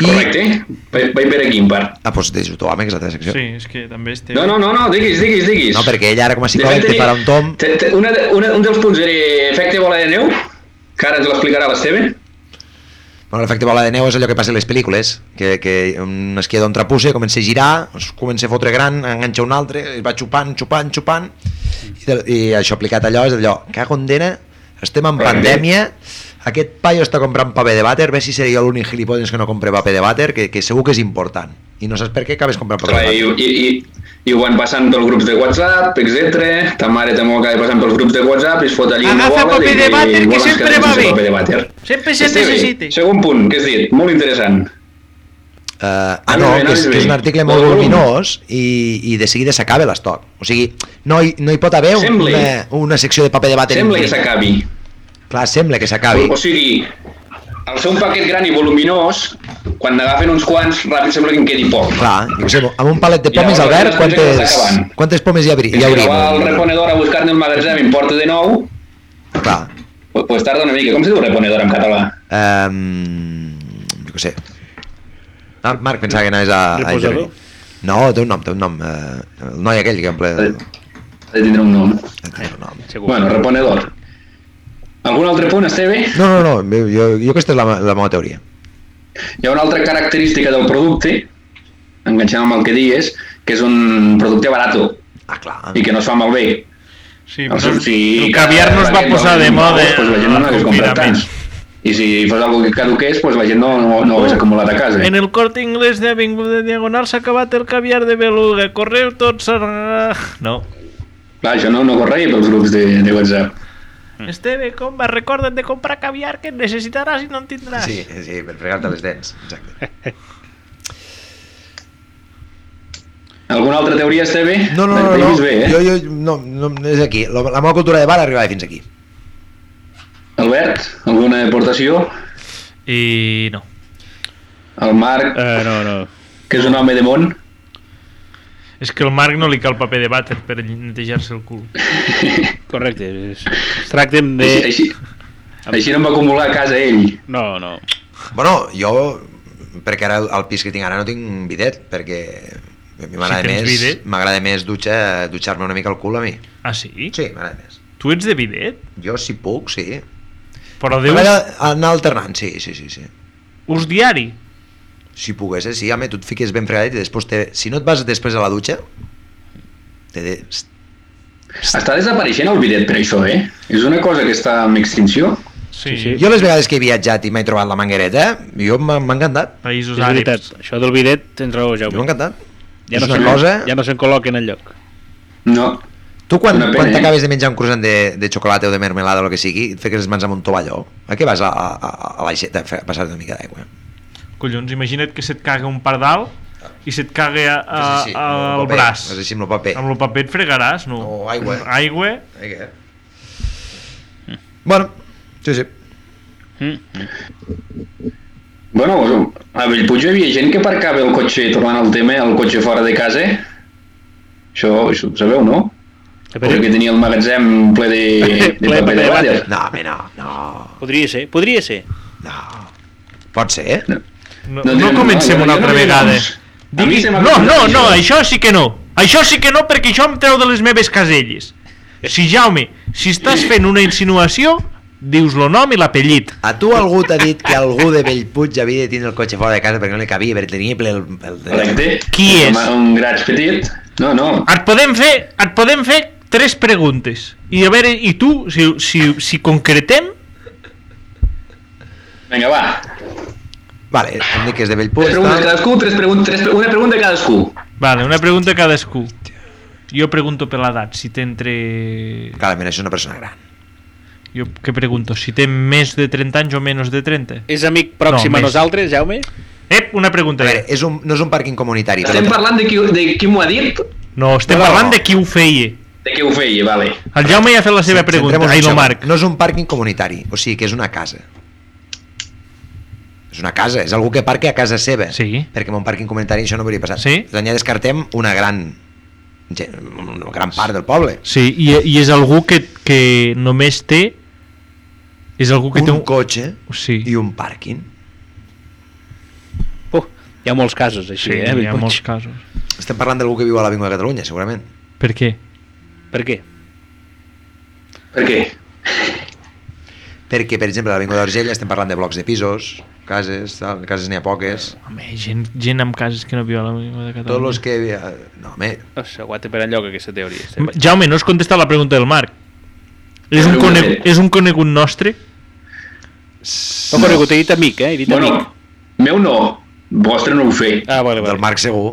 I...
Correcte. Vaig, vaig per aquí, en part.
Ah, doncs deixo tu, home, que és l'altra secció.
Sí, és que també és teu.
No, no, no, no, diguis, diguis, diguis.
No, perquè ella ara com a
De fet,
psicòleg té
tenia-
farà un tom...
te- te- Una, de- una, un dels punts era efecte bola de neu, que ara ens l'explicarà l'Esteve.
Bueno, l'efecte bola de neu és allò que passa a les pel·lícules, que, que un esquiador en trapusse, comença a girar, es comença a fotre gran, enganxa un altre, es va xupant, xupant, xupant, i, de, i això aplicat allò és allò, cago en dena, estem en
Correcte.
pandèmia, Aquest paio està comprant paper de vàter, ve si seré jo l'únic gilipolles que no compre paper de vàter, que, que segur que és important. I no saps per què acabes comprant paper
Clar,
de
i,
vàter.
i, i, i ho van passant pels grups de WhatsApp, etc. Ta mare també ho acaba passant pels grups de WhatsApp i es fot allí una
Agafa
bola
paper de vàter, que
volen
sempre
quedar
va
sense
bé.
Paper de vàter.
Sempre se'n
Esteve,
necessita.
Segon punt, que has dit, molt interessant.
Uh, ah,
Ah,
no,
no, no,
que és,
no,
que és un
no.
article molt
Vol volum.
voluminós i, i de seguida s'acaba l'estoc. O sigui, no hi, no hi pot haver un-
Sembli.
una, una secció de paper de vàter.
Sembla que
infinita.
s'acabi.
Clar, sembla que s'acabi.
O, o sigui, al ser un paquet gran i voluminós, quan n'agafen uns quants, ràpid sembla que en quedi poc.
Clar, jo què sé, amb un palet de
I
pomes,
llavors
Albert,
les
quantes,
coses acaben.
quantes pomes hi, habri, hi
Fins que va el
hauria?
reponedor a buscar-ne el magatzem i en porta de nou,
Clar.
pues, pues tarda una mica. Com se diu reponedor en català?
Um, jo què sé. Ah, Marc, pensava que anaves a... a
Reposador?
No, té un nom, té un nom. Eh, el noi aquell que en ple...
Ha de tindre un nom.
Té un nom.
Segur.
Bueno, reponedor. Algun altre punt, Esteve?
No, no, no, jo, jo, jo aquesta és la, me- la meva teoria.
Hi ha una altra característica del producte, enganxant amb el que dies, que és un producte barato
Ah, clar.
i que no es fa malbé.
Sí,
O
però
sigui,
el caviar no es va
la gent
posar
no-
de moda
Doncs la gent no
al
n'hagués comprat
confinament.
tants. I si fos algo que caduqués, doncs la gent no, no, no ho hagués acumulat a casa.
En el corte inglés de Avinguda Diagonal s'ha acabat el caviar de beluga. Correu tots a... No.
Clar, això no, no correia pels grups de, de WhatsApp.
Esteve, comba, recorda't de comprar caviar que en necessitaràs i no en tindràs.
Sí, sí, per fregar-te les dents. Exacte.
Alguna altra teoria, Esteve?
No, no, no,
L'he
no,
vist bé, eh?
jo, jo, no, no, és aquí. La, la meva cultura de bar arribava fins aquí.
Albert, alguna aportació?
I no.
El Marc,
Eh, no, no.
que és un home de món?
És que el Marc no li cal paper de vàter per netejar-se el cul.
Correcte. Es, es tractem de...
Així, així, així no em va acumular a casa ell.
No, no.
Bueno, jo, perquè ara el, el pis que tinc ara no tinc bidet, perquè a mi m'agrada
Si tens
més,
bidet.
m'agrada més dutxa, dutxar-me una mica el cul a mi.
Ah, sí?
Sí, m'agrada més.
Tu ets de bidet?
Jo si puc, sí.
Però de ús,
M'agrada anar alternant, sí, sí, sí, sí.
ús diari?
Si pogués, eh? sí, home, tu et fiques ben fregadet i després te... Si no et vas després a la dutxa, te de...
Està desapareixent el bidet per això, eh? És una cosa que està en extinció.
Sí,
Sí, sí.
Jo les vegades que he viatjat i m'he trobat la manguereta, jo m'ha m'ha encantat.
Països
És veritat,
àrabs.
això del bidet tens raó, ja
Jo m'ha encantat.
Ja
és
no,
una
se'n-
cosa...
ja no se'n col·loquen en lloc.
No.
Tu quan,
Una pena,
quan
eh?
t'acabes de menjar un croissant de, de xocolata o de mermelada o el que sigui, et fiques les mans amb un tovalló. A què vas a, a, a- a l'aixeta a fer- a passar una mica d'aigua?
Collons, imagina't que se't caga un pardal i se't caga a, a,
Sí, sí, sí, amb el
al
paper,
braç.
és així, amb el paper.
Amb el paper et fregaràs, no?
O aigua.
Aigua.
Bueno, sí, sí.
Mm. Bueno, a Bellpuig hi havia gent que aparcava el cotxe, tornant al tema, el cotxe fora de casa. eh? Això, això ho sabeu, no? Perquè que tenia el magatzem ple de, de
Ple de
paper
paper de
de vàter.
vàter.
No, home, no, no,
Podria ser, podria ser.
no. Pot ser, eh?
No,
No
no,
direm,
comencem
no, jo-
una
jo
altra
no diré
vegada.
noms. A mi
Digui,
se m'ha
no, no,
acudat
no,
això.
això sí que no. Això sí que no, perquè això em treu de les meves caselles. Si, Jaume, si estàs fent una insinuació, dius lo nom i l'apellit.
A tu algú t'ha dit que algú de Bellpuig havia de tindre el cotxe fora de casa perquè no li cabia, perquè tenia ple el... el, el...
Correcte.
Qui és?
Un, un graig petit. No, no.
Et podem fer, et podem fer tres preguntes. I a veure, i tu, si, si, si concretem,
Vinga, va.
Vale, em dic que és de
Tres
Bellpuig,
preguntes
tal.
cadascú, tres preguntes, tres, pre- una pregunta a cadascú.
Vale, una pregunta cadascú. Jo pregunto per l'edat, si té entre...
Clarament, és una persona gran.
Jo què pregunto? Si té més de 30 anys o menys de 30?
És amic pròxim
No,
a
més.
nosaltres, Jaume?
Ep, una pregunta.
A veure, és un, no és un pàrquing comunitari.
Estem
però-
parlant de qui, de qui m'ho ha dit,
No, estem
No, no,
parlant
no.
de qui ho feia.
de què ho feia, vale.
El Jaume ja ha fet la seva pregunta,
Centrem-nos
ai,
en
no
això.
Marc.
No és un pàrquing comunitari, o sigui que és una casa. És una casa, és algú que parque a casa seva.
Sí.
Perquè en un pàrquing comunitari això no hauria passat.
Sí.
Per tant, ja descartem una gran, gent- una gran part del poble.
Sí, i, i és algú que, que només té... És algú que
Un,
té
un cotxe
Sí.
i un pàrquing.
Oh, hi ha molts casos
Sí,
així, eh?
hi ha
Bellpuig?
molts casos.
Estem parlant d'algú que viu a l'Avinguda de Catalunya, segurament.
Per què?
Per què?
Per què?
Perquè, per exemple, a l'Avinguda d'Argella estem parlant de blocs de pisos, cases, tal, cases n'hi ha poques.
Home, gent, gent amb cases que no viu a la de Catalunya.
Tots els que... No, home,
No s'aguanta per enlloc aquesta teoria.
Ma- Jaume, no has contestat la pregunta del Marc. És un,
Pregunta
conegu
fet.
és un conegut nostre?
No, però que t'he dit amic, eh? He dit
Bueno,
amic.
meu no, vostre no ho sé.
Ah, vale, vale.
Del Marc segur.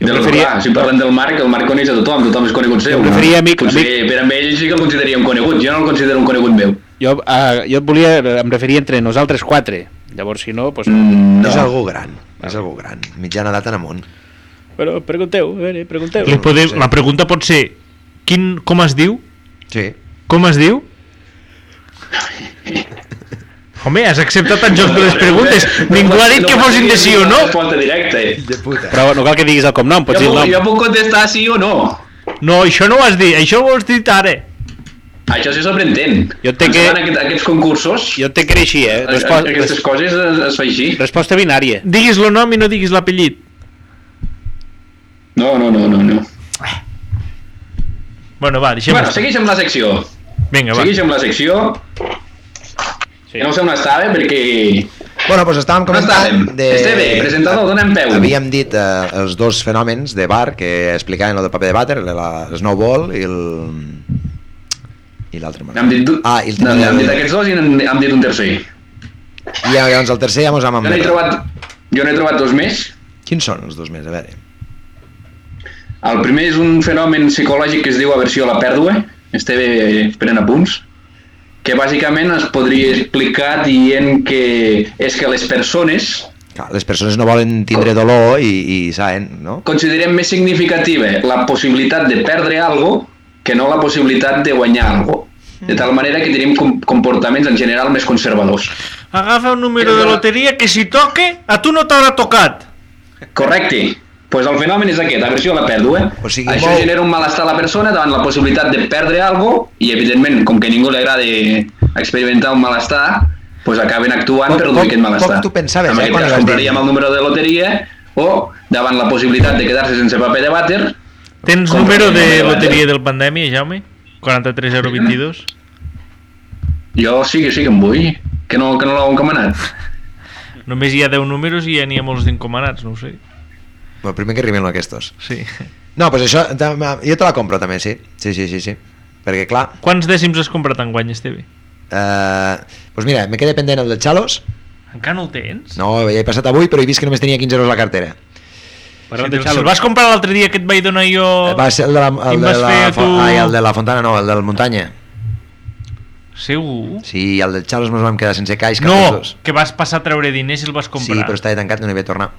Del,
preferia-
clar, si parlem del Marc, el Marc coneix a tothom, tothom és conegut seu.
Jo preferia amic-
Potser
amic.
per a ell sí que el consideraria un conegut, jo no el considero un conegut meu.
Jo, uh, jo et volia, em referia entre nosaltres quatre. Llavors, si no, doncs... Mm.
Mm,
No. És
no.
algú gran, és algú gran. Mitjana edat en amunt.
Però pregunteu, a veure, pregunteu.
Li podeu,
Sí.
la pregunta pot ser quin, com es diu?
Sí.
Com es diu? Home, has acceptat en joc de les preguntes. Ningú ha dit que fossin de sí o no.
Resposta directa.
De puta.
Però no cal que diguis el cognom, pots
Jo
dir el
puc,
nom.
jo puc contestar sí o no.
No, això no ho has dit, això ho has dit ara.
Això se s'aprendent.
Jo entenc
Ens
que-
fan Aquest, aquests concursos,
Jo entenc que era així, eh?
Respo...
Resposta,
aquestes
res,
coses es, es fa així.
resposta binària.
Diguis el nom i no diguis l'apellit.
No, no, no, no. no.
Bueno, va, deixem
Bueno, segueix amb la secció.
Vinga, va.
Segueix amb la secció.
Sí.
Que no sé on estava perquè...
Bueno, doncs estàvem
Com estàvem?
comentant...
De... Esteve, presentador, donem peu.
Havíem dit eh, els dos fenòmens de bar que explicaven el del paper de vàter, la, el snowball i el... I l'altre. me'n
Hem dit, du...
recordo. Ah, i el
no, hem dit aquests dos i hem, hem dit un tercer.
I llavors el tercer ja mos hem
Jo n'he
emmerdat.
trobat, jo n'he trobat dos més.
Quins són els dos més? A veure.
El primer és un fenomen psicològic que es diu aversió a la pèrdua. Esteve pren apunts. Que bàsicament es podria explicar dient que és que les persones
Clar, les persones no volen tindre dolor i, i saben, no?
considerem més significativa la possibilitat de perdre algo que no la possibilitat de guanyar algo. De tal manera que tenim com- comportaments en general més conservadors.
Agafa un número de loteria que si toque, a tu no t'haurà tocat.
Correcte. Pues el fenomen és aquest, aversió a la pèrdua.
O sigui,
Això
molt-
genera un malestar a la persona davant la possibilitat de perdre algo i, evidentment, com que a ningú li agrada experimentar un malestar, pues acaben actuant
Com-
per reduir
com-
aquest malestar.
com tu pensaves,
en
eh,
aquest
quan
cas,
ho vas dir.
compraríem el número de loteria o, davant la possibilitat de quedar-se sense paper de vàter,
Tens
Com
número
el
de
número de
loteria
la-
del pandèmia, Jaume? 43022.
jo sí que sí que em vull. Que no, que no l'heu encomanat.
Només hi ha 10 números i ja n'hi ha molts d'encomanats, no ho sé.
El primer que arriben són aquests.
Sí.
No, doncs això, ta- ma- jo te la compro també, sí. Sí, sí, sí, sí. Perquè, clar,
Quants dècims has comprat en guany, Esteve?
eh, doncs mira, me queda pendent el de Xalos.
Encara no el tens?
No, ja he passat avui, però he vist que només tenia 15 euros a la cartera.
Si,
Parlant
te-
de
si el
xalos.
vas comprar l'altre dia que et vaig donar jo...
Eh, Va ser el de la, el
Oh. Quin
de
vas
la,
fer
fo-
tu?
ai, el de la Fontana, no, el de la muntanya.
Segur?
Sí, el del Xalos mos vam quedar sense caix. cap dels
No,
dos.
que vas passar a treure diners i el vas
Sí,
comprar.
però estava tancat, no hi vaig tornar.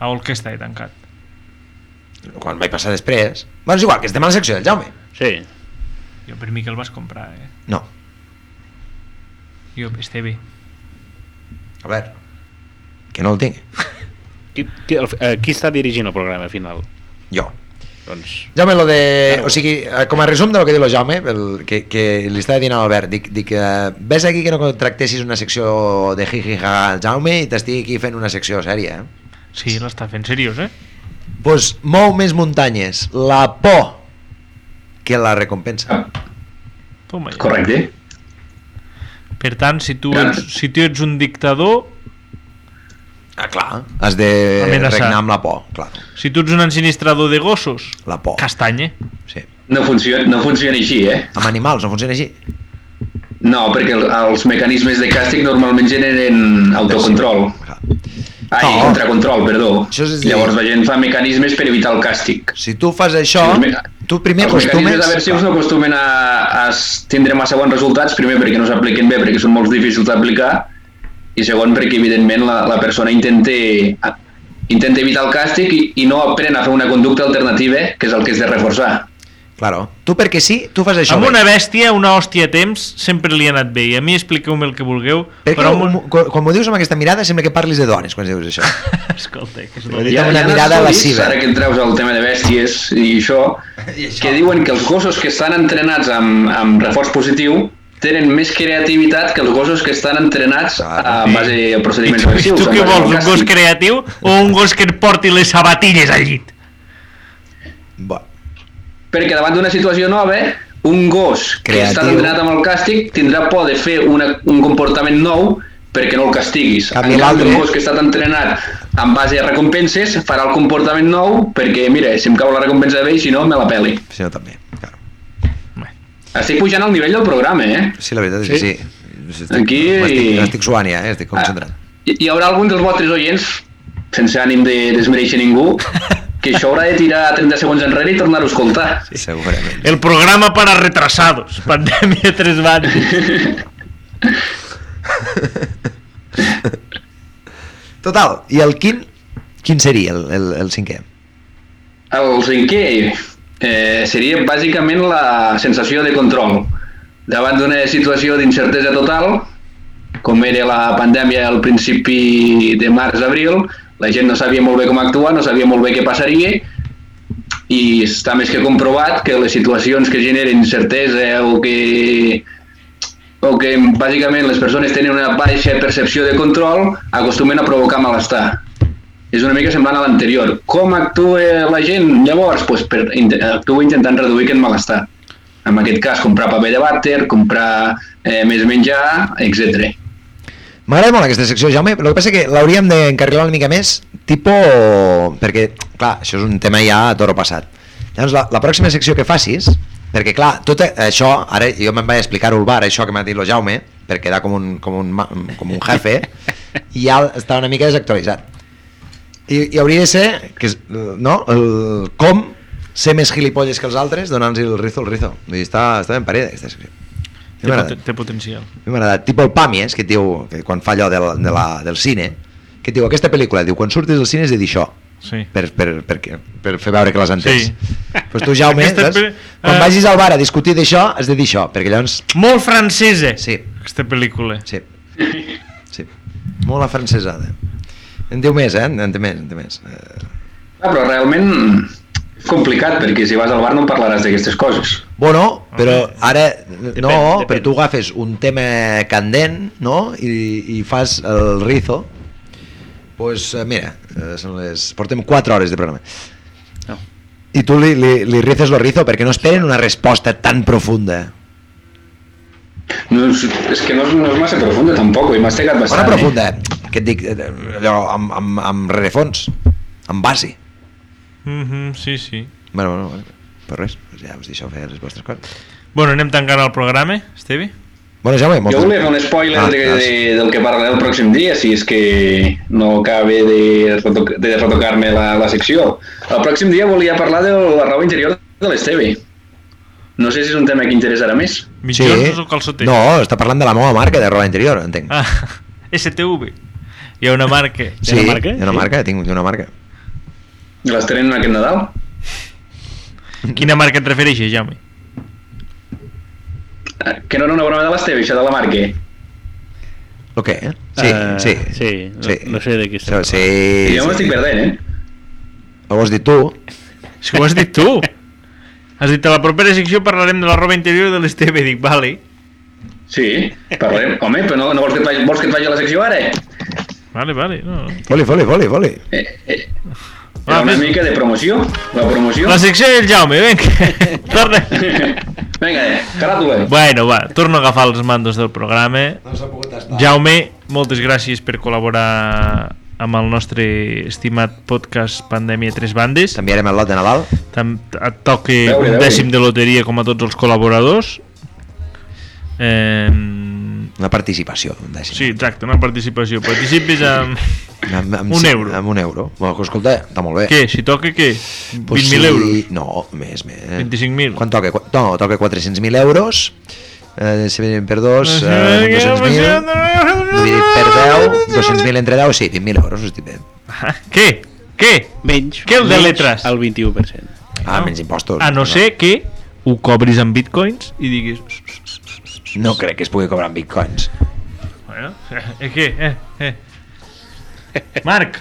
Ah, el que està tancat.
Quan vaig passar després... Bueno, és igual, que estem a la secció del Jaume.
Sí.
Jo per mi que el vas comprar, eh?
No,
Jo, Esteve.
a veure, que no el tinc.
Qui, qui, el, eh, qui està dirigint el programa final?
Jo.
Doncs...
Jaume, lo de... O sigui, eh, com a resum de lo que diu el Jaume, el, que, que li estava dient a l'Albert, dic, dic eh, ves aquí que no contractessis una secció de hi al Jaume i t'estigui aquí fent una secció sèria, eh?
Sí, l'està fent seriós, eh?
Pues mou més muntanyes, la por que la recompensa.
Toma ja.
Correcte.
Per tant, si tu,
Clar.
ets, si tu ets un dictador,
Ah, clar. Has de
Amenaçar.
regnar amb la por, clar.
si tu ets un ensinistrador de gossos, eh?
La por.
castanya.
Sí.
No funciona, no funciona així, eh?
Amb animals no funciona així.
No, perquè el, els mecanismes de càstig normalment generen autocontrol.
Clar.
Ai,
No.
Ah, contracontrol, perdó.
Això és a dir-
Llavors la gent fa mecanismes per evitar el càstig.
Si tu fas això,
Els me-
tu primer
els mecanismes
acostumes...
aversius no acostumen a, a s- tindre massa bons resultats, primer perquè no s'apliquen bé, perquè són molt difícils d'aplicar, i segon perquè, evidentment, la, la persona intenta, a- intenta evitar el càstig i, i no aprèn a fer una conducta alternativa, que és el que és de reforçar.
Claro. Tu perquè sí, tu fas això.
Amb
bé.
una bèstia, una hòstia a temps, sempre li ha anat bé. I a mi expliqueu-me el que vulgueu,
Perquè
però... amb
quan,
un-
quan, quan m'ho dius amb aquesta mirada sembla que parlis de dones quan dius això.
Escolta, eh, que és
Ho he
dolent.
dit amb una
ha
mirada
estudis,
lasciva.
Ara que treus el tema de bèsties i això, I això, que diuen que els gossos que estan entrenats amb, amb reforç positiu tenen més creativitat que els gossos que estan entrenats a
Clar.
base
I
a procediments
tu, i
agressius.
tu
a
què
base
vols,
del
un gos
càstig.
creatiu o un gos que et porti les sabatilles al llit?
Bo,
Perquè davant d'una situació nova, un gos que
Creatiu.
està entrenat amb el càstig tindrà por de fer una, un comportament nou perquè no el castiguis.
Canvi
en canvi,
l'altre.
un gos que ha estat entrenat en base a recompenses farà el comportament nou perquè, mira, si em cau la recompensa bé i si no, me la peli.
si no també. Claro.
Estic pujant al nivell del programa, eh?
Sí, la veritat és que
Sí?
sí. Estic,
Aquí- Ah.
Estic, estic suant ja, eh? estic concentrat.
Hi, hi haurà algun dels vostres oients, sense ànim de desmereixer ningú, que això haurà de tirar 30 segons enrere i tornar-ho a escoltar.
Sí. Segurament.
El programa para retrasados. Pandemia tres bandes.
Total, i el quin? Quin seria el, el, el cinquè?
El cinquè eh, seria bàsicament la sensació de control. Davant d'una situació d'incertesa total, com era la pandèmia al principi de març-abril, la gent no sabia molt bé com actuar, no sabia molt bé què passaria, i està més que comprovat que les situacions que generen incertesa o que o que bàsicament les persones tenen una baixa percepció de control acostumen a provocar malestar és una mica semblant a l'anterior. Com actua la gent? Llavors, doncs, per, int- actua intentant reduir aquest malestar. En aquest cas, comprar paper de vàter, comprar eh, més menjar, etc.
M'agrada molt aquesta secció, Jaume, el que passa que l'hauríem d'encarrilar una mica més, tipo... perquè, clar, això és un tema ja a toro passat. Llavors, la, la pròxima secció que facis, perquè, clar, tot e, això, ara jo me'n vaig explicar al bar, això que m'ha dit el Jaume, per quedar com un, com un, ma- com un jefe, i ja està una mica desactualitzat. I, i hauria de ser, que, és, no?, el com ser més gilipolles que els altres, donant-los el rizo al rizo. Vull dir, està, està ben parida aquesta secció.
Té, pot té potencial.
A mi m'ha agradat, tipo el Pàmies, que et diu, que quan fa allò de la, de la, del cine, que et diu, aquesta pel·lícula, diu, quan surtis del cine has de dir això,
Sí.
per, per, per, què? per fer veure que l'has entès.
Sí.
Sí. Pues tu, Jaume,
Aquesta
saps?
pel-
quan
eh.
vagis al bar a discutir d'això, has de dir això, perquè llavors...
Molt francesa.
Sí.
Aquesta pel·lícula.
Sí. Sí. Molt afrancesada. En diu més, eh? En, en té més, en té més. Eh,
Ah, però realment és complicat, perquè si vas al bar no parlaràs d'aquestes coses.
Bueno, però
Home,
ara... no,
depèn.
però tu agafes un tema candent, no?, i, i fas el rizo. Doncs, pues, mira, eh, són les... portem 4 hores de programa.
No.
I tu li, li, li rices lo rizo perquè no esperen una resposta tan profunda.
No és, és que no és, no és massa profunda, tampoc, i m'has tegat
Bona
bastant. eh?
profunda, que et dic, eh, allò amb, amb, amb rerefons, amb base.
Mhm, sí, sí.
Bueno, bueno, bueno, però res, doncs ja us deixo fer les vostres coses.
Bueno, anem tancant el programa, Esteve?
Bueno, Jaume,
Jo
moltes...
volia fer un spoiler
Ah,
de,
ah,
de,
sí.
del que parlaré el pròxim dia, si és que no acabe de, retoc, de retocar-me la, la secció. El pròxim dia volia parlar de la roba interior de l'Esteve. No sé si és un tema que interessarà més.
Mitjons o calçotets?
No, està parlant de la meva marca de roba interior, entenc.
Ah, STV. Hi ha una marca.
Té una marca?
Té una
Sí.
marca, tinc una marca.
Les tenen aquest Nadal?
Quina marca et refereixes, Jaume?
Eh, Que no era una broma de l'Esteve, això de la marca.
Lo que, eh? Sí,
Eh,
sí.
sí, no- no sé de qui estem
Això, Sí,
I jo
sí.
m'estic perdent, eh?
Ho has dit tu?
Si ho has dit tu. Has dit, a la propera secció parlarem de la roba interior de l'Esteve. Dic, vale.
Sí, parlem. Home, però no, no vols, que et faci, vols que et faci la secció ara?
Vale, vale. No. no.
Foli, foli, foli, foli.
Eh, eh,
Va,
era una
fes-
mica de promoció, la promoció.
Ah, La secció del Jaume, vinga. Torna.
Vinga, eh, caràtula.
Bueno, va, torno a agafar els mandos del programa.
No s'ha pogut estar.
Jaume, moltes gràcies per col·laborar amb el nostre estimat podcast Pandèmia Tres Bandes.
T'enviarem el lot de Nadal.
Tam et toqui
Veure,
un
veure.
dècim de loteria com a tots els col·laboradors. Eh,
Una participació, un dècim.
sí, exacte, una participació. Participis amb...
Amb, amb,
Un
sí,
euro.
Amb un euro. Bueno, que escolta, està molt bé.
Què? Si toca, què? 20.000
Pues
sí. euros?
No, més, més.
25.000.
Quan toca? Qu- No, toca 400.000 euros. Eh, si venim per dos, eh, 200.000. Dividit per 10, 200.000 entre 10, sí, 20.000 euros, estic bé.
Ah, Què? Què?
Menys,
Què el de
menys
letres?
El 21%.
Ah, menys impostos.
A no ser que ho cobris en bitcoins i diguis...
No crec que es pugui cobrar en bitcoins.
Bueno, eh, què? Eh, eh. Marc,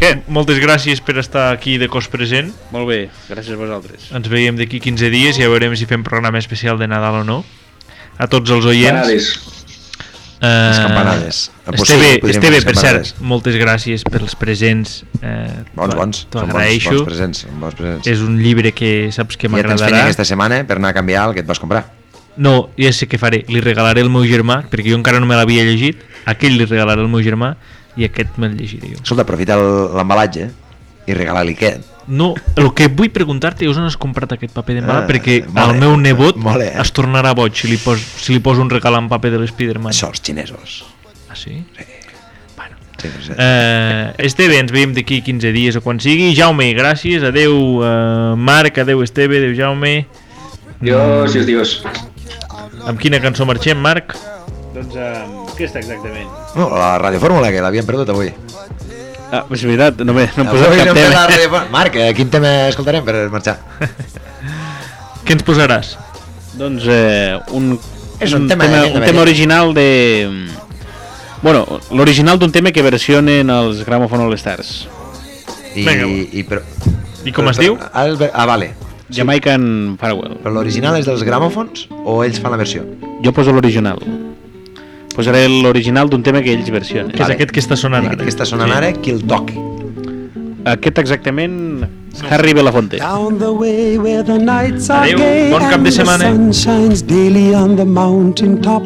què? Moltes gràcies per estar aquí de cos present.
Molt bé, gràcies a vosaltres.
Ens veiem d'aquí 15 dies i ja veurem si fem programa especial de Nadal o no. A tots els oients...
Canades.
Eh,
Les campanades. A
Esteve,
possible, podríem fer
Esteve
les
per
campanades.
cert, moltes gràcies pels presents. Eh,
Bons, bons.
T'ho
Són bons,
agraeixo.
bons presents. són Bons presents.
És un llibre que saps que
ja tens feina
m'agradarà.
aquesta setmana eh, per anar a canviar el que et vas comprar.
No, ja sé què faré. Li regalaré al meu germà, perquè jo encara no me l'havia llegit. Aquell li regalaré al meu germà i aquest me'l llegiré jo.
Escolta, aprofita el- l'embalatge i regala-li aquest.
No, el que vull preguntar-te és on has comprat aquest paper de mala,
Ah,
perquè
mole,
el meu nebot
mole, eh?
es tornarà boig si li, pos, si li poso un regal en paper de l'Spiderman.
Això, els xinesos.
Ah, sí?
Sí, sí, sí.
Eh, Esteve, ens veiem d'aquí 15 dies o quan sigui. Jaume, gràcies. Adeu, eh, Marc. Adeu, Esteve. Adeu, Jaume.
Dios, Dios, Dios.
Amb quina cançó marxem, Marc?
Doncs um, aquesta exactament.
No, Oh, la radiofórmula que l'havien perdut avui.
Ah, però és veritat, no, me, no em
Avui
posava
no hem
cap
fet la
tema.
radiofórmula. Marc, eh, quin tema escoltarem per marxar?
Què ens posaràs?
Doncs eh, un,
És un tema de
tema,
Nina
un
Beretta.
tema original de... mm, Bueno, l'original d'un tema que versionen els Gramophone All Stars.
I,
Vinga, va.
i, però,
I com es
però-
diu?
Albert, ah, vale.
Jamaican Farewell.
Però l'original és dels gramòfons o ells fan la versió?
Jo poso l'original. Posaré l'original d'un tema que ells versionen.
Que és aquest que està sonant ara.
Aquest que està sonant ara, qui el toqui.
Aquest exactament, Harry Belafonte.
Ah,
Down the way where the nights are
Adeu,
gay
bon cap
and
de
the
setmana.
sun shines daily on the mountain top.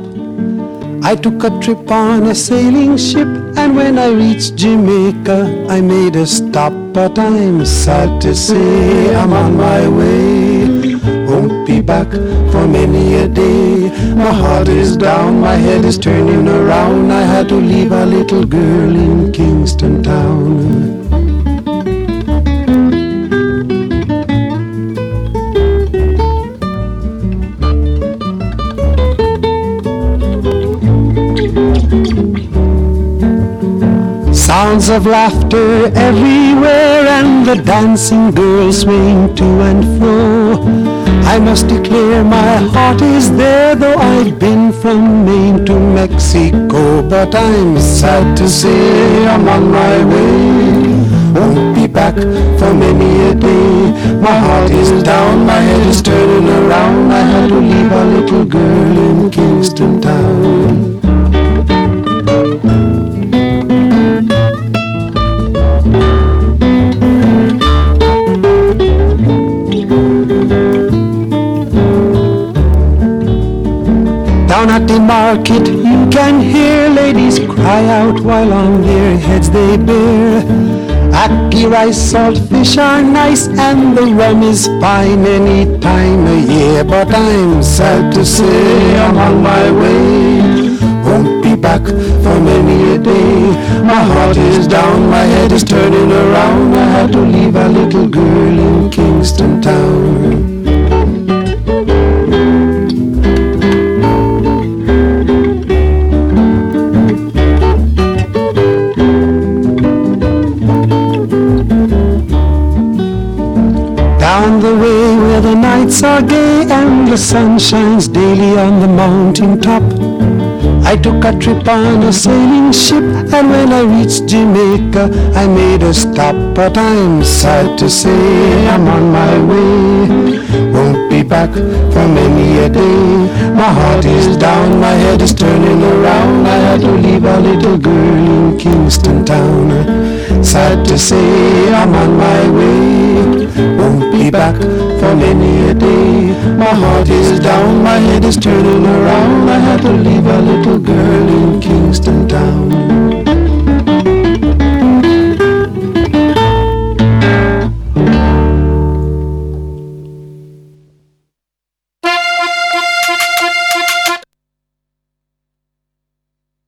I took a trip on a sailing ship, and when I reached Jamaica, I made a stop. But I'm sad to say I'm on my way. Won't be back for many a day. My heart is down, my head is turning around. I had to leave a little girl in Kingston town. Sounds of laughter everywhere and the dancing girls swing to and fro. I must declare my heart is there though I've been from Maine to Mexico. But I'm sad to say I'm on my way. Won't be back for many a day. My heart is down, my head is turning around. I had to leave a little girl in Kingston town. Down at the market you can hear ladies cry out while on their heads they bear. Ackee rice, salt fish are nice and the rum is fine any time of year. But I'm sad to say I'm on my way. Won't be back for many a day. My heart is down, my head is turning around. I had to leave a little girl in Kingston town. Down the way where the nights are gay and the sun shines daily on the mountain top. I took a trip on a sailing ship and when I reached Jamaica I made a stop but I'm sad to say I'm on my way. Won't be back for many a day. My heart is down, my head is turning around. I had to leave a little girl in Kingston town. Sad to say I'm on my way. Won't be back for many a day. My heart is down, my head is turning around. I had to leave a little girl in Kingston town.